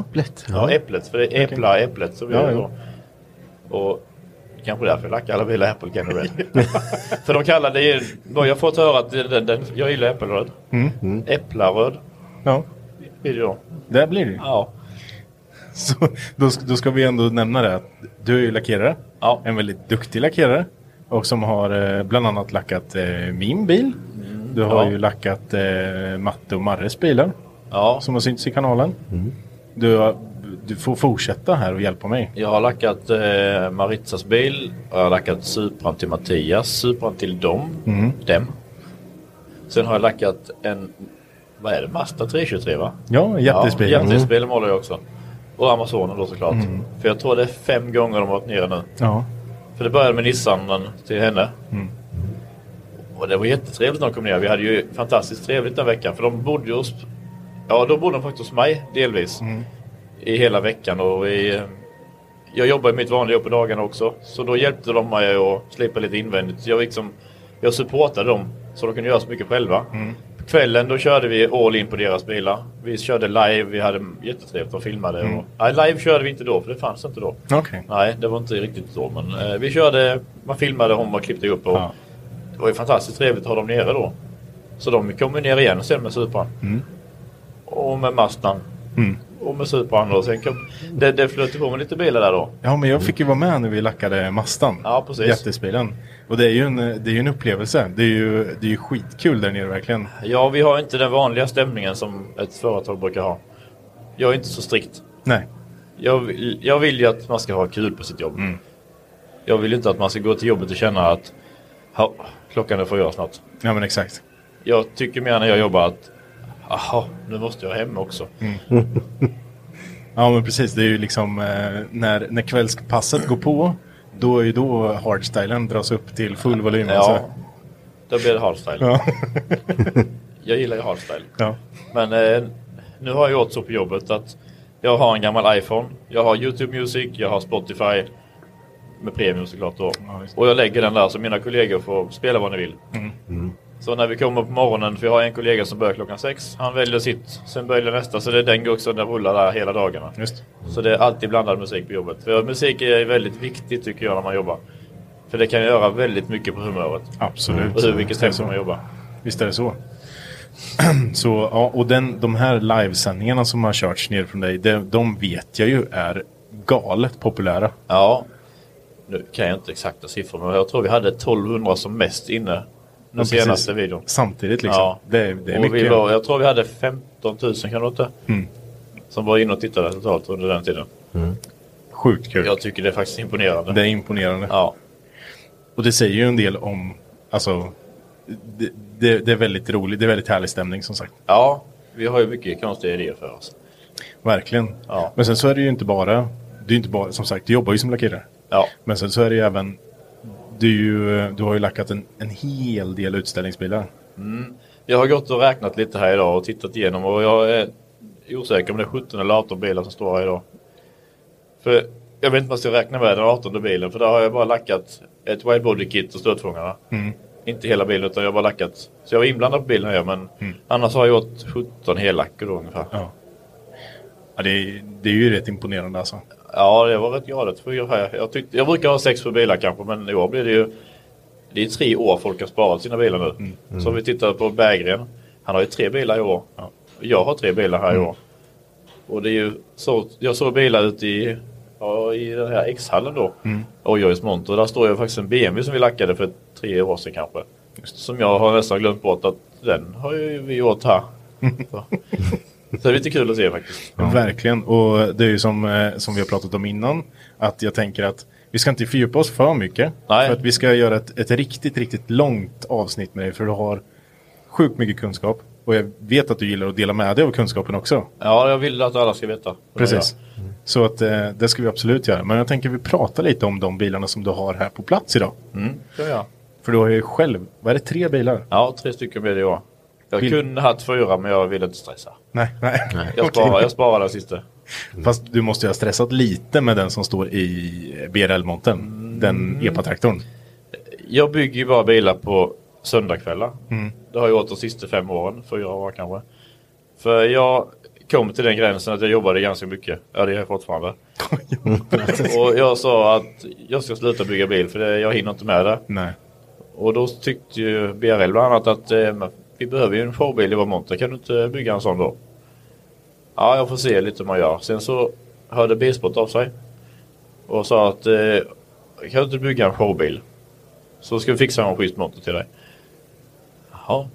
H: Äpplet.
L: Ja, Äpplet, för det är Äppla, Äpplet som vi
C: Ja,
L: gör
C: jo.
L: då. Och kanske därför jag lackar alla bilar Apple Can Red. för de kallar det ju, vad jag har fått höra att den, den, den, jag gillar äppelröd.
C: Mm.
L: Äpplaröd
C: Ja,
L: blir det då.
C: det blir det ju.
L: Ja.
C: Så, då, sk- då ska vi ändå nämna det att du är ju lackerare.
L: Ja.
C: En väldigt duktig lackerare. Och som har eh, bland annat lackat eh, min bil. Du har
L: ja.
C: ju lackat eh, Matte och Marres bilar.
L: Ja,
C: Som har synts i kanalen. Du, har- du får fortsätta här och hjälpa mig.
L: jag har lackat eh, Maritzas bil och jag har lackat Supran till Mattias, Supran till dem, dem. Sen har jag lackat en, vad är det, Mazda 323 va?
C: Ja, jättespel. Mm.
L: Ja, jättespelen målar jag också. Och Amazonen då såklart. För jag tror det är fem gånger de har varit nere nu.
C: Ja. Mm.
L: För det började med Nissanen till henne. Och det var jättetrevligt när de kom ner. Vi hade ju fantastiskt trevligt den veckan. För de bodde ju hos... Ja, de bodde faktiskt hos mig delvis.
C: Mm.
L: I hela veckan och i... Jag jobbar i mitt vanliga jobb på dagarna också. Så då hjälpte de mig att slipa lite invändigt. Jag, liksom, jag supportade dem så de kunde göra så mycket själva. På kvällen då körde vi all in på deras bilar. Vi körde live, vi hade jättetrevligt och filmade. Och, nej, live körde vi inte då för det fanns inte då.
C: Mm. Okej.
L: Nej, det var inte riktigt så. Men eh, vi körde, man filmade om och klippte upp. Och
C: Ja.
L: Det var ju fantastiskt trevligt att ha dem nere då. Så de kom ju ner igen sen med Supran.
C: Mm.
L: Och med Mazdan. Och med Supran. Och sen kom, det, det flöt ju på med lite bilar där då.
C: Ja, men jag fick ju vara med när vi lackade Mastan.
L: Ja, precis.
C: Jättespelen. Och det är ju en, eh, det är ju en upplevelse. Det är ju, det är ju skitkul där nere verkligen.
L: Ja, vi har inte den vanliga stämningen som ett företag brukar ha. Jag är inte så strikt.
C: Nej.
L: Jag vill, jag vill ju att man ska ha kul på sitt jobb. Jag vill ju inte att man ska gå till jobbet och känna att "Ha, klockan är för att göra snart.
C: Ja, men exakt.
L: Jag tycker mer när jag jobbar att aha, nu måste jag hem också.
C: Mm. Ja, men precis. Det är ju liksom eh, när, när kvällspasset går på. Då är ju då hardstylen dras upp till full volym.
L: Ja,
C: alltså.
L: då blir det hardstyle.
C: Ja.
L: Jag gillar ju hardstyle.
C: ja.
L: Men eh, nu har jag gjort så på jobbet att jag har en gammal iPhone, jag har YouTube Music, jag har Spotify med premium såklart då.
C: Ja, Mm. visst.
L: och jag lägger den där så mina kollegor får spela vad ni vill. Så när vi kommer på morgonen, för jag har en kollega som börjar klockan sex, han väljer sitt, sen väljer nästa, så det är den guxen den rullar där hela dagarna.
C: Just.
L: Så det är alltid blandad musik på jobbet. För musik är väldigt viktigt tycker jag när man jobbar. För det kan göra väldigt mycket på humöret.
C: Absolut.
L: Och hur vilket tempo
C: så.
L: man jobbar.
C: Visst är det så. så ja, och den, de här livesändningarna som har körts ner från dig, de, de vet jag ju är galet populära.
L: Ja, nu kan jag inte exakta siffror men jag tror vi hade 1200 som mest inne. Den
C: Ja, precis.
L: senaste videon.
C: Samtidigt liksom.
L: Ja.
C: Det, är- det är
L: och
C: mycket. Mm.
L: vi var, jag tror vi hade 15 000 kan det inte? Som var inne och tittade totalt under den tiden.
C: Sjukt kul. Mm.
L: Jag tycker det är faktiskt imponerande.
C: Det är imponerande.
L: Ja,
C: Och det säger ju en del om, alltså, det, det, det är väldigt roligt, det är väldigt härlig stämning som sagt.
L: ja, vi har ju mycket konstiga idéer för oss.
C: Verkligen.
L: Ja.
C: Men sen så är det ju inte bara, det är inte bara, som sagt, du jobbar ju som lackerare.
L: Ja,
C: Men sen så är det ju även, du, är ju, du har ju lackat en, en hel del utställningsbilar.
L: Jag har gått och räknat lite här idag och tittat igenom och jag är osäker om det är 17 eller 18 bilar som står här idag. För jag vet inte om jag ska räkna med den 18 bilen för där har jag bara lackat ett widebody kit och stötfångarna. Inte hela bilen utan jag har bara lackat. Så jag var inblandad på bilen här men annars har jag gjort 17 hellacker då ungefär.
C: Ja. Ja, det, är, det är ju rätt imponerande alltså.
L: Ja, jag var rätt galet för här. Jag, tyckte, jag brukar ha sex för bilar kanske, men i år blir det ju... Det är tre år folk har sparat sina bilar nu. Så om vi tittar på Berggren. Han har ju tre bilar i år. Jag har tre bilar här i år. Och det är ju så, jag såg bilar ute i, ja, i den här X-hallen då. Och Jojs monter. Där står ju faktiskt en BMW som vi lackade för tre år sedan kanske. Som jag har nästan glömt bort att den har ju vi gjort här. Så. så det är lite kul att se faktiskt.
C: Verkligen, och det är ju som, eh, som vi har pratat om innan. Att jag tänker att vi ska inte fördjupa oss för mycket. För att vi ska göra ett, ett riktigt, riktigt långt avsnitt med dig. För du har sjukt mycket kunskap. Och jag vet att du gillar att dela med dig av kunskapen också.
L: Ja, jag vill att alla ska veta.
C: Precis. Så att eh, det ska vi absolut göra. Men jag tänker vi pratar lite om de bilarna som du har här på plats idag.
L: Mm. Ja, ja.
C: För du har ju själv, vad är det, tre bilar?
L: ja, tre stycken blir det i år. Jag
C: Vill-
L: kunde haft fyra men jag ville inte stressa.
C: Nej, nej.
L: Jag
C: Okej.
L: sparar, jag sparar den sista. Mm.
C: Fast du måste ju ha stressat lite med den som står i BRL-montern. Den
L: Mm.
C: E EPA-traktorn.
L: Jag bygger ju bara bilar på söndagkvällar.
C: Mm.
L: Det har jag gjort de sista fem åren, fyra år kanske. För jag kom till den gränsen att jag jobbade ganska mycket. Ja, det gör jag fortfarande. och jag sa att jag ska sluta bygga bil för det, jag hinner inte med det.
C: Nej.
L: Och då tyckte ju BRL bland annat att eh, men vi behöver ju en showbil i vår monter. Kan du inte bygga en sån då? Ja, jag får se lite hur man gör. Sen så hörde Bilsport av sig och sa att eh, kan du inte bygga en showbil? Så ska vi fixa en schysst motor till dig. Jaha,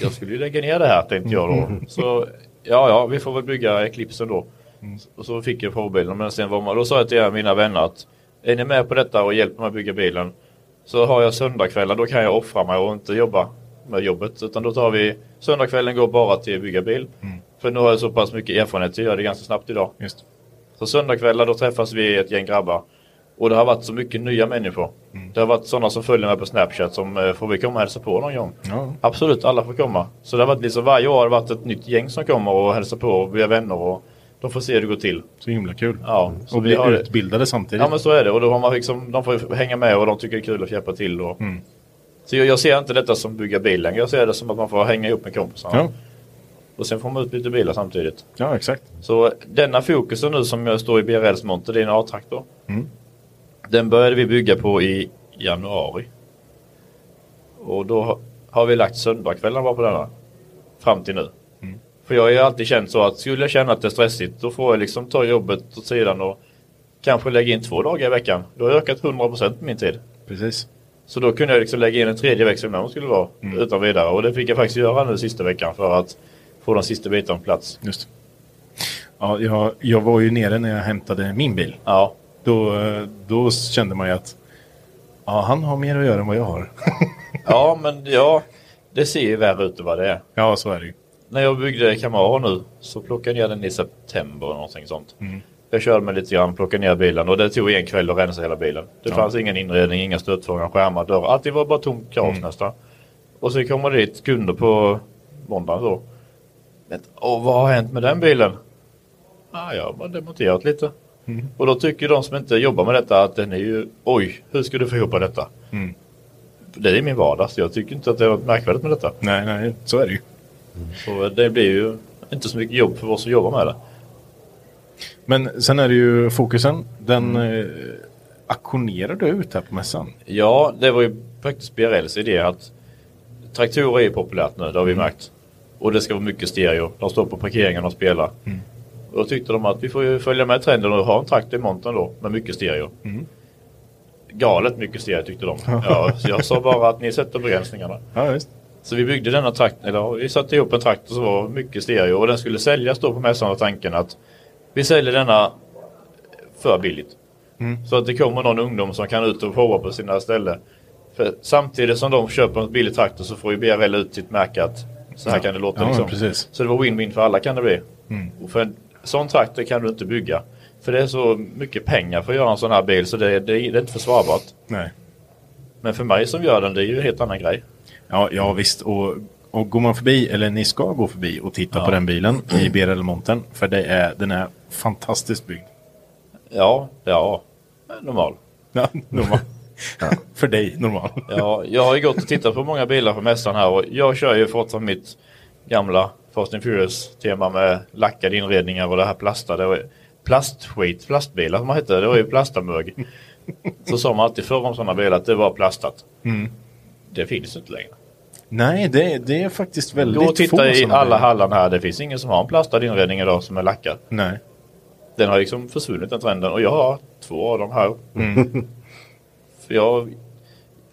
L: jag skulle ju lägga ner det här tänkte jag då. Så ja, ja, vi får väl bygga Eclipsen då. Och så fick jag showbilen. Men sen var man, då sa jag till er, mina vänner att är ni med på detta och hjälper mig att bygga bilen så har jag söndagskvällar, då kan jag offra mig och inte jobba med jobbet. Utan då tar vi söndagskvällen går bara till att bygga bil. För nu har jag så pass mycket erfarenhet att jag gör det ganska snabbt idag.
C: Just.
L: Så söndagskvällar då träffas vi ett gäng grabbar. Och det har varit så mycket nya människor.
C: Mm.
L: Det har varit sådana som följer mig på Snapchat som eh, får vi komma och hälsa på någon gång.
C: Ja.
L: Absolut, alla får komma. Så det har varit liksom varje år har det varit ett nytt gäng som kommer och hälsar på och blir vänner och de får se hur det går till.
C: Så himla kul.
L: Ja, så
C: Mm. Och
L: vi har
C: bli
L: det.
C: utbildade samtidigt.
L: Ja men så är det och då har man liksom, de får ju hänga med och de tycker det är kul att hjälpa till. Och...
C: Mm.
L: Så jag, jag ser inte detta som bygga bil längre, jag ser det som att man får hänga ihop med kompisarna.
C: Ja.
L: Och sen får man ut lite bilar samtidigt.
C: Ja, exakt.
L: Så denna fokusen nu som jag står i BRLs monter, det är en A-traktor.
C: Mm.
L: Den började vi bygga på i januari. Och då ha- har vi lagt söndagskvällarna bara på denna. Fram till nu.
C: Mm.
L: För jag har ju alltid känt så att skulle jag känna att det är stressigt då får jag liksom ta jobbet åt sidan och kanske lägga in två dagar i veckan. Då har jag ökat 100% på min tid.
C: Precis. Mm.
L: Så då kunde jag liksom lägga in en tredje växel när de skulle vara utan vidare. Och det fick jag faktiskt göra nu sista veckan för att få de sista bitarna på plats.
C: Just. Ja, jag, jag var ju nere när jag hämtade min bil.
L: Ja.
C: Då, eh, då kände man ju att ja, han har mer att göra än vad jag har.
L: Ja, men ja, det ser ju värre ut än vad det är.
C: Ja, så är det ju.
L: När jag byggde Camaro nu så plockade jag ner den i september eller någonting sånt.
C: Mm.
L: Jag körde mig lite grann, plockade ner bilen och det tog en kväll att rensa hela bilen. Det
C: Ja.
L: fanns ingen inredning, inga stötfångare, skärmar, dörrar. Allt det var bara tomt kaos
C: Mm.
L: nästan. Och så kommer det dit kunder på måndagen då. Men, Åh, vad har hänt med den bilen? Ah, jag har bara demonterat lite.
C: Mm.
L: Och då tycker de som inte jobbar med detta att den är ju, oj, hur ska du få ihop detta?
C: Mm.
L: Det är min vardag, så jag tycker inte att det är något märkvärdigt med detta. Mm.
C: Nej, nej, så är det ju.
L: Så eh, det blir ju inte så mycket jobb för oss som jobbar med det.
C: Men sen är det ju fokusen. Den
L: Mm.
C: eh, auktionerar du ut här på mässan.
L: Ja, det var ju faktiskt BRLs idé att traktorer är ju populärt nu, det har vi märkt. Och det ska vara mycket stereo. De står på parkeringen och spelar.
C: Mm.
L: Och då tyckte de att vi får ju följa med trenden och ha en traktor i montern då med mycket stereo.
C: Mm.
L: Galet mycket stereo tyckte de. Ja, så jag sa bara att ni sätter begränsningarna.
C: Ja, visst.
L: Så vi byggde denna traktor, eller ja, vi satte ihop en traktor som var mycket stereo och den skulle säljas då på mässan av tanken att vi säljer denna för billigt.
C: Mm.
L: Så att det kommer någon ungdom som kan ut och prova på sina ställen. För samtidigt som de köper en billig traktor så får ju BRL ut sitt märke att så här kan det låta.
C: Ja,
L: liksom.
C: precis.
L: Så det var win-win för alla kan det bli.
C: Mm.
L: Och för en sån traktor kan du inte bygga. För det är så mycket pengar för att göra en sån här bil så det, det, det är inte försvarbart.
C: Nej.
L: Men för mig som gör den det är ju en helt annan grej.
C: Ja, ja visst. Och, och går man förbi, eller ni ska gå förbi och titta på den bilen i BRL Monten. För det är, den är fantastiskt byggd.
L: Ja, ja. Men Normal.
C: Ja, normal. För dig normal.
L: Ja, jag har ju gått och tittat på många bilar på mässan här och jag kör ju fortfarande mitt gamla Fast and Furious tema med lackade inredningar och det här plastade. Och plastskit, plastbilar som man hette, det var ju plastamög. Så sa man alltid förr om sådana bilar att det var plastat.
C: Mm.
L: Det finns inte längre.
C: Nej, det, det är faktiskt väldigt
L: Gå och
C: få
L: titta i
C: såna
L: alla
C: bilar.
L: hallan här, det finns ingen som har en plastad inredning idag som är lackad.
C: Nej.
L: Den har liksom försvunnit den trenden och jag har två av dem här.
C: Mm.
L: För jag,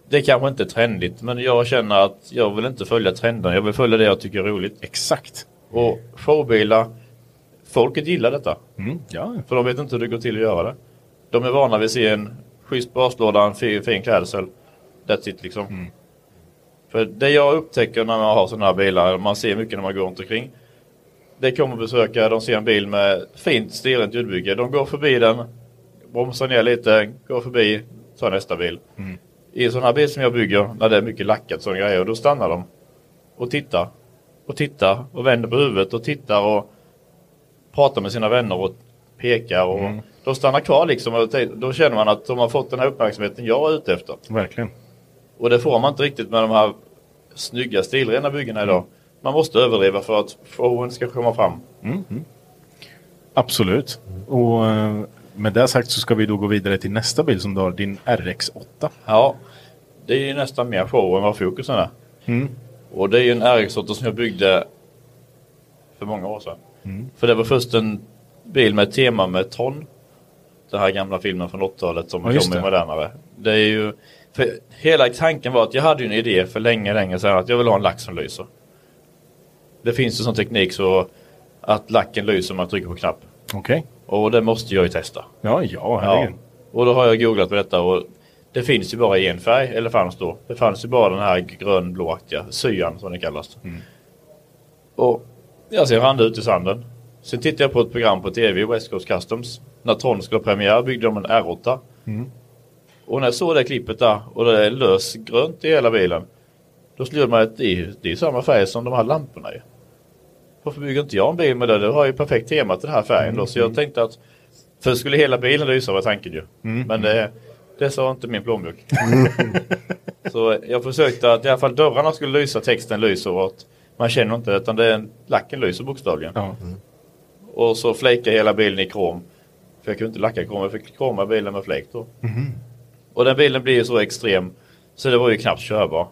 L: det kanske inte är trendigt men jag känner att jag vill inte följa trenden. Jag vill följa det jag tycker är roligt.
C: Exakt.
L: Och showbilar, folket gillar detta.
C: Mm, ja.
L: För de vet inte hur det går till att göra det. De är vana vid att se en schysst baslåda, en fin, fin klädsel. That's it liksom.
C: Mm.
L: För det jag upptäcker när man har sådana här bilar, man ser mycket när man går runt omkring. Det kommer besökare, de ser en bil med fint stelrent ljudbygge. De går förbi den, bromsar ner lite, går förbi, tar nästa bil.
C: Mm.
L: I en sån här bil som jag bygger, när det är mycket lackat sån grejer, då stannar de och tittar och tittar och vänder på huvudet och tittar och pratar med sina vänner och pekar och de stannar kvar liksom. Och te- då känner man att de har fått den här uppmärksamheten jag är ute efter.
C: Verkligen.
L: Och det får man inte riktigt med de här snygga stilrena byggena idag. Man måste överdriva för att showen ska komma fram.
C: Mm. Mm. Absolut. Och eh, med det sagt så ska vi då gå vidare till nästa bil som du har, din RX8.
L: Ja, det är ju nästan mer show än vad fokusen är.
C: Mm.
L: Och det är ju en RX8 som jag byggde för många år sedan.
C: Mm.
L: För det var först en bil med tema med Tron. Den här gamla filmen från 80-talet som
C: Ja, just
L: kom i
C: det.
L: modernare. Det är ju, för hela tanken var att jag hade ju en idé för länge, länge sedan att jag vill ha en lack som lyser. Det finns ju sån teknik så att lacken lyser om man trycker på knapp.
C: Okej.
L: Och det måste jag ju testa.
C: Ja, ja, herregud.
L: Och då har jag googlat på detta och det finns ju bara i en färg, eller fanns då. Det fanns ju bara den här grönblåaktiga syan som det kallas. Och jag ser rann ut i sanden. Sen tittade jag på ett program på tv, West Coast Customs. När Tron skulle ha premiär byggde de en R8.
C: Mm.
L: Och när jag såg det klippet där och det är lösgrönt i hela bilen. Då slog man att det är- det är samma färg som de här lamporna i. Varför bygger inte jag en bil med det? Det har ju perfekt tema till den här färgen då. Så jag tänkte att för skulle hela bilen lysa var tanken ju.
C: Mm.
L: Men det, det sa inte min plånbok. så jag försökte att i alla fall dörrarna skulle lysa, texten lyser och att man känner inte det, utan det är en, lacken lyser bokstavligen.
C: Ja.
L: Och så flakade hela bilen i krom. För jag kunde inte lacka krom, jag fick kroma bilen med flake då.
C: Mhm.
L: Och den bilen blir ju så extrem så det var ju knappt körbar.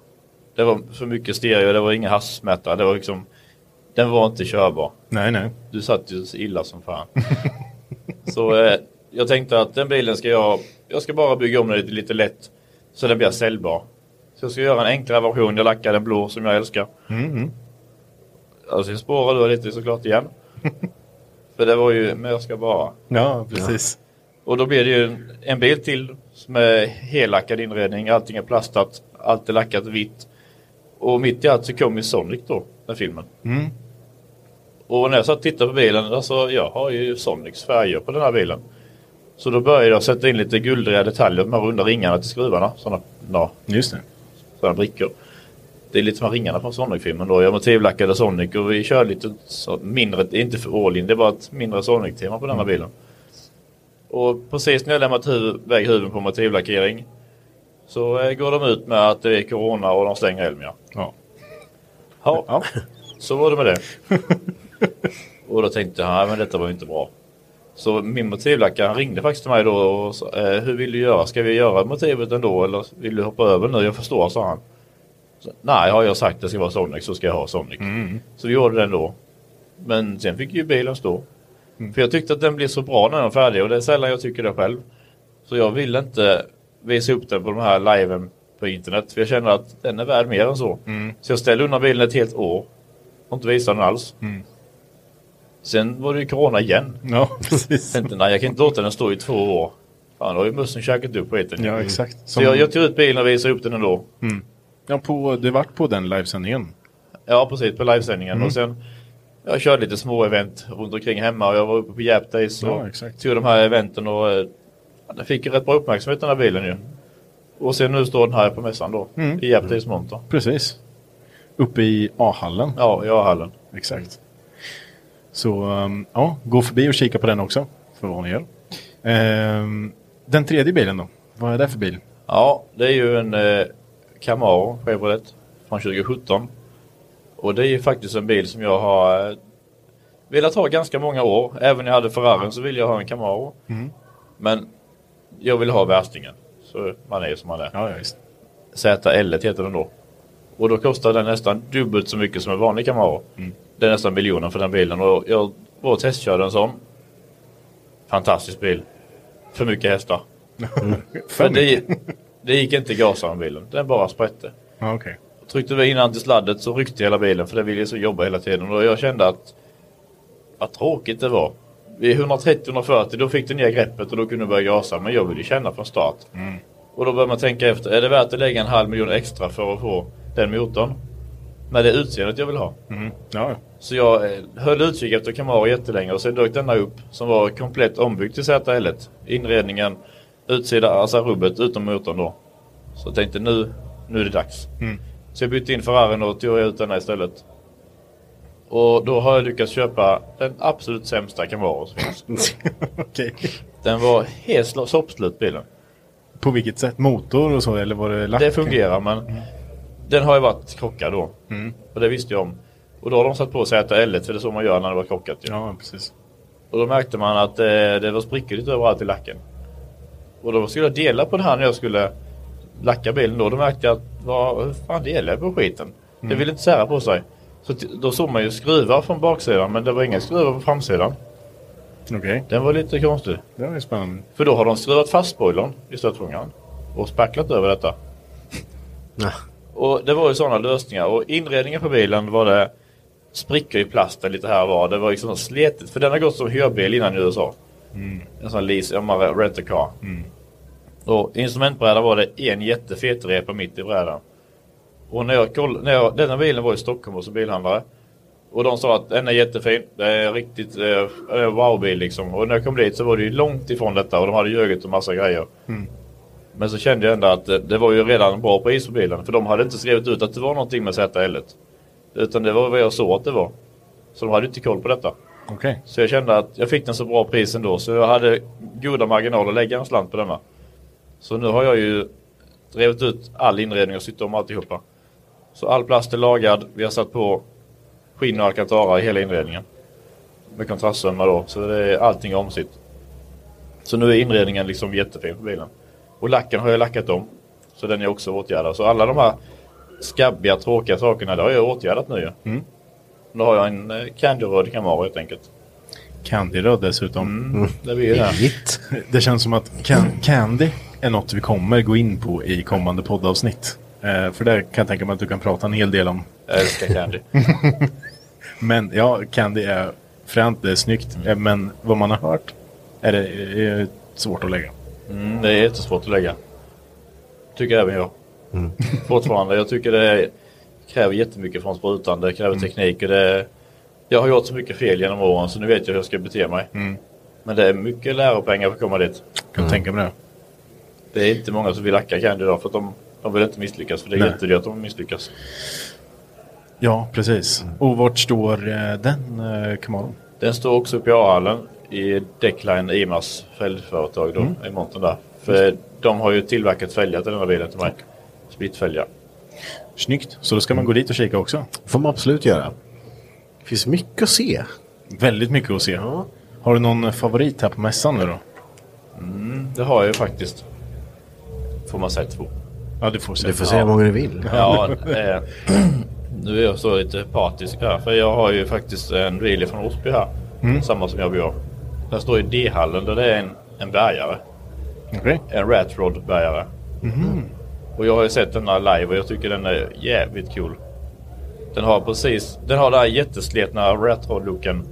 L: Det var för mycket stereo, det var inga hastighetsmätare, det var liksom den var inte körbar.
C: Nej, nej.
L: Du satt ju så illa som fan. så eh, jag tänkte att den bilen ska jag, jag ska bara bygga om den lite, lite lätt så den blir säljbar. Så jag ska göra en enklare version, jag lackar den blå som jag älskar.
C: Mm.
L: Alltså jag spårar då lite såklart igen. För det var ju, men jag ska bara.
C: Ja, precis.
L: Och då blir det ju en, en bil till som är hellackad inredning. Allting är plastat, allt är lackat vitt. Och mitt i allt så kom ju Sonic då, den filmen.
C: Mm.
L: Och när jag satt och tittade på bilen, alltså jag har ju Sonics färger på den här bilen. Så då började jag sätta in lite guldriga detaljer, de här runda ringarna till skruvarna. Sådana, ja,
C: Just det.
L: sådana brickor. Det är lite som ringarna från Sonic-filmen då. Jag motivlackade Sonic och vi kör lite så mindre, det är inte för all in, det är bara ett mindre Sonic-tema på den
C: Mm.
L: här bilen. Och precis när jag lämnat huvud, väg huvuden på motivlackering så eh, går de ut med att det är corona och de stänger Elmia.
C: Ja.
L: Ja, så var det med det. Och då tänkte jag, nej men detta var ju inte bra. Så min motivlackare han ringde faktiskt till mig då och sa, eh, hur vill du göra? Ska vi göra motivet ändå eller vill du hoppa över nu? Jag förstår, sa han. Så, nej, har jag sagt det ska vara Sonic så ska jag ha Sonic. Så vi gjorde den då. Men sen fick ju bilen stå. För jag tyckte att den blev så bra när den var färdig och det är sällan jag tycker det själv. Så jag ville inte visa upp den på de här liven på internet. För jag känner att den är värd mer än så.
C: Mm.
L: Så jag ställde undan bilen ett helt år. Och inte visade den alls.
C: Mm.
L: Sen var det ju corona igen.
C: Ja, precis.
L: Tänkte, nej, jag kan inte låta den stå i två år. Fan, då har ju mussen käkat upp skiten.
C: Ja, exakt.
L: Så jag, jag tog ut bilen och visade upp den ändå.
C: Mm. Ja, på, det vart på den livesändningen.
L: Ja, precis. På livesändningen.
C: Mm.
L: Och sen jag körde lite små event runt omkring hemma och jag var uppe på Jap Days och
C: Ja, exakt.
L: tog de här eventen och eh, ja, den fick ju rätt bra uppmärksamhet den här bilen ju. Och sen nu står den här på mässan då.
C: Mm.
L: I Jap Days monter.
C: Precis. Uppe i A-hallen.
L: Ja, i A-hallen.
C: Exakt. Så um, ja, gå förbi och kika på den också. För vad ni gör. Ehm, den tredje bilen då? Vad är det för bil?
L: Ja, det är ju en eh, Camaro Chevrolet från 2017. Och det är ju faktiskt en bil som jag har eh, velat ha ganska många år. Även när jag hade Ferrarin så ville jag ha en Camaro.
C: Mm.
L: Men jag ville ha värstingen. Så man är ju som man är.
C: Ja, ja, visst.
L: ZL heter den då. Och då kostar den nästan dubbelt så mycket som en vanlig Camaro.
C: Mm.
L: Det är nästan miljonen för den bilen. Och jag var och testkörde en sån. Fantastisk bil. För mycket hästar.
C: Mm.
L: för det, det gick inte att gasa med bilen. Den bara sprätte.
C: Ja, okej.
L: Tryckte vi in den till sladdet så ryckte hela bilen för det ville så jobba hela tiden. Och jag kände att vad tråkigt det var. Vid 130-140 då fick du ner greppet och då kunde du börja gasa. Men jag ville ju känna från start.
C: Mm.
L: Och då börjar man tänka efter. Är det värt att lägga en halv miljon extra för att få den motorn? Med det utseendet jag vill ha.
C: Mm. Ja,
L: Så jag eh, höll utkik efter Camaro jättelänge och så dök denna upp som var komplett ombyggd till ZL. Inredningen, utsida, alltså rubbet utom motorn då. Så jag tänkte nu, nu är det dags.
C: Mm.
L: Så jag bytte in Ferrarin och tog ut denna istället. Och då har jag lyckats köpa den absolut sämsta Camaro som finns.
C: Okej.
L: Den var helt sl- soppslut bilen.
C: På vilket sätt? Motor och så eller var det lack?
L: Det fungerar men den har ju varit krockad då.
C: Mm.
L: Och det visste jag om. Och då har de satt på ZL för det är så man gör när det var krockat. Ju.
C: Ja, precis.
L: Och då märkte man att eh, det var sprickor lite överallt i lacken. Och då skulle jag dela på det här när jag skulle lacka bilen då. Då märkte jag att vad hur fan delar jag på skiten? Det
C: Mm.
L: ville inte sära på sig. Så t- då såg man ju skruvar från baksidan men det var inga skruvar på framsidan.
C: Okej.
L: Den var lite konstig.
C: Det var ju spännande.
L: För då har de skruvat fast spoilern i stötfångaren och spacklat över detta. Och det var ju sådana lösningar och inredningen på bilen var det sprickor i plasten lite här och var. Det var liksom sletigt för den har gått som hyrbil innan i USA.
C: Mm.
L: En sån lease, om man rent a car. Och instrumentbrädan var det en jättefet repa mitt i brädan. Och när jag koll, när jag, denna bilen var i Stockholm hos en bilhandlare. Och de sa att den är jättefin. Det är en riktigt eh, eh, wow-bil liksom. Och när jag kom dit så var det ju långt ifrån detta och de hade ljugit och massa grejer.
C: Mm.
L: Men så kände jag ändå att eh, det, det var ju redan bra pris på bilen. För de hade inte skrivit ut att det var någonting med ZL. Utan det var vad jag såg att det var. Så de hade inte koll på detta.
C: Okej.
L: Så jag kände att jag fick den så bra pris ändå så jag hade goda marginaler att lägga en slant på denna. Så nu har jag ju drivit ut all inredning och sytt om alltihopa. Så all plast är lagad. Vi har satt på skinn och alcantara i hela inredningen. Med kontrastsömmar då. Så det är allting är omsytt. Så nu är inredningen liksom jättefin på bilen. Och lacken har jag lackat om. Så den är också åtgärdad. Så alla de här skabbiga, tråkiga sakerna det har jag åtgärdat nu ju.
C: Mm.
L: Då har jag en eh, Candy-röd Camaro helt enkelt.
C: Candyröd dessutom.
L: det blir ju det.
C: Det känns som att can- Candy är något vi kommer gå in på i kommande poddavsnitt. Eh, för där kan jag tänka mig att du kan prata en hel del om.
L: Jag älskar Candy.
C: Men ja, Candy är fränt, det är snyggt.
L: Mm.
C: Eh, Men vad man har hört är det eh, svårt att lägga.
L: Mm, det är jättesvårt att lägga. Tycker även jag.
C: Mm.
L: Fortfarande. Jag tycker det kräver jättemycket från sprutan. Det kräver
C: Mm.
L: teknik. Och det, jag har gjort så mycket fel genom åren så nu vet jag hur jag ska bete mig. Men det är mycket läropengar för att komma dit.
C: Mm.
L: Mm.
C: Kan tänka mig det.
L: Det är inte många som vill lacka Candy idag för att de, de vill inte misslyckas. För det är
C: Nej.
L: jättedyrt att de misslyckas.
C: Ja, precis.
L: Mm.
C: Och vart står eh, den eh, Kamaron?
L: Den står också uppe i A-hallen i Deckline IMAs fälgföretag då,
C: Mm.
L: i montern där. För de har ju tillverkat fälgar till den här bilen till mig. Splittfälgar.
C: Snyggt. Så då ska man gå dit och kika också.
H: får man absolut göra. Det finns mycket att se.
C: Väldigt mycket att se. Har du någon favorit här på mässan nu då?
L: Mm, det har jag ju faktiskt. Får man säga två.
C: Ja, du får se.
H: Du får säga hur många du vill.
L: Ja, eh, nu är jag så lite partisk här. För jag har ju faktiskt en bil från Osby här.
C: Mm.
L: Samma som jag bor. Den står i D-hallen där det är en, en bärgare.
C: Okej.
L: En Ratrod bärgare.
C: Mhm.
L: Och jag har ju sett den här live och jag tycker den är jävligt cool. Den har precis, den har den här jättesletna Ratrod-looken.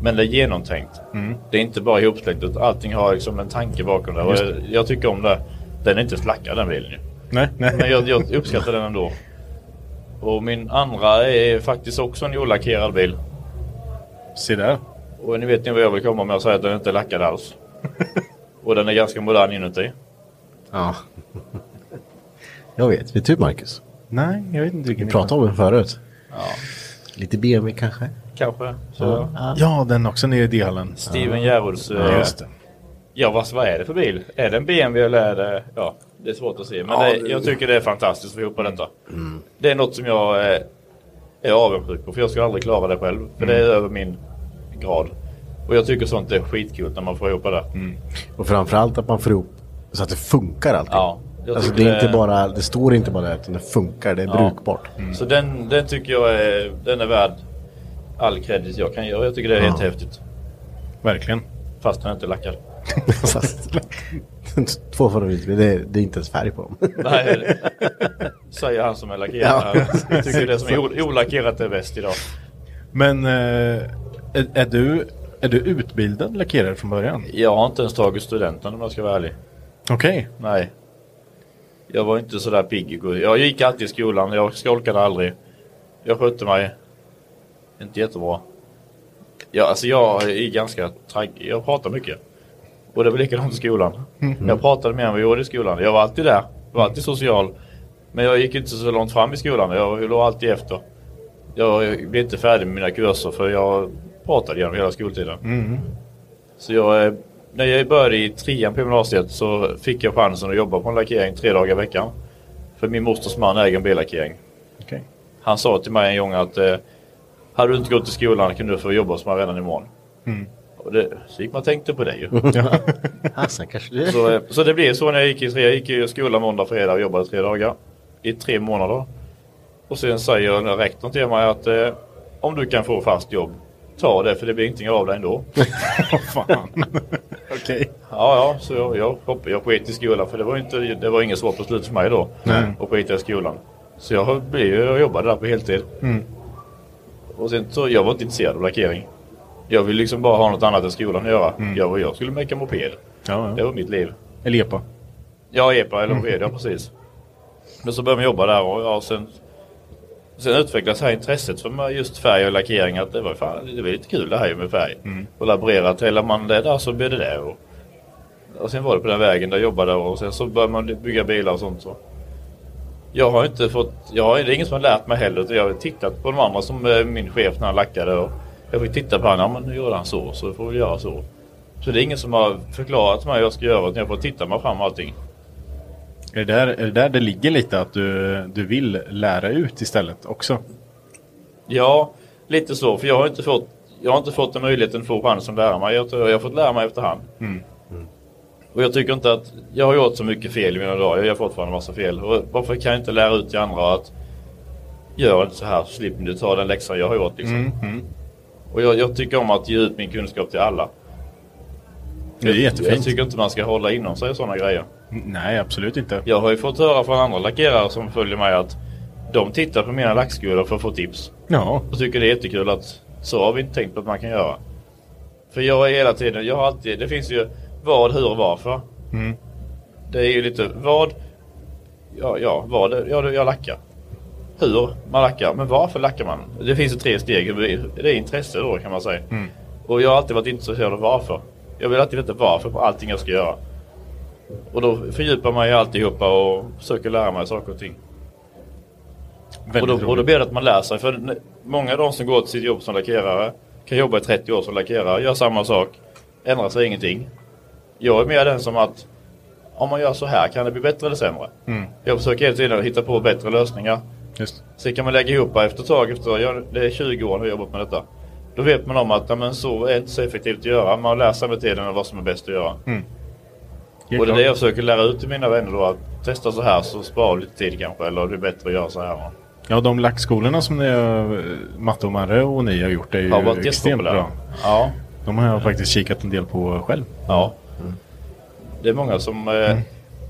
L: Men det är genomtänkt.
C: Mm.
L: Det är inte bara ihopsläckt utan allting har liksom en tanke bakom det. Och
C: Just
L: jag, jag tycker om det. Den är inte slackad den bilen ju.
C: Nej, nej.
L: Men jag, jag uppskattar den ändå. Och min andra är faktiskt också en olackerad bil.
C: Se där.
L: Och ni vet ni vad jag vill komma med och säga att den inte är lackad alls. Och den är ganska modern inuti.
H: Ja. Jag vet, vet du Marcus?
C: Nej, jag vet inte vilken
H: Vi
C: det
H: pratade
C: var.
H: om den förut.
L: Ja,
H: Lite BMW kanske?
L: kanske. Så.
C: Ja, den också nere i D-hallen.
L: Steven eh, Gerholds.
C: Ja,
L: Ja,
C: just det.
L: ja vad, vad är det för bil? Är det en BMW eller är det... Ja, det är svårt att se. Men det, jag tycker det är fantastiskt att få ihop detta. Det är något som jag eh, är avundsjuk på. För jag skulle aldrig klara det själv. För det är över min grad. Och jag tycker sånt är skitkul när man får ihop det där.
H: Mm. Och framförallt att man får ihop så att det funkar allting.
L: Ja, jag
H: alltså, det,
L: tycker
H: är inte
L: det-
H: bara, det står inte bara där, utan det funkar, det är
L: Ja. Mm.
H: brukbart.
L: Så den, den tycker jag är, den är värd all kredit jag kan göra. Jag tycker det är
H: Ja.
L: helt häftigt.
C: Verkligen.
L: Fast den inte lackar.
H: Fast- Två favoritbilar, det, är- det är inte ens färg på dem.
L: Nej, säger han som är lackerad.
H: Ja.
L: Jag tycker det som är o- olackerat är bäst idag.
C: Men eh, är, är, du, är du utbildad lackerare från början?
L: Jag har inte ens tagit studenten om jag ska vara ärlig.
C: Okej.
L: Nej. Jag var inte sådär pigg. i gå- Jag gick alltid i skolan. Jag skolkade aldrig. Jag skötte mig. Inte jättebra. Ja, alltså jag är ganska tragg. Jag pratar mycket. Och det var likadant i skolan.
C: Mm.
L: Jag pratade mer än vad jag gjorde i skolan. Jag var alltid där. Jag var alltid social. Men jag gick inte så långt fram i skolan. Jag låg alltid efter. Jag blev inte färdig med mina kurser för jag pratade genom hela skoltiden.
C: Mm.
L: Så jag, eh, när jag började i trean på gymnasiet så fick jag chansen att jobba på en lackering tre dagar i veckan. För min mosters man äger en billackering.
C: Okej.
L: Han sa till mig en gång att eh, hade du inte gått till skolan kunde du få jobba som mig redan imorgon.
C: Mm.
L: Och det, så gick man och tänkte på det ju.
H: Ja. Hassan kanske det.
L: så, eh, så det blev så när jag gick i tre. Jag gick i skolan måndag, fredag och jobbade tre dagar. I tre månader. Och sen säger den här rektorn till mig att eh, om du kan få fast jobb, ta det för det blir ingenting av dig ändå.
C: Fan. Okej.
L: Ja, ja, så jag, jag, hopp- jag sket i skolan för det var, inte, det var inget svårt beslut för mig då.
C: Nej.
L: Och skita i skolan. Så jag, blev, jag jobbade där på heltid.
C: Mm.
L: Och sen så, jag var inte intresserad av lackering. Jag ville liksom bara ha något annat än skolan att göra. Jag, jag skulle meka moped.
C: Mm. Ja,
L: Det
C: ja.
L: var mitt liv.
C: Eller epa. Mm.
L: Ja, epa eller moped, ja precis. Men så började man jobba där och ja, sen, sen utvecklades här intresset för mig, just färg och lackering. Att det var fan, det var lite kul det här ju med färg.
C: Mm.
L: Och laborera, täljer man det där så blir det det. Och, och sen var det på den vägen där jag jobbade och sen så började man bygga bilar och sånt. Så. Jag har inte fått, jag har, det är ingen som har lärt mig heller utan jag har tittat på de andra som eh, min chef när han lackade. Och jag fick titta på honom, ja men nu gjorde han så så får vi göra så. Så det är ingen som har förklarat för mig hur jag ska göra utan jag får titta mig fram allting.
C: Är det, där, är det där det ligger lite att du, du vill lära ut istället också?
L: Ja, lite så. För jag har inte fått, jag har inte fått den möjligheten att få chansen att lära mig. Jag, tror jag har fått lära mig efterhand.
C: Mm.
L: Och jag tycker inte att jag har gjort så mycket fel i mina dagar. Jag gör fortfarande massa fel. Och varför kan jag inte lära ut till andra att gör inte så här så slipper ni ta den läxan jag har gjort. Liksom.
C: Mm. Mm.
L: Och jag, jag tycker om att ge ut min kunskap till alla.
C: Det är jättefint.
L: Jag tycker inte man ska hålla inom sig sådana grejer.
C: Nej, absolut inte.
L: Jag har ju fått höra från andra lackerare som följer mig att de tittar på mina lackskolor för att få tips.
C: Ja.
L: Och tycker det är jättekul att så har vi inte tänkt på att man kan göra. För jag är hela tiden, jag har alltid, det finns ju vad, hur och varför.
C: Mm.
L: Det är ju lite vad, ja, ja, vad, ja, det- jag lackar. Hur man lackar, men varför lackar man? Det finns ju tre steg, det är intresse då kan man säga.
C: Mm.
L: Och jag har alltid varit intresserad av varför. Jag vill alltid veta varför på allting jag ska göra. Och då fördjupar man ju alltihopa och försöker lära mig saker och ting. Och
C: Väldigt
L: då, och då
C: roligt.
L: blir det att man lär sig. För n- många av de som går till sitt jobb som lackerare kan jobba i 30 år som lackerare, gör samma sak, ändrar sig ingenting. Jag är mer den som att om man gör så här kan det bli bättre eller sämre.
C: Mm.
L: Jag försöker hela tiden hitta på bättre lösningar.
C: Just.
L: Sen kan man lägga ihop efter ett tag, efter, ja, det är 20 år nu jag jobbat med detta. Då vet man om att ja, men så är inte så effektivt att göra. Man lär sig med tiden vad som är bäst att göra.
C: Mm. Helt
L: och det är
C: klart.
L: det jag försöker lära ut till mina vänner då. Att testa så här så sparar du lite tid kanske. Eller det är bättre att göra så här.
C: Ja, de lackskolorna som ni, har- Matte och Marre och ni har gjort är ju
L: Har varit
C: extremt
L: jättepopulära.
C: bra.
L: Ja.
C: De har jag faktiskt kikat en del på själv.
L: Ja. Det är många som... Eh,
C: Mm.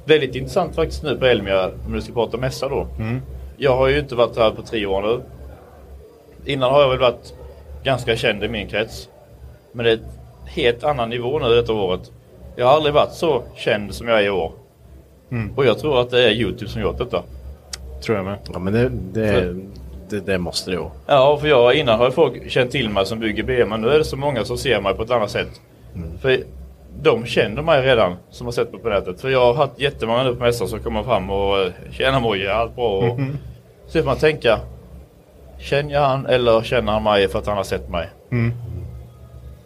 L: Väldigt intressant faktiskt nu på Elmia, om du ska prata mässa då.
C: Mm.
L: Jag har ju inte varit här på tre år nu. Innan har jag väl varit ganska känd i min krets. Men det är ett helt annan nivå nu detta året. Jag har aldrig varit så känd som jag är i år.
C: Mm.
L: Och jag tror att det är Youtube som gjort detta.
C: Tror jag med.
H: Ja, men det, det, det, det måste det vara.
L: Ja, för jag, innan har ju folk känt till mig som bygger BM, men nu är det så många som ser mig på ett annat sätt. För de känner mig redan, som har sett mig på nätet. För jag har haft jättemånga nu på mässan som kommer fram och eh, “Tjena Moje, allt bra?”
C: Mm.
L: och
C: Mm-hmm.
L: Så får man tänka, känner jag han eller känner han mig för att han har sett mig?
C: Mm.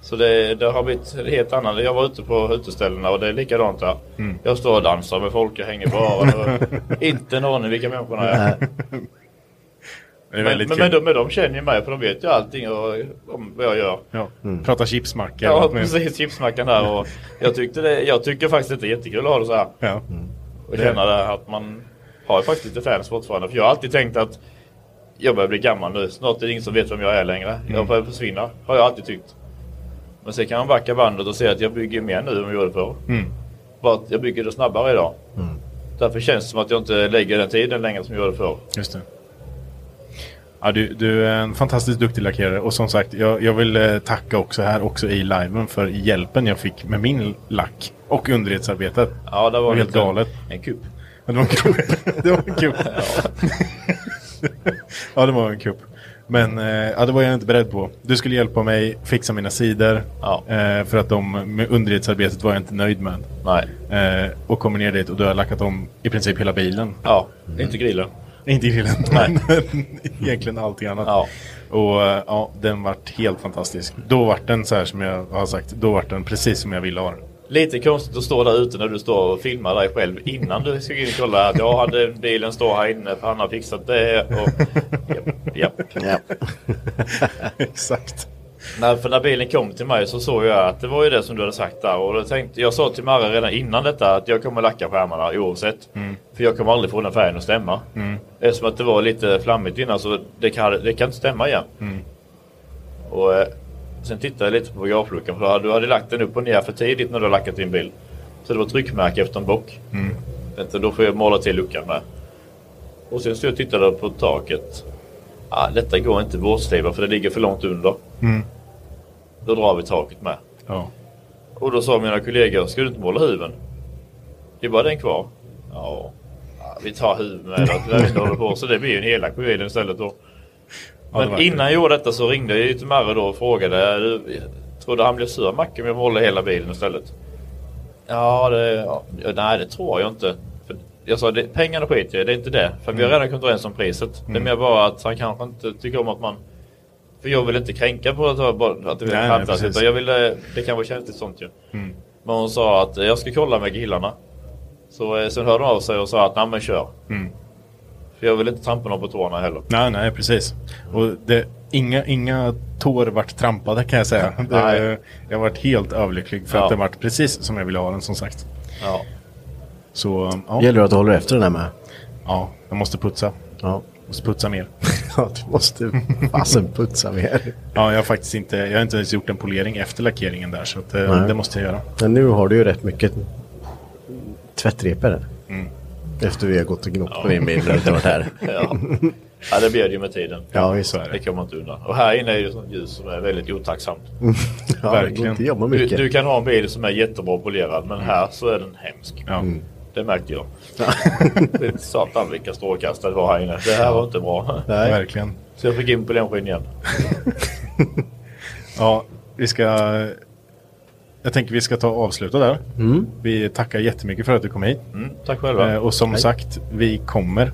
L: Så det, det har blivit helt annat. Jag var ute på uteställena och det är likadant där.
C: Mm.
L: Jag står och dansar med folk, jag hänger på öronen. och Inte en aning vilka människorna är. Men, men, men de, men de känner ju mig för de vet ju allting och, om vad jag gör.
C: Ja.
H: Mm.
C: Prata chipsmackor. och
L: Ja,
C: allt möjligt.
L: precis. Chipsmackan där. Och jag, tyckte det, jag tycker faktiskt att det är jättekul att ha det så här.
C: Ja.
H: Mm.
L: Och känna det, att man har ju faktiskt lite fans fortfarande. För jag har alltid tänkt att jag börjar bli gammal nu. Snart är det ingen som vet vem jag är längre.
C: Mm.
L: Jag börjar försvinna, har jag alltid tyckt. Men sen kan man backa bandet och se att jag bygger mer nu än vad jag gjorde förr.
C: Mm.
L: Bara att jag bygger det snabbare idag.
C: Mm.
L: Därför känns det som att jag inte lägger den tiden längre som jag gjorde förr.
C: Just det. Ja, du, du är en fantastiskt duktig lackerare och som sagt, jag, jag vill eh, tacka också här också i liven för hjälpen jag fick med min lack och underredsarbetet.
L: Ja, det var
C: helt
L: lite-
C: galet.
L: En kupp.
C: Ja, det var en kupp. Det var en kupp. ja, det var en kupp. Men eh, ja, det var jag inte beredd på. Du skulle hjälpa mig fixa mina sidor. Eh, för att de, med underredsarbetet var jag inte nöjd med. Nej. Eh, och kommer ner dit och du har lackat om i princip hela bilen. Mm.
L: Ja, inte grillen.
C: Inte grillen, men egentligen allting annat. Och eh, ja, den vart helt fantastisk. Då vart den så här som jag har sagt, då vart den precis som jag ville ha den.
L: Lite konstigt att stå där ute när du står och filmar dig själv innan du ska gå in och kolla att jag hade bilen står här inne för han har fixat det och japp, japp.
C: Exakt.
L: När, för när bilen kom till mig så såg jag att det var ju det som du hade sagt där och då tänkte jag sa till Marre redan innan detta att jag kommer lacka skärmarna oavsett.
C: Mm.
L: För jag kommer aldrig få den färgen att stämma.
C: Mm.
L: Eftersom att det var lite flammigt innan så det kan, det kan inte stämma igen.
C: Mm.
L: Och eh, sen tittade jag lite på gravluckan för då hade- du hade lagt den upp och ner för tidigt när du hade lackat din bil. Så det var tryckmärke efter en bock.
C: Mm.
L: Vänta, då får jag måla till luckan med. Och sen så jag tittade på taket. Ah, detta går inte bortstejva för det ligger för långt under.
C: Mm.
L: Då drar vi taket med.
C: Ja.
L: Och då sa mina kollegor, ska du inte måla huven? Det är bara den kvar. Ja, ah, vi tar huven med då. Det lär vi inte hålla på. Så det blir ju en elak på bilen istället då.
C: Ja, det
L: Men
C: var det.
L: innan jag gjorde detta så ringde jag ju till Marre då och frågade. "Du, Trodde han blev sur Macke om jag målade hela bilen istället? Ja, det, ja, nej det tror jag inte. För jag sa, det, pengarna skiter jag i, det är inte det. För vi har
C: Mm.
L: redan kommit överens om priset.
C: Mm.
L: Det är mer bara att han kanske inte tycker om att man... För jag vill inte kränka på att, bara- att det
C: Nej, nej,
L: är skämtat.
C: precis.
L: Utan jag ville, det kan vara känsligt sånt ju.
C: Mm.
L: Men hon sa att eh, jag ska kolla med killarna. Så eh, sen hörde hon av sig och sa att nej men kör.
C: Mm.
L: För jag vill inte trampa någon på tårna heller.
C: Nej, nej, precis. Och det, inga, inga tår vart trampade kan jag säga. Det,
L: Nej.
C: jag vart helt överlycklig för
L: Ja.
C: att det vart precis som jag ville ha den som sagt.
L: Ja.
C: Så, ja.
H: Det gäller att du håller efter den här med.
C: Ja, jag måste putsa.
H: Ja.
C: Måste putsa mer.
H: Ja, du måste fasen putsa mer.
C: Ja, jag har faktiskt inte, jag har inte ens gjort en polering efter lackeringen där så att, eh,
H: Nej.
C: det måste jag göra.
H: Men nu har du ju rätt mycket tvättrepor där.
C: Mm.
H: Efter vi har gått och gnott på din bil när du inte varit här.
L: ja. ja, det bjöd ju med tiden.
H: Ja, visst är det.
L: Det kommer man inte undan. Och här inne är ju sånt ljus som är väldigt otacksamt.
H: Ja, Verkligen. det går inte att jobba mycket. Mm.
L: Du, du kan ha en bil som är jättebra polerad men här så är den hemsk.
C: Ja. Mm.
L: Det märkte jag. Satan vilka strålkastare det var här inne. Det här var inte bra.
C: Nej. Verkligen.
L: Så jag fick in polenskinn igen.
C: Ja, vi ska... Jag tänker vi ska ta och avsluta där.
H: Mm.
C: Vi tackar jättemycket för att du kom hit.
L: Mm, tack själva.
C: Eh, Och som
L: Hej.
C: sagt, vi kommer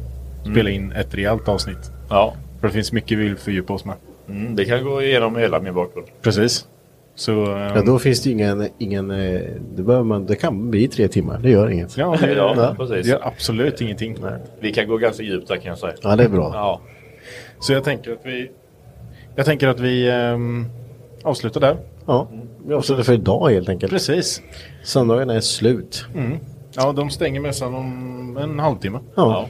C: spela in ett rejält avsnitt.
L: Ja.
C: För det finns mycket vi vill fördjupa oss med.
L: Mm, det kan gå igenom hela min bakgrund.
C: Precis. Så... ehm,
H: Ja, då finns det ju ingen... ingen eh, det, behöver man, det kan bli tre timmar, det gör inget.
C: Ja, det,
L: Ja,
C: ja,
L: precis.
C: det gör absolut ingenting.
L: Vi kan gå ganska djupt där kan jag säga.
H: Ja, det är bra.
L: Ja.
C: Så jag tänker att vi... Jag tänker att vi ehm, avslutar där.
H: Ja, vi avslutar för idag helt enkelt.
C: Precis.
H: Söndagen är slut.
C: Mm. Ja, de stänger mässan om en halvtimme.
H: Ja.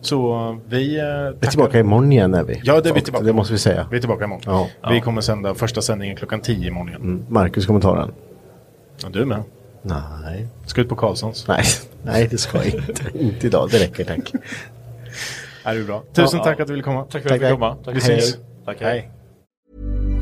C: Så eh, vi... eh,
H: Vi är
C: tackar-
H: tillbaka imorgon igen är vi.
C: Ja, det är vi
H: Och
C: tillbaka.
H: Det måste vi säga.
C: Vi är tillbaka imorgon.
H: Ja.
C: Vi kommer sända första sändningen klockan 10 imorgon igen.
H: Mm. Marcus kommentaren.
C: Ja, du med.
H: Nej.
C: Ska ut på Karlssons.
H: Nej, nej det ska jag inte. inte idag, det räcker tack.
C: Är du bra? Tusen
L: Ja.
C: tack att du ville komma. Tack
L: för att jag fick komma. Tack.
C: Vi syns.
L: Hej. Tack, hej.
C: hej.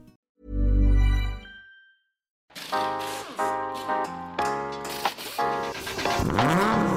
E: Bye.